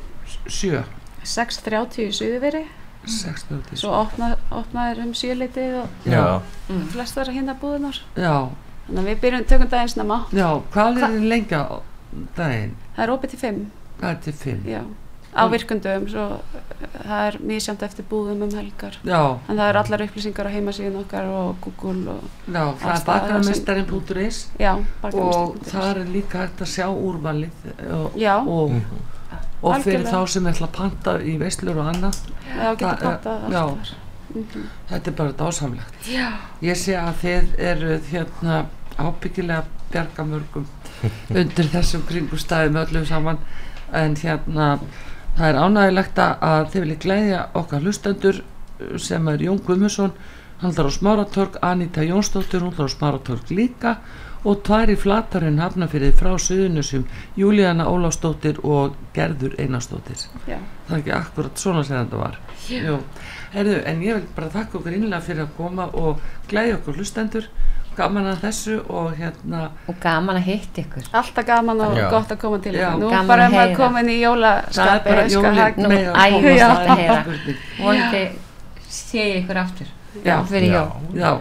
Speaker 1: Sjö?
Speaker 13: 6.30 í suðuveri.
Speaker 1: 6.30.
Speaker 13: Svo opna, opnaðir um sjöleitið og
Speaker 1: Já.
Speaker 13: Mm. flestar hérna búðunar.
Speaker 1: Já,
Speaker 13: Þannig að við byrjum tökum daginn snemma.
Speaker 1: já, hvað er þið lengi á daginn?
Speaker 13: Það er opið til 5.
Speaker 1: Hvað er til fimm?
Speaker 13: Já, á virkundum svo uh, það er misjönd eftir búðum um helgar
Speaker 1: Já.
Speaker 13: en það er allar upplýsingar á heimasíðun okkar og Google og
Speaker 1: Já,
Speaker 13: alls
Speaker 1: það
Speaker 13: staðar
Speaker 1: er
Speaker 13: sem-
Speaker 1: bakarameistarinn.is
Speaker 13: Já,
Speaker 1: og
Speaker 13: bakarameistarinn.is.
Speaker 1: þar er líka hægt að sjá úrvalið og,
Speaker 13: Já.
Speaker 1: og, og fyrir
Speaker 13: Algjörlega.
Speaker 1: þá sem ætla að panta í veislur og annað
Speaker 13: Já, getur
Speaker 1: Það er-
Speaker 13: pantað allt
Speaker 1: já,
Speaker 13: þar. Mhm.
Speaker 1: Þetta er bara dásamlegt
Speaker 13: Já.
Speaker 1: Ég sé að þið eruð hérna ábyggilega bjarga mörgum undir þessum kringustæðum öllum saman en hérna það er ánægilegt að- að þið viljið glæðja okkar hlustendur uh, sem er Jón Guðmusson hann þarf á Smáratorg, Anita Jónsdóttir hún þarf á Smáratorg líka og tvær í flatarinn hafnafyrði frá Suðunusum, Júlíana Ólafsdóttir og Gerður Einarsdóttir
Speaker 13: Já.
Speaker 1: það er ekki akkurat svona sem þetta var
Speaker 13: Já.
Speaker 1: Jú. Herðu, en ég vil bara þakka okkur innlega fyrir að koma og glæði okkur hlustendur gaman að þessu og hérna
Speaker 2: Og gaman að hitta ykkur.
Speaker 13: Alltaf gaman og
Speaker 1: Já.
Speaker 13: gott að koma til
Speaker 1: Já.
Speaker 13: ykkar. Nú
Speaker 1: Gaman
Speaker 13: bara
Speaker 1: að
Speaker 13: er maður
Speaker 1: heyra.
Speaker 13: komin í
Speaker 1: Það er
Speaker 13: jólaskapi.
Speaker 1: bara
Speaker 13: skal
Speaker 1: jólin
Speaker 13: hægt-
Speaker 1: Nú, mega
Speaker 2: Æ,
Speaker 1: komast
Speaker 2: já,
Speaker 1: að
Speaker 2: þetta
Speaker 1: þeim.
Speaker 2: heyra.
Speaker 1: Spurning.
Speaker 2: Vonandi sé ég ykkur aftur.
Speaker 1: Já,
Speaker 2: Fyrir
Speaker 1: já,
Speaker 2: jól.
Speaker 1: já.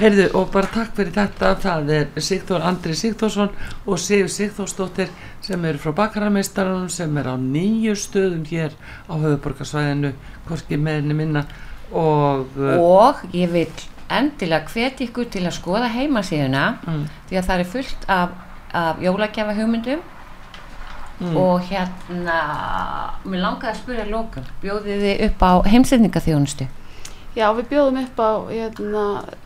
Speaker 1: Heyrðu, og bara takk fyrir þetta, það er Sigþór Andri Sigþórsson og Sigur Sigþórsdóttir sem eru frá bakarameistarunum sem er á nýju stöðum hér á höfuborgarsvæðinu, hvorki meðinni minna og, uh,
Speaker 2: og ég vil endilega hvetja ykkur til að skoða heimasíðuna
Speaker 1: Mm.
Speaker 2: því að það er fullt af, af jólagjafa hugmyndum
Speaker 13: Mm.
Speaker 2: og hérna mér langaði að spyrja lókum bjóðið þið upp á heimsendingaþjónustu
Speaker 13: Já, við bjóðum upp á hérna,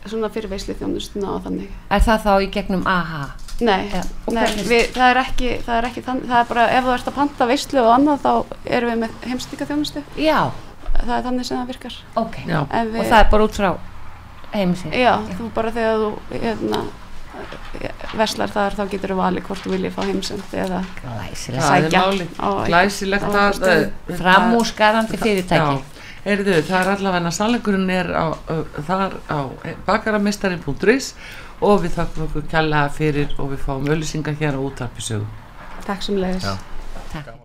Speaker 13: svona fyrirveisli þjónustuna og þannig.
Speaker 2: Er það þá í gegnum AHA?
Speaker 13: Nei,
Speaker 2: Ja, og
Speaker 13: nei
Speaker 2: hvernig-
Speaker 13: við, það er ekki, það er ekki þannig, það er bara ef þú ert að panta veislu og annað þá erum við með heimstíka þjónustu.
Speaker 2: Já.
Speaker 13: Það er þannig sem það virkar.
Speaker 2: Ok, og það er bara út frá heimsins?
Speaker 13: Já, þú bara þegar þú hérna, veslar þar þá getur þú valið hvort þú viljið fá heimsend eða
Speaker 2: Glæsilegt.
Speaker 1: Það er
Speaker 13: sækja
Speaker 1: málið.
Speaker 13: á eitthvað-
Speaker 1: Glæsilegt
Speaker 13: á
Speaker 1: að- uh,
Speaker 13: eitthvað stöðu.
Speaker 1: það-
Speaker 2: Framúrskarandi
Speaker 1: það-
Speaker 2: fyrirtæki.
Speaker 1: Já, heyrðu, það er allavega sannleikurinn er á, uh, þar á bakaramestarin.is og við þakkum okkur kjallega fyrir og við fáum öllusingar hér á útarpisögu.
Speaker 13: Takk sem leiðis.
Speaker 1: Já.
Speaker 2: Takk.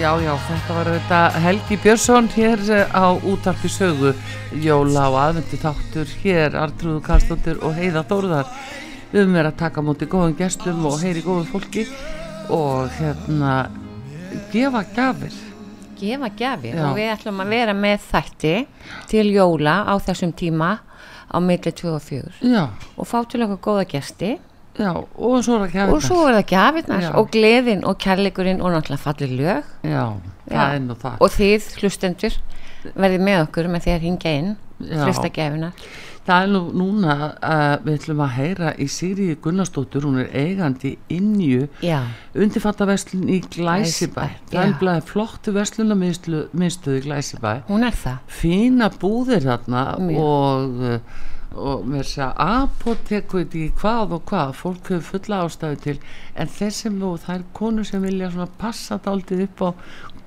Speaker 1: Já, já, þetta var þetta Helgi Björnsson hér eh, á útarpi sögu Jóla og aðvendu þáttur hér Artrúðu Karlsdóttir og Heiða Þórðar um er að taka á móti góðum gestum og heyri góðu fólki og hérna gefa gafir
Speaker 2: gefa gjafir
Speaker 1: Já.
Speaker 2: og við ætlum að vera með þætti til jóla á þessum tíma á milli 2 og 4
Speaker 1: Já.
Speaker 2: og fá til okkur góða gesti
Speaker 1: Já, og svo er það gjafirnar.
Speaker 2: og svo er það gjafirnar
Speaker 1: Já.
Speaker 2: og gleðin og kærleikurinn og náttúrulega fallir lög
Speaker 1: Já, það er nú það.
Speaker 2: og þið hlustendur verðið með okkur með því að hingja inn
Speaker 1: Já.
Speaker 2: hlusta gjafina
Speaker 1: Það er nú núna uh, við ætlum að heyra í Sigriði Gunnarsdóttur hún er eigandi innju
Speaker 2: Já.
Speaker 1: undirfattaverslun í Glæsibæ
Speaker 2: Glæsibæ,
Speaker 1: það er
Speaker 2: já.
Speaker 1: nefnilega flottu verslunarmiðstöð í Glæsibæ
Speaker 2: hún er það
Speaker 1: fína búðir þarna
Speaker 2: Mjög.
Speaker 1: og eh, og mér segja apoteku í hvað og hvað, fólk hefur fulla ástæðu til en þeir sem og það er konur sem vilja svona passa daldið upp á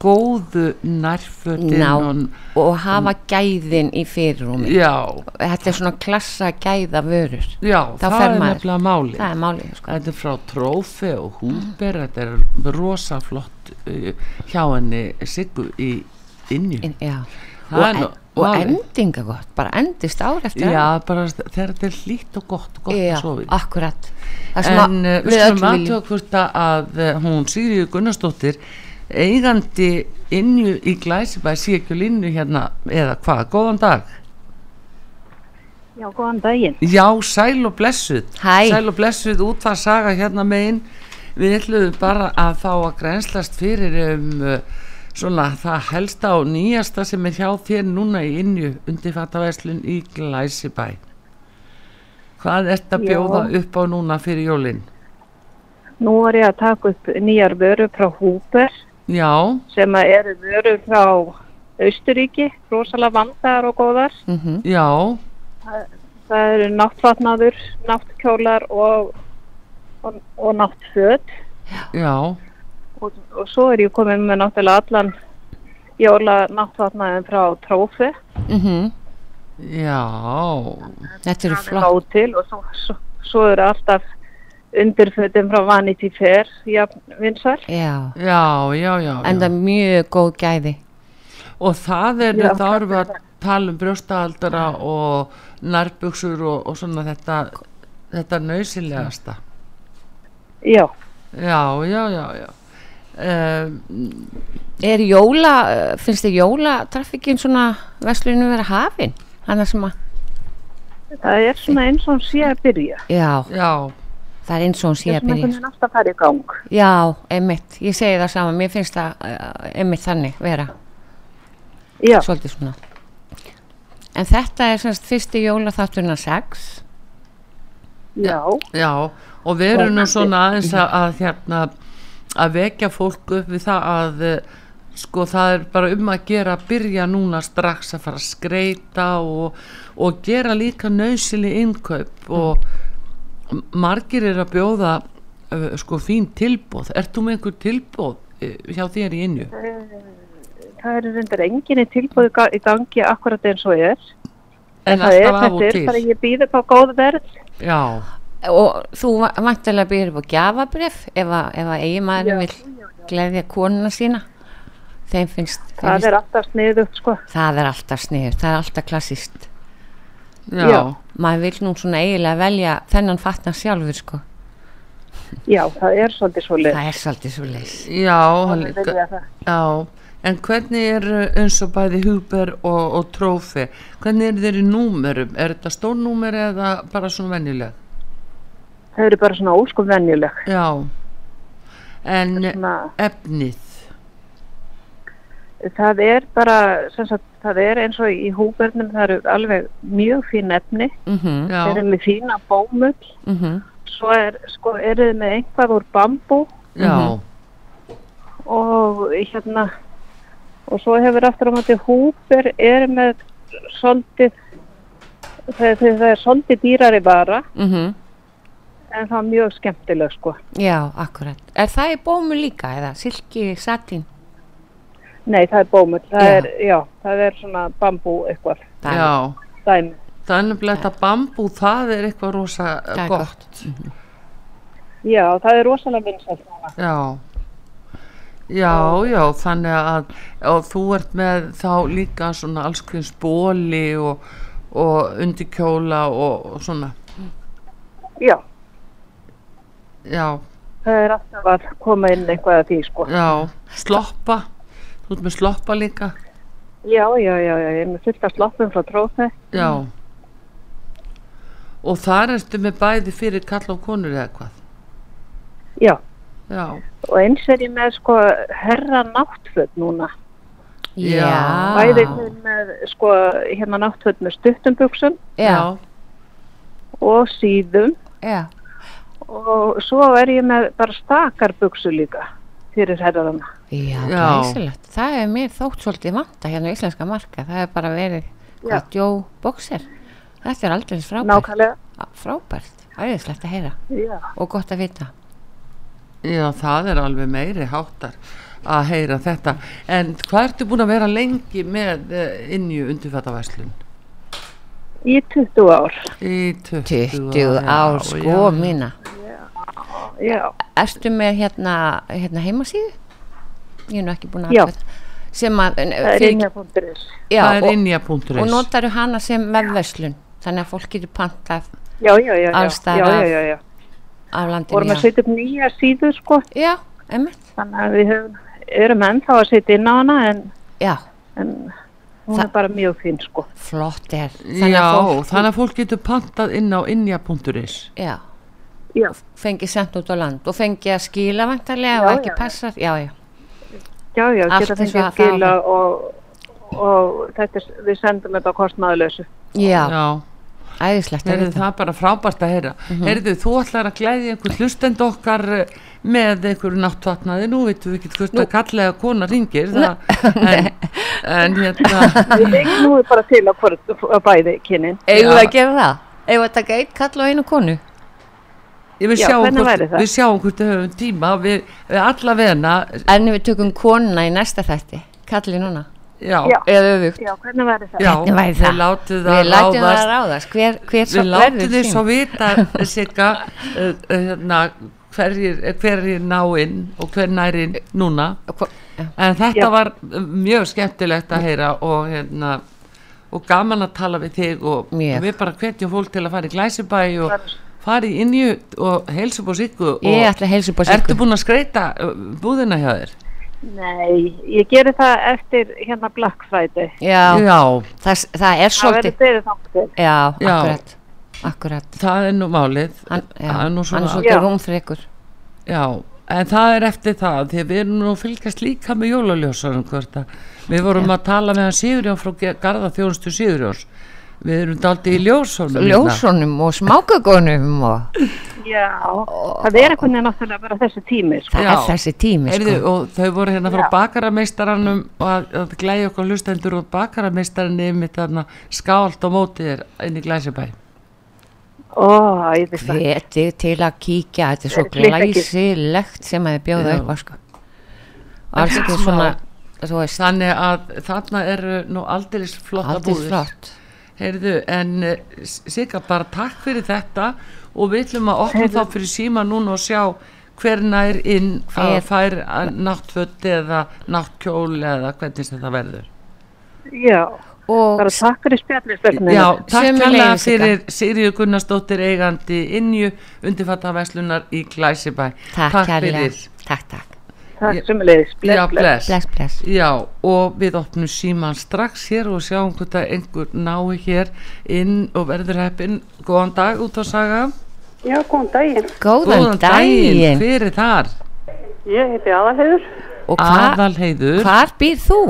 Speaker 1: góðu nærfötin
Speaker 2: Ná,
Speaker 1: og,
Speaker 2: og hafa gæðin í fyrirrúmi
Speaker 1: Mm. Já.
Speaker 2: þetta er svona klassa gæða vörur
Speaker 1: Já,
Speaker 2: Þá
Speaker 1: það
Speaker 2: fer
Speaker 1: er
Speaker 2: maður.
Speaker 1: nefnilega máli.
Speaker 2: Það er máli, sko. Mm.
Speaker 1: Þetta er frá trófi og húber, þetta er rosa flott uh, hjá henni Siggu í innju.
Speaker 2: In, já,
Speaker 1: það
Speaker 2: og,
Speaker 1: er
Speaker 2: en,
Speaker 1: nú
Speaker 2: og
Speaker 1: máli.
Speaker 2: endinga gott bara endist ár eftir
Speaker 1: Já,
Speaker 2: annað.
Speaker 1: bara þegar þetta er hlýtt og gott, gott
Speaker 2: Já,
Speaker 1: að sofi.
Speaker 2: akkurat. Það er svona-
Speaker 1: En uh,
Speaker 2: við
Speaker 1: við skulum
Speaker 2: öll viljum.
Speaker 1: aðtjóða hvort að- að eh, hún Sigriður Gunnarsdóttir eigandi innju í Glæsibæ sé ekki á línu hérna eða hvað, góðan dag.
Speaker 17: Já, góðan daginn.
Speaker 1: Já, sæl og blessuð
Speaker 17: Hæ.
Speaker 1: Sæl og blessuð, útvarsaga hérna megin Við ætluðum bara að fá að grenslast fyrir um uh, svona það helsta og nýjasta sem er hjá þér núna í innju undirfattaverslun í Glæsibæ Hvað ert að
Speaker 17: Já.
Speaker 1: bjóða upp á núna fyrir jólin?
Speaker 17: Nú var ég að taka upp nýjar vörur frá Húper
Speaker 1: Já,
Speaker 17: sem að eru vörur frá Austuríki, rosalega vandaðar og góðar.
Speaker 1: Mhm. já,
Speaker 17: Það, það eru náttfatnaður, náttkjólar og, og, og náttföt.
Speaker 1: já
Speaker 17: Og, og svo er ég komin með náttúrulega allan jóla náttfatnaðin frá Trófi.
Speaker 2: mm
Speaker 17: Mhm.
Speaker 2: -hmm.
Speaker 1: Já
Speaker 2: Þetta eru
Speaker 17: flott. Nóg til og svo, svo, svo eru alltaf undirfötin frá Vanity Fair, já, vinsar.
Speaker 2: Já.
Speaker 1: Já, já, já.
Speaker 2: Enda mjög góð gæði.
Speaker 1: Og það er,
Speaker 2: Já,
Speaker 1: þá erum við að tala um brjóstaaldara og nærbuksur og, og svona þetta, þetta nöðsilegasta.
Speaker 17: Já.
Speaker 1: Já, já, já, já. Um,
Speaker 2: Er jóla, eh, finnst þið jólatraffikin svona veslunum vera hafin? Þannig sem að,
Speaker 17: Það er svona eins og hún sé að byrja.
Speaker 2: já.
Speaker 1: já.
Speaker 2: Það er eins og hún sé
Speaker 17: Það er
Speaker 2: að
Speaker 17: svona
Speaker 2: byrja.
Speaker 17: einhvern veginn alltaf að fara í gang.
Speaker 2: Já, einmitt, ég segi það sama, mér finnst það uh, einmitt þannig vera.
Speaker 17: Já.
Speaker 2: Svolítið svona. En þetta er semst fyrsti jólaþátturna 6.
Speaker 17: Já.
Speaker 1: Já, og við erum nú
Speaker 2: Vonandi.
Speaker 1: svona aðeins að, að hérna að vekja fólk upp við það að eh, sko það er bara um að gera að byrja núna strax að fara að skreita og, og gera líka nöysili innkaup
Speaker 2: Mm.
Speaker 1: og margir er að bjóða eh, sko fín tilbóð ert þú með einhver tilbóð eh, hjá þér í innju?
Speaker 17: Eh, Það eru reyndar enginni tilbúið ga- í gangi akkurat eins og er.
Speaker 1: En
Speaker 17: það er,
Speaker 1: alltaf af og
Speaker 17: þetta
Speaker 1: til.
Speaker 17: er bara ég býði upp á góð verð.
Speaker 1: Já,
Speaker 2: Og þú vantilega byrjir upp á gjafabrif ef að, ef að eiginmaðurinn vil gleðja konuna sína. Þeim finnst, þeim
Speaker 17: Það
Speaker 2: finnst
Speaker 17: er alltaf sniðugt sko.
Speaker 2: það er alltaf sniður, það er alltaf klassist.
Speaker 17: Já. Já.
Speaker 2: Maður vil nú svona eiginlega velja þennan fatna sjálfur sko.
Speaker 17: Já, það er svolítið svo
Speaker 2: Það er svolítið svo leys.
Speaker 1: Já, hann
Speaker 2: Alveg vilja
Speaker 1: líka, já, en hvernig er uh, eins og bæði Huber og, og Trófi, hvernig er þeirri númerum, er þetta stórnúmer eða bara svona venjuleg?
Speaker 17: Það eru bara svona óskum venjuleg.
Speaker 1: Já, en efnið,
Speaker 17: Það er bara, sem sagt, það er eins og í húbernum, það eru alveg mjög fín efni.
Speaker 1: Mm.
Speaker 2: Mhm.
Speaker 17: Þeir eru með fína bómull.
Speaker 2: Mhm.
Speaker 17: Svo er, sko, eru þið með einhvað úr bambú.
Speaker 1: já,
Speaker 17: og hérna og svo hefur aftur á mæti húper er með svolítið þegar það er svolítið dýrari vara
Speaker 2: Mm
Speaker 17: en það er mjög skemmtileg sko
Speaker 2: Já, akkurat. Er það í bómu líka eða silki, satin?
Speaker 17: nei það er bómull það,
Speaker 2: Já.
Speaker 17: Er, já, það er svona bambú eitthvað
Speaker 1: já,
Speaker 17: dæmi
Speaker 1: það er nefnilega þetta bambú, það er eitthvað rosa
Speaker 17: Það
Speaker 1: uh,
Speaker 17: er
Speaker 1: gott,
Speaker 17: já það er rosalega vinsælt núna
Speaker 1: já, Já, já, þannig að og þú ert með þá líka svona allskvins bóli og, og undirkjóla og, og svona,
Speaker 17: já,
Speaker 1: já,
Speaker 17: það er alltaf að koma inn eitthvað að því sko.
Speaker 1: já, sloppa, þú ert með sloppa líka,
Speaker 17: Já, já, já, já, ég er með fullt að sloppum frá trófi.
Speaker 1: já.
Speaker 17: Mm.
Speaker 1: Og þar ertu með bæði fyrir kall og konur eða hvað?
Speaker 17: Já,
Speaker 1: Já,
Speaker 17: og eins er ég með sko herra náttföt núna.
Speaker 1: Já.
Speaker 17: Bæði með- með sko hérna náttföt með stuttum buksum.
Speaker 2: Já.
Speaker 17: Og síðum.
Speaker 2: Já.
Speaker 17: Og svo er ég með bara stakar buksu líka fyrir herrarana.
Speaker 2: Já,
Speaker 17: Já.
Speaker 2: glæsilegt. Það er mér þótt svolítið vanta hérna á íslenska marka. Það er bara verið
Speaker 17: Já.
Speaker 2: hvað, djó bóksir. Þetta er aldrei frábært.
Speaker 17: Nákvæmlega.
Speaker 2: Á, Frábært. Æðislegt að heyra.
Speaker 17: Já.
Speaker 2: Og gott að vita.
Speaker 1: já, það er alveg meiri háttar að heyra þetta. En hvað ertu búin að vera lengi með eh, innju undirfættavæslun?
Speaker 17: Í 20 ár.
Speaker 1: Í 20,
Speaker 2: 20 ár, sko, mína.
Speaker 17: Já.
Speaker 2: Erstu með hérna, hérna heimasíðu? Ég er nú ekki búin að
Speaker 17: Já.
Speaker 2: athuga. Sem að...
Speaker 17: Það er innja.is.
Speaker 2: Já,
Speaker 1: Það er
Speaker 2: og-
Speaker 1: innja.is.
Speaker 2: Og notaru hana sem vefverslun. Þannig að fólk getur pantað
Speaker 17: Já, já, já, já.
Speaker 2: allstað
Speaker 17: Já, já, já, já.
Speaker 2: af landinu.
Speaker 17: vorum að setja upp nýja síðu sko
Speaker 2: já, einmitt
Speaker 17: þannig að við höfum, erum ennþá að setja inn á hana en,
Speaker 2: já.
Speaker 17: en hún er bara mjög fín sko
Speaker 2: flott er
Speaker 1: Þannig já, þannig að fólk getur pantað inn á innja.is.
Speaker 2: Já.
Speaker 17: Já.
Speaker 2: Fengi sendt út á land og fengi að skila vantarlega
Speaker 17: Já,
Speaker 2: og ekki
Speaker 17: já, já.
Speaker 2: passar. Já, já.
Speaker 17: já, já,
Speaker 2: Allt
Speaker 17: geta
Speaker 2: eins
Speaker 17: fengið
Speaker 2: og
Speaker 17: að
Speaker 2: það
Speaker 17: skila og, og þetta er, við sendum þetta á kostnaðulösu
Speaker 2: Já.
Speaker 1: Æðislegt
Speaker 2: að
Speaker 1: Heyrðu,
Speaker 2: vita.
Speaker 1: það er bara frábært að heyra mm
Speaker 2: Mhm.
Speaker 1: þú ætlar að glæði einhver hlustend okkar eh, með einhverju náttvatnaði Nú veitum við ekki hvort að kallega kona ringir það,
Speaker 2: (laughs)
Speaker 1: en, en hérna
Speaker 17: við regnum við bara til að, hvort, að bæði kynin
Speaker 2: Eigum við að gera það? Eigum við að taka eitt kall og einu konu?
Speaker 1: Ég vil
Speaker 2: Já,
Speaker 1: sjá
Speaker 2: hvernig væri
Speaker 1: hvort,
Speaker 2: það?
Speaker 1: við sjáum hvort við höfum tíma Við, við alla vena
Speaker 2: En við tökum konuna í næsta þætti. Kalli núna.
Speaker 1: Já,
Speaker 2: Eða öfugt.
Speaker 17: Já, hvernig væri það?
Speaker 1: Já,
Speaker 2: Hvernig væri
Speaker 1: við
Speaker 2: það?
Speaker 1: látum það
Speaker 2: Við látum það
Speaker 1: ráðast.
Speaker 2: ráðast. Hver, hver
Speaker 1: Við látum þið
Speaker 2: þín?
Speaker 1: svo
Speaker 2: (laughs)
Speaker 1: vita eh, Sigga uh, uh, hérna, hverjir, eh, hverjir ná inn og hver nær inn núna en þetta
Speaker 2: Já.
Speaker 1: var uh, mjög skemmtilegt að heyra og, hérna, og gaman að tala við þig og
Speaker 2: Mjög.
Speaker 1: við bara hvetjum fólk til að fara í glæsibæ og fara í innju og heilsa búið Siggu og
Speaker 2: Ég ætla að heilsa upp á Siggu.
Speaker 1: Ertu búin að skreita uh, búðina hjá þér?
Speaker 17: nei, ég geri það eftir hérna Black Friday
Speaker 2: Já.
Speaker 1: Já.
Speaker 2: Það, það er
Speaker 17: það verður
Speaker 2: svolítið.
Speaker 17: fyrir þáttir
Speaker 2: Já,
Speaker 1: Já.
Speaker 2: akkurat. Akkurat.
Speaker 1: Það er nú málið
Speaker 2: Hann, já,
Speaker 1: Það er nú
Speaker 2: hann
Speaker 1: svona,
Speaker 2: er svolítið rúmfrekur
Speaker 1: Já, en það er eftir það því að við erum nú að fylgjast líka með jólaljósarum hvort að við vorum að tala með hann Sigurjón frá Ge- Garðaþjónustu Sigurjóns við erum daldi í ljósunum hérna.
Speaker 2: Ljósunum sko. og smákökunum og
Speaker 17: já, það er eitthvað náttúrulega bara þessi tími sko.
Speaker 2: það er þessi tími sko.
Speaker 1: Heyrðu, og þau voru hérna frá
Speaker 17: Já.
Speaker 1: bakarameistaranum og að, að glæja okkur hlustendur og bakarameistaran er mitt þarna skált á móti þér inn í Glæsibæ
Speaker 17: Ó, æðislegt.
Speaker 2: Hvetið til að kíkja, þetta er svo
Speaker 1: Klipp ekki.
Speaker 2: glæsilegt sem að þið bjóða
Speaker 1: Já.
Speaker 2: upp á sko. Alls ekki svona
Speaker 1: Þannig að þarna eru nú aldrei flotta
Speaker 2: Aldeilis
Speaker 1: búðir
Speaker 2: flott.
Speaker 1: Heyrðu, en eh, S- Sigga bara takk fyrir þetta og við ætlum að opna
Speaker 2: Heyrðu.
Speaker 1: þá fyrir síma núna og sjá hver nær inn að
Speaker 2: Er-
Speaker 1: fær eh, náttföt eða náttkjól eða hvernig sem það verður
Speaker 17: Já,
Speaker 2: og
Speaker 17: bara takk fyrir spjallið
Speaker 1: Já, takk hella fyrir Sigriður Gunnarsdóttir eigandi innju undirfatta verslunar í Glæsibæ
Speaker 2: Takk kærlega. Takk, takk
Speaker 17: Takk
Speaker 1: Ég-
Speaker 17: sömuleiðis. Bless,
Speaker 1: Já,
Speaker 17: bless.
Speaker 1: bless.
Speaker 2: Bless, bless.
Speaker 1: Já, og við opnum síman strax hér og sjáum hvort að einhver nái hér inn og verður heppinn Góðan dag út á saga
Speaker 18: Já, góðan daginn.
Speaker 1: Góðan daginn, hver er þar?
Speaker 18: Ég heiti Aðalheiður
Speaker 2: Og
Speaker 1: Aðalheiður
Speaker 2: Hvar býr þú?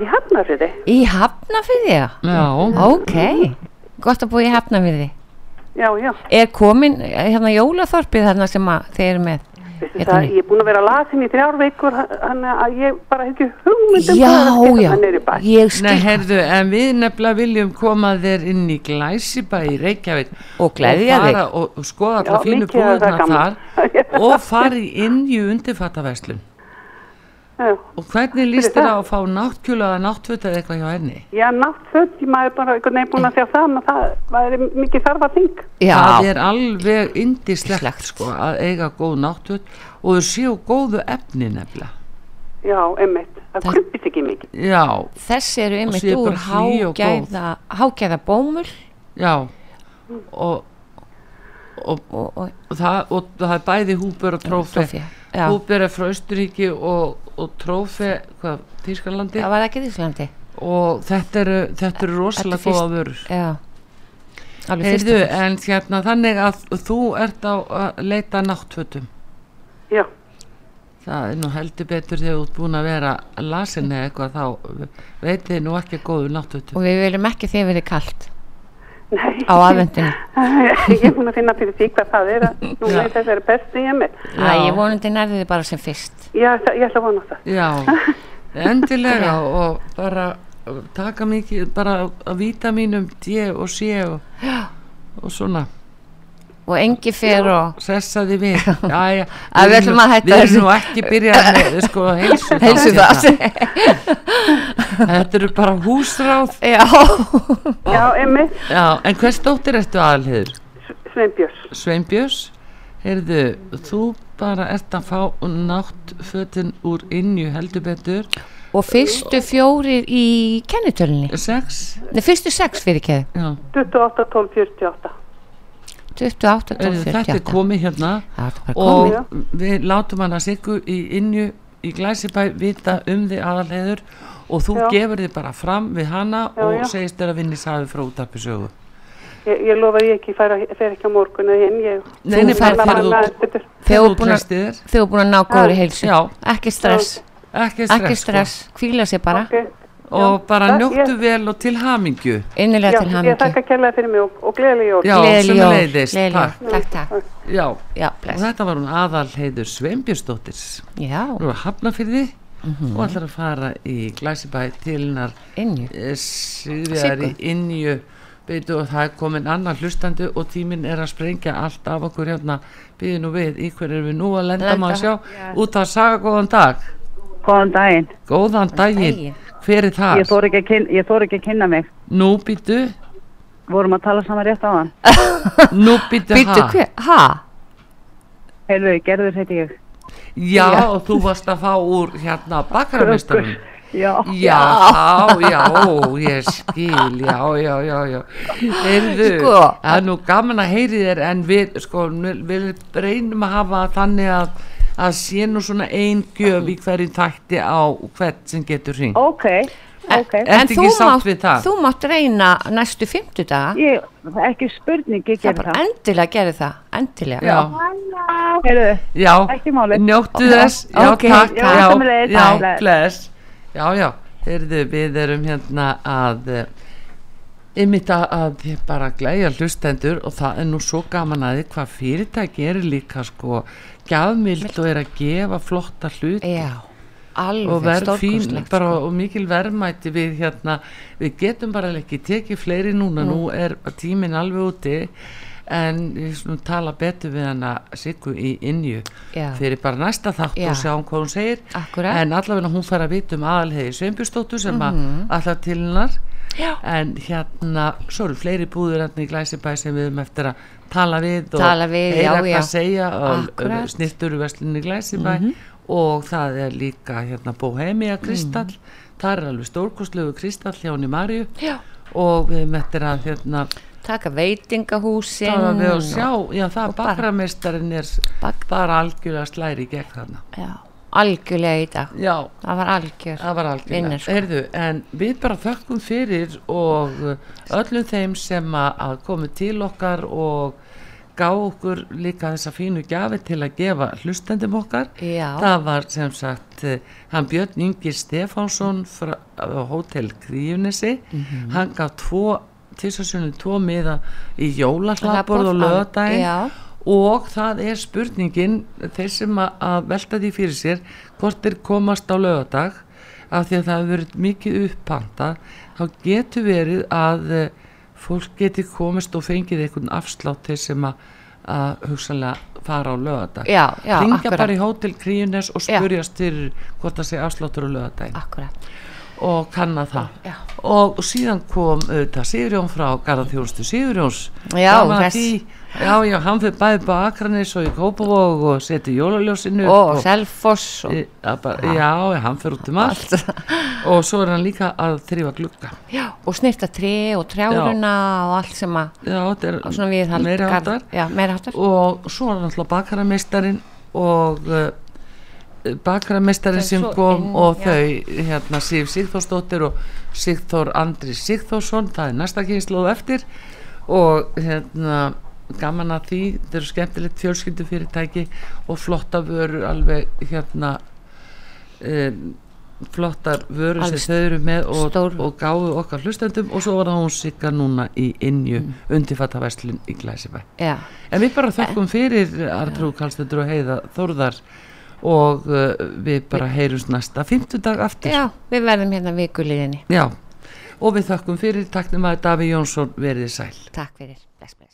Speaker 18: í Hafnarfiði.
Speaker 2: Í Hafnafyrði?
Speaker 1: Já
Speaker 2: Ok, gott að búa í Hafnafyrði
Speaker 18: Já, já.
Speaker 2: Er komin eh, hérna jólaþorpið þarna sem að þið eru með? Hérna
Speaker 18: Það, ég er búin að vera lasin í þrjár veikur, þannig að ég bara hef ekki hugmynd um
Speaker 2: Já,
Speaker 18: hvað
Speaker 2: já.
Speaker 18: það er í bæ.
Speaker 2: Ég
Speaker 1: Nei, herðu, en við nefnilega viljum koma þér inn í Glæsibæ í Reykjavík
Speaker 2: og gleðja
Speaker 1: og, fara
Speaker 2: þig.
Speaker 1: og, og skoða
Speaker 18: Já,
Speaker 1: allar fínu
Speaker 18: mikið er það
Speaker 1: búðurna
Speaker 18: gaman. (laughs)
Speaker 1: þar og fari inn í undirfattaverslun
Speaker 18: Já.
Speaker 1: og hvernig
Speaker 18: Fyrir
Speaker 1: líst þér á
Speaker 18: það.
Speaker 1: að fá náttkjúla eða náttföt eða eitthvað hjá henni?
Speaker 18: Já, náttföld, maður er bara einhvern veginn búin að sjá það, en það væri mikið þarfa þing.
Speaker 2: Já.
Speaker 1: Það er alveg indislegt sko, að eiga góð náttföt og þau séu góðu efni nefnilega
Speaker 18: já, emmitt, það krumpist ekki mikið
Speaker 1: Já,
Speaker 2: Þessi eru
Speaker 1: Og
Speaker 2: einmitt
Speaker 1: séu bara
Speaker 2: úr
Speaker 1: hlý og góð.
Speaker 2: hágæða, hágæða bómul.
Speaker 1: já og og,
Speaker 2: Mm. og, og,
Speaker 1: það, og það er bæði húber og trófi
Speaker 2: Trófe, já.
Speaker 1: húber er frá Austuríki og, og trófi hvað, Þýskalandi
Speaker 2: Það var ekki Þýskalandi.
Speaker 1: og þetta eru, þetta eru rosalega
Speaker 2: Þetta er
Speaker 1: góða
Speaker 2: fyrst-
Speaker 1: vörur
Speaker 2: já Alveg fyrst
Speaker 1: Heyrðu,
Speaker 2: og fremst.
Speaker 1: en hérna þannig að þú ert á að leita að náttfötum
Speaker 18: Já.
Speaker 1: Það er nú heldur betur þegar þú ert búin að vera lasin eða eitthvað þá veit þið nú ekki góðu náttfötum
Speaker 2: Og við viljum ekki þið verið kalt
Speaker 18: (laughs) Nei.
Speaker 2: á aðvendinu.
Speaker 18: ég er búin að finna fyrir því hvað það er að nú veit þess er besti í emmitt
Speaker 2: Æ, ég vonandi nærði þið bara sem fyrst.
Speaker 18: Já, það- ég ætla að vona það
Speaker 1: Já, endilega og bara taka mikið bara að vítaminum D og C og, og svona
Speaker 2: Og engi fer og...
Speaker 1: Sessaði
Speaker 2: (laughs)
Speaker 1: við Æja,
Speaker 2: Æ, við ætlum að hætta
Speaker 1: Við erum
Speaker 2: þessu.
Speaker 1: nú ekki byrjað með sko heilsu
Speaker 2: (laughs) Heilsu
Speaker 1: (laughs) Þetta eru bara húsráð
Speaker 2: Já
Speaker 18: Já, emmitt,
Speaker 1: Já, en hvers dóttir ertu aðalhiður?
Speaker 18: Sveinbjörns
Speaker 1: Sveinbjörns Heyrðu, þú bara ert að fá nátt fötin úr innju heldur betur
Speaker 2: Og fyrstu fjórir í kennitölunni.
Speaker 1: Sex?
Speaker 2: Nei, fyrstu sex fyrir keðu.
Speaker 1: Já.
Speaker 18: 28, 12, 48
Speaker 2: 28, 12,
Speaker 1: Heyrðu, Þetta er
Speaker 2: 48.
Speaker 1: komið hérna
Speaker 2: Þetta
Speaker 1: og
Speaker 2: komið.
Speaker 1: við látum hann að siggu í innju í glæsibæ vita um þig aðalheður og þú
Speaker 18: Já.
Speaker 1: gefur þig bara fram við hana
Speaker 18: Já,
Speaker 1: og
Speaker 18: já.
Speaker 1: segist þér að vinni safi frá útarpi sögu
Speaker 18: (laughs) Ég, ég lofa að ég ekki fara, fer ekki á morgun eða hinn, ég...
Speaker 1: Nei, nei, bara þegar þú-
Speaker 2: Þegar þú búin að-
Speaker 1: treystir þér.
Speaker 2: þegar þú búin að ná góður
Speaker 1: Já.
Speaker 2: heilsu.
Speaker 1: Já.
Speaker 2: Ekki stress.
Speaker 1: Ekki stress, sko.
Speaker 2: Ekki stress. Hvíla sér bara.
Speaker 1: og bara
Speaker 18: það-
Speaker 1: njóttu vel og til hamingju
Speaker 2: Innilega
Speaker 18: Já,
Speaker 2: til
Speaker 18: ég
Speaker 2: hamingju.
Speaker 18: þakka kærlega fyrir mig og, og gleðileg jól.
Speaker 1: Já, sömuleiðis,
Speaker 2: gleðileg jól.
Speaker 1: takk.
Speaker 2: Takk, takk.
Speaker 1: Já,
Speaker 2: Já,
Speaker 1: og þetta var hún aðalheður Sveinbjörnsdóttir
Speaker 2: Já.
Speaker 1: Nú er hafnafyrði
Speaker 2: Mhm.
Speaker 1: og ætlar að fara í glæsibæ til hennar eh, Sigríðar í
Speaker 2: Siggu.
Speaker 1: innju veitu og það er komin annar hlustandi og tíminn er að sprengja allt af okkur hérna býði nú við í hverju erum við nú að lenda
Speaker 6: Lenda.
Speaker 1: maður að sjá
Speaker 6: Já.
Speaker 1: út að saga góðan dag
Speaker 6: Góðan daginn.
Speaker 1: Góðan daginn,
Speaker 6: daginn.
Speaker 1: hver er það?
Speaker 6: Ég þór ekki, að kyn- ég þor ekki að kynna mig.
Speaker 1: Nú býtu,
Speaker 6: Vorum að tala saman rétt á hann.
Speaker 1: (laughs) nú býtu ha
Speaker 2: Ha?
Speaker 6: Heyrðu, gerður heiti ég.
Speaker 1: Já,
Speaker 6: Já.
Speaker 1: og þú varst að fá úr hérna bakaramistarum
Speaker 6: Já.
Speaker 1: Já, já, ég skil, já, já, já, já. Heyrðu,
Speaker 2: Sko.
Speaker 1: það er nú gaman að heyri þér en við, sko, við- við reynum að hafa það þannig að að sé nú svona ein gjöf í hverjum þætti á hvert sem getur hring.
Speaker 6: Ok, ok.
Speaker 1: ertu ekki sátt við það?
Speaker 2: þú mátt reyna næstu fimmtudaga.
Speaker 6: Ég, ekki spurning, ég
Speaker 2: gerði það. Endilega gerði það, endilega.
Speaker 1: Já.
Speaker 6: Heyrðu,
Speaker 1: Já,
Speaker 6: ekki máli.
Speaker 1: njóttu þess, já,
Speaker 6: Ok,
Speaker 1: takk,
Speaker 6: já,
Speaker 1: já,
Speaker 6: sömuleiðis.
Speaker 1: já,
Speaker 6: Bless.
Speaker 1: bless. Já, já, heyrðu, við erum hérna að ymmita að ég bara glæja hlustendur og það er nú svo gaman að því hvað fyrirtæki eru líka sko gjafmild og er að gefa flotta hluti
Speaker 2: Já, alveg
Speaker 1: og verð fín
Speaker 2: stórkostlegt,
Speaker 1: bara, og mikil verðmæti við hérna við getum bara ekki tekið fleiri núna
Speaker 2: Mm.
Speaker 1: nú er tíminn alveg úti en við slum tala betur við hana Siggu í innju
Speaker 2: Já.
Speaker 1: fyrir bara næsta þátt
Speaker 2: Já.
Speaker 1: og sjáum hvað hún segir
Speaker 2: Akkúrat.
Speaker 1: en allavega hún fær að vita um aðalhegi Sveinbjörnsdóttur sem mm
Speaker 2: Mhm.
Speaker 1: að allar til hennar
Speaker 2: Já.
Speaker 1: en hérna svo eru fleiri búður hérna í Glæsibæ sem við erum eftir að tala við og
Speaker 2: Tala við,
Speaker 1: heyra
Speaker 2: já,
Speaker 1: hvað
Speaker 2: já.
Speaker 1: segja um,
Speaker 2: Akkúrat. Mhm.
Speaker 1: snitturuverslinni Glæsibæ og það er líka hérna Bohemia Kristall það er alveg stórkostlegu Kristall hjá henni Marju
Speaker 2: Já.
Speaker 1: og við mettir að hérna
Speaker 2: Taka veitingahúsin.
Speaker 1: tala við og sjá, já það
Speaker 2: og bara-
Speaker 1: bakrameistarin er
Speaker 2: bak
Speaker 1: bara algjörlega slæri í gegn þarna
Speaker 2: Já, algjörlega í dag.
Speaker 1: Já.
Speaker 2: Það var algjör.
Speaker 1: Það var algjörlega.
Speaker 2: Vinnur, sko.
Speaker 1: Heyrðu, en við bara þökkum fyrir og uh, öllum þeim sem að að komu til okkar og gá okkur líka þessa fínu gjafi til að gefa hlustendum okkar.
Speaker 2: Já.
Speaker 1: Það var sem sagt uh, hann Björn Ingi Stefánsson frá uh, Hótel Kríunesi.
Speaker 2: Mhm.
Speaker 1: Hann gaf tvo, tísasunni tvo miða í jólahlaðborð
Speaker 2: Hlaðborð,
Speaker 1: og
Speaker 2: al-
Speaker 1: lögadaginn
Speaker 2: já.
Speaker 1: og það er spurningin þeir sem að- að velta því fyrir sér hvort þeir komast á lögadag af því að það hefur verið mikið uppanta þá getur verið að eh, fólk geti komist og fengið einhvern afslátt þeir sem að, að hugsanlega fara á lögadag
Speaker 2: Já, já,
Speaker 1: Hringja
Speaker 2: akkurat.
Speaker 1: bara í hótel Kríunes og spurjast fyrir hvort það sé afsláttur á lögadaginn
Speaker 2: Akkurat
Speaker 1: og kanna það og síðan kom auðvitað Sigurjón frá Garðarþjónustu Sigurjóns
Speaker 2: Já,
Speaker 1: Gaman að
Speaker 2: hress.
Speaker 1: því. já, já, hann fyrir bæði bara Akranis og í Kópavog og seti jólaljósinu Eh,
Speaker 2: Og Selfoss og-
Speaker 1: Já, hann fyrir út um allt og svo er hann líka að þrýfa glugga
Speaker 2: Já, og snirta tré og trjáruna og allt sem að
Speaker 1: Já, þetta er
Speaker 2: og svona viðhald
Speaker 1: meiri
Speaker 2: garð-
Speaker 1: háttar.
Speaker 2: Já, meira háttar
Speaker 1: og svo er náttúrulega bakarameistarinn og uh, bakarameistarinn
Speaker 2: Það er
Speaker 1: sem
Speaker 2: svo
Speaker 1: kom
Speaker 2: inn-
Speaker 1: og
Speaker 2: já.
Speaker 1: þau hérna Sif Sigþórsdóttir og Sigþór Andri Sigþórsson það er næsta kynnslóð eftir og hérna gaman að því, þetta eru skemmtilegt fjölskyldufyrirtæki og flotta vörur alveg hérna um, flottar vörur
Speaker 2: Alveg
Speaker 1: sem þau eru með og, og gáðu okkar hlustendum og svo var það hún sigga núna í innju mm. undirfatta verslun í Glæsibæ
Speaker 2: Já.
Speaker 1: en við bara þökkum fyrir Artrú Kallstundur og Heiða Þórðar og uh, við bara heyrums næsta fimmtudag aftur
Speaker 2: Já, við verðum hérna vikuliðinni
Speaker 1: Já. og við þökkum fyrir taknum að Daví Jónsson verið sæl
Speaker 2: Takk fyrir, bless, bless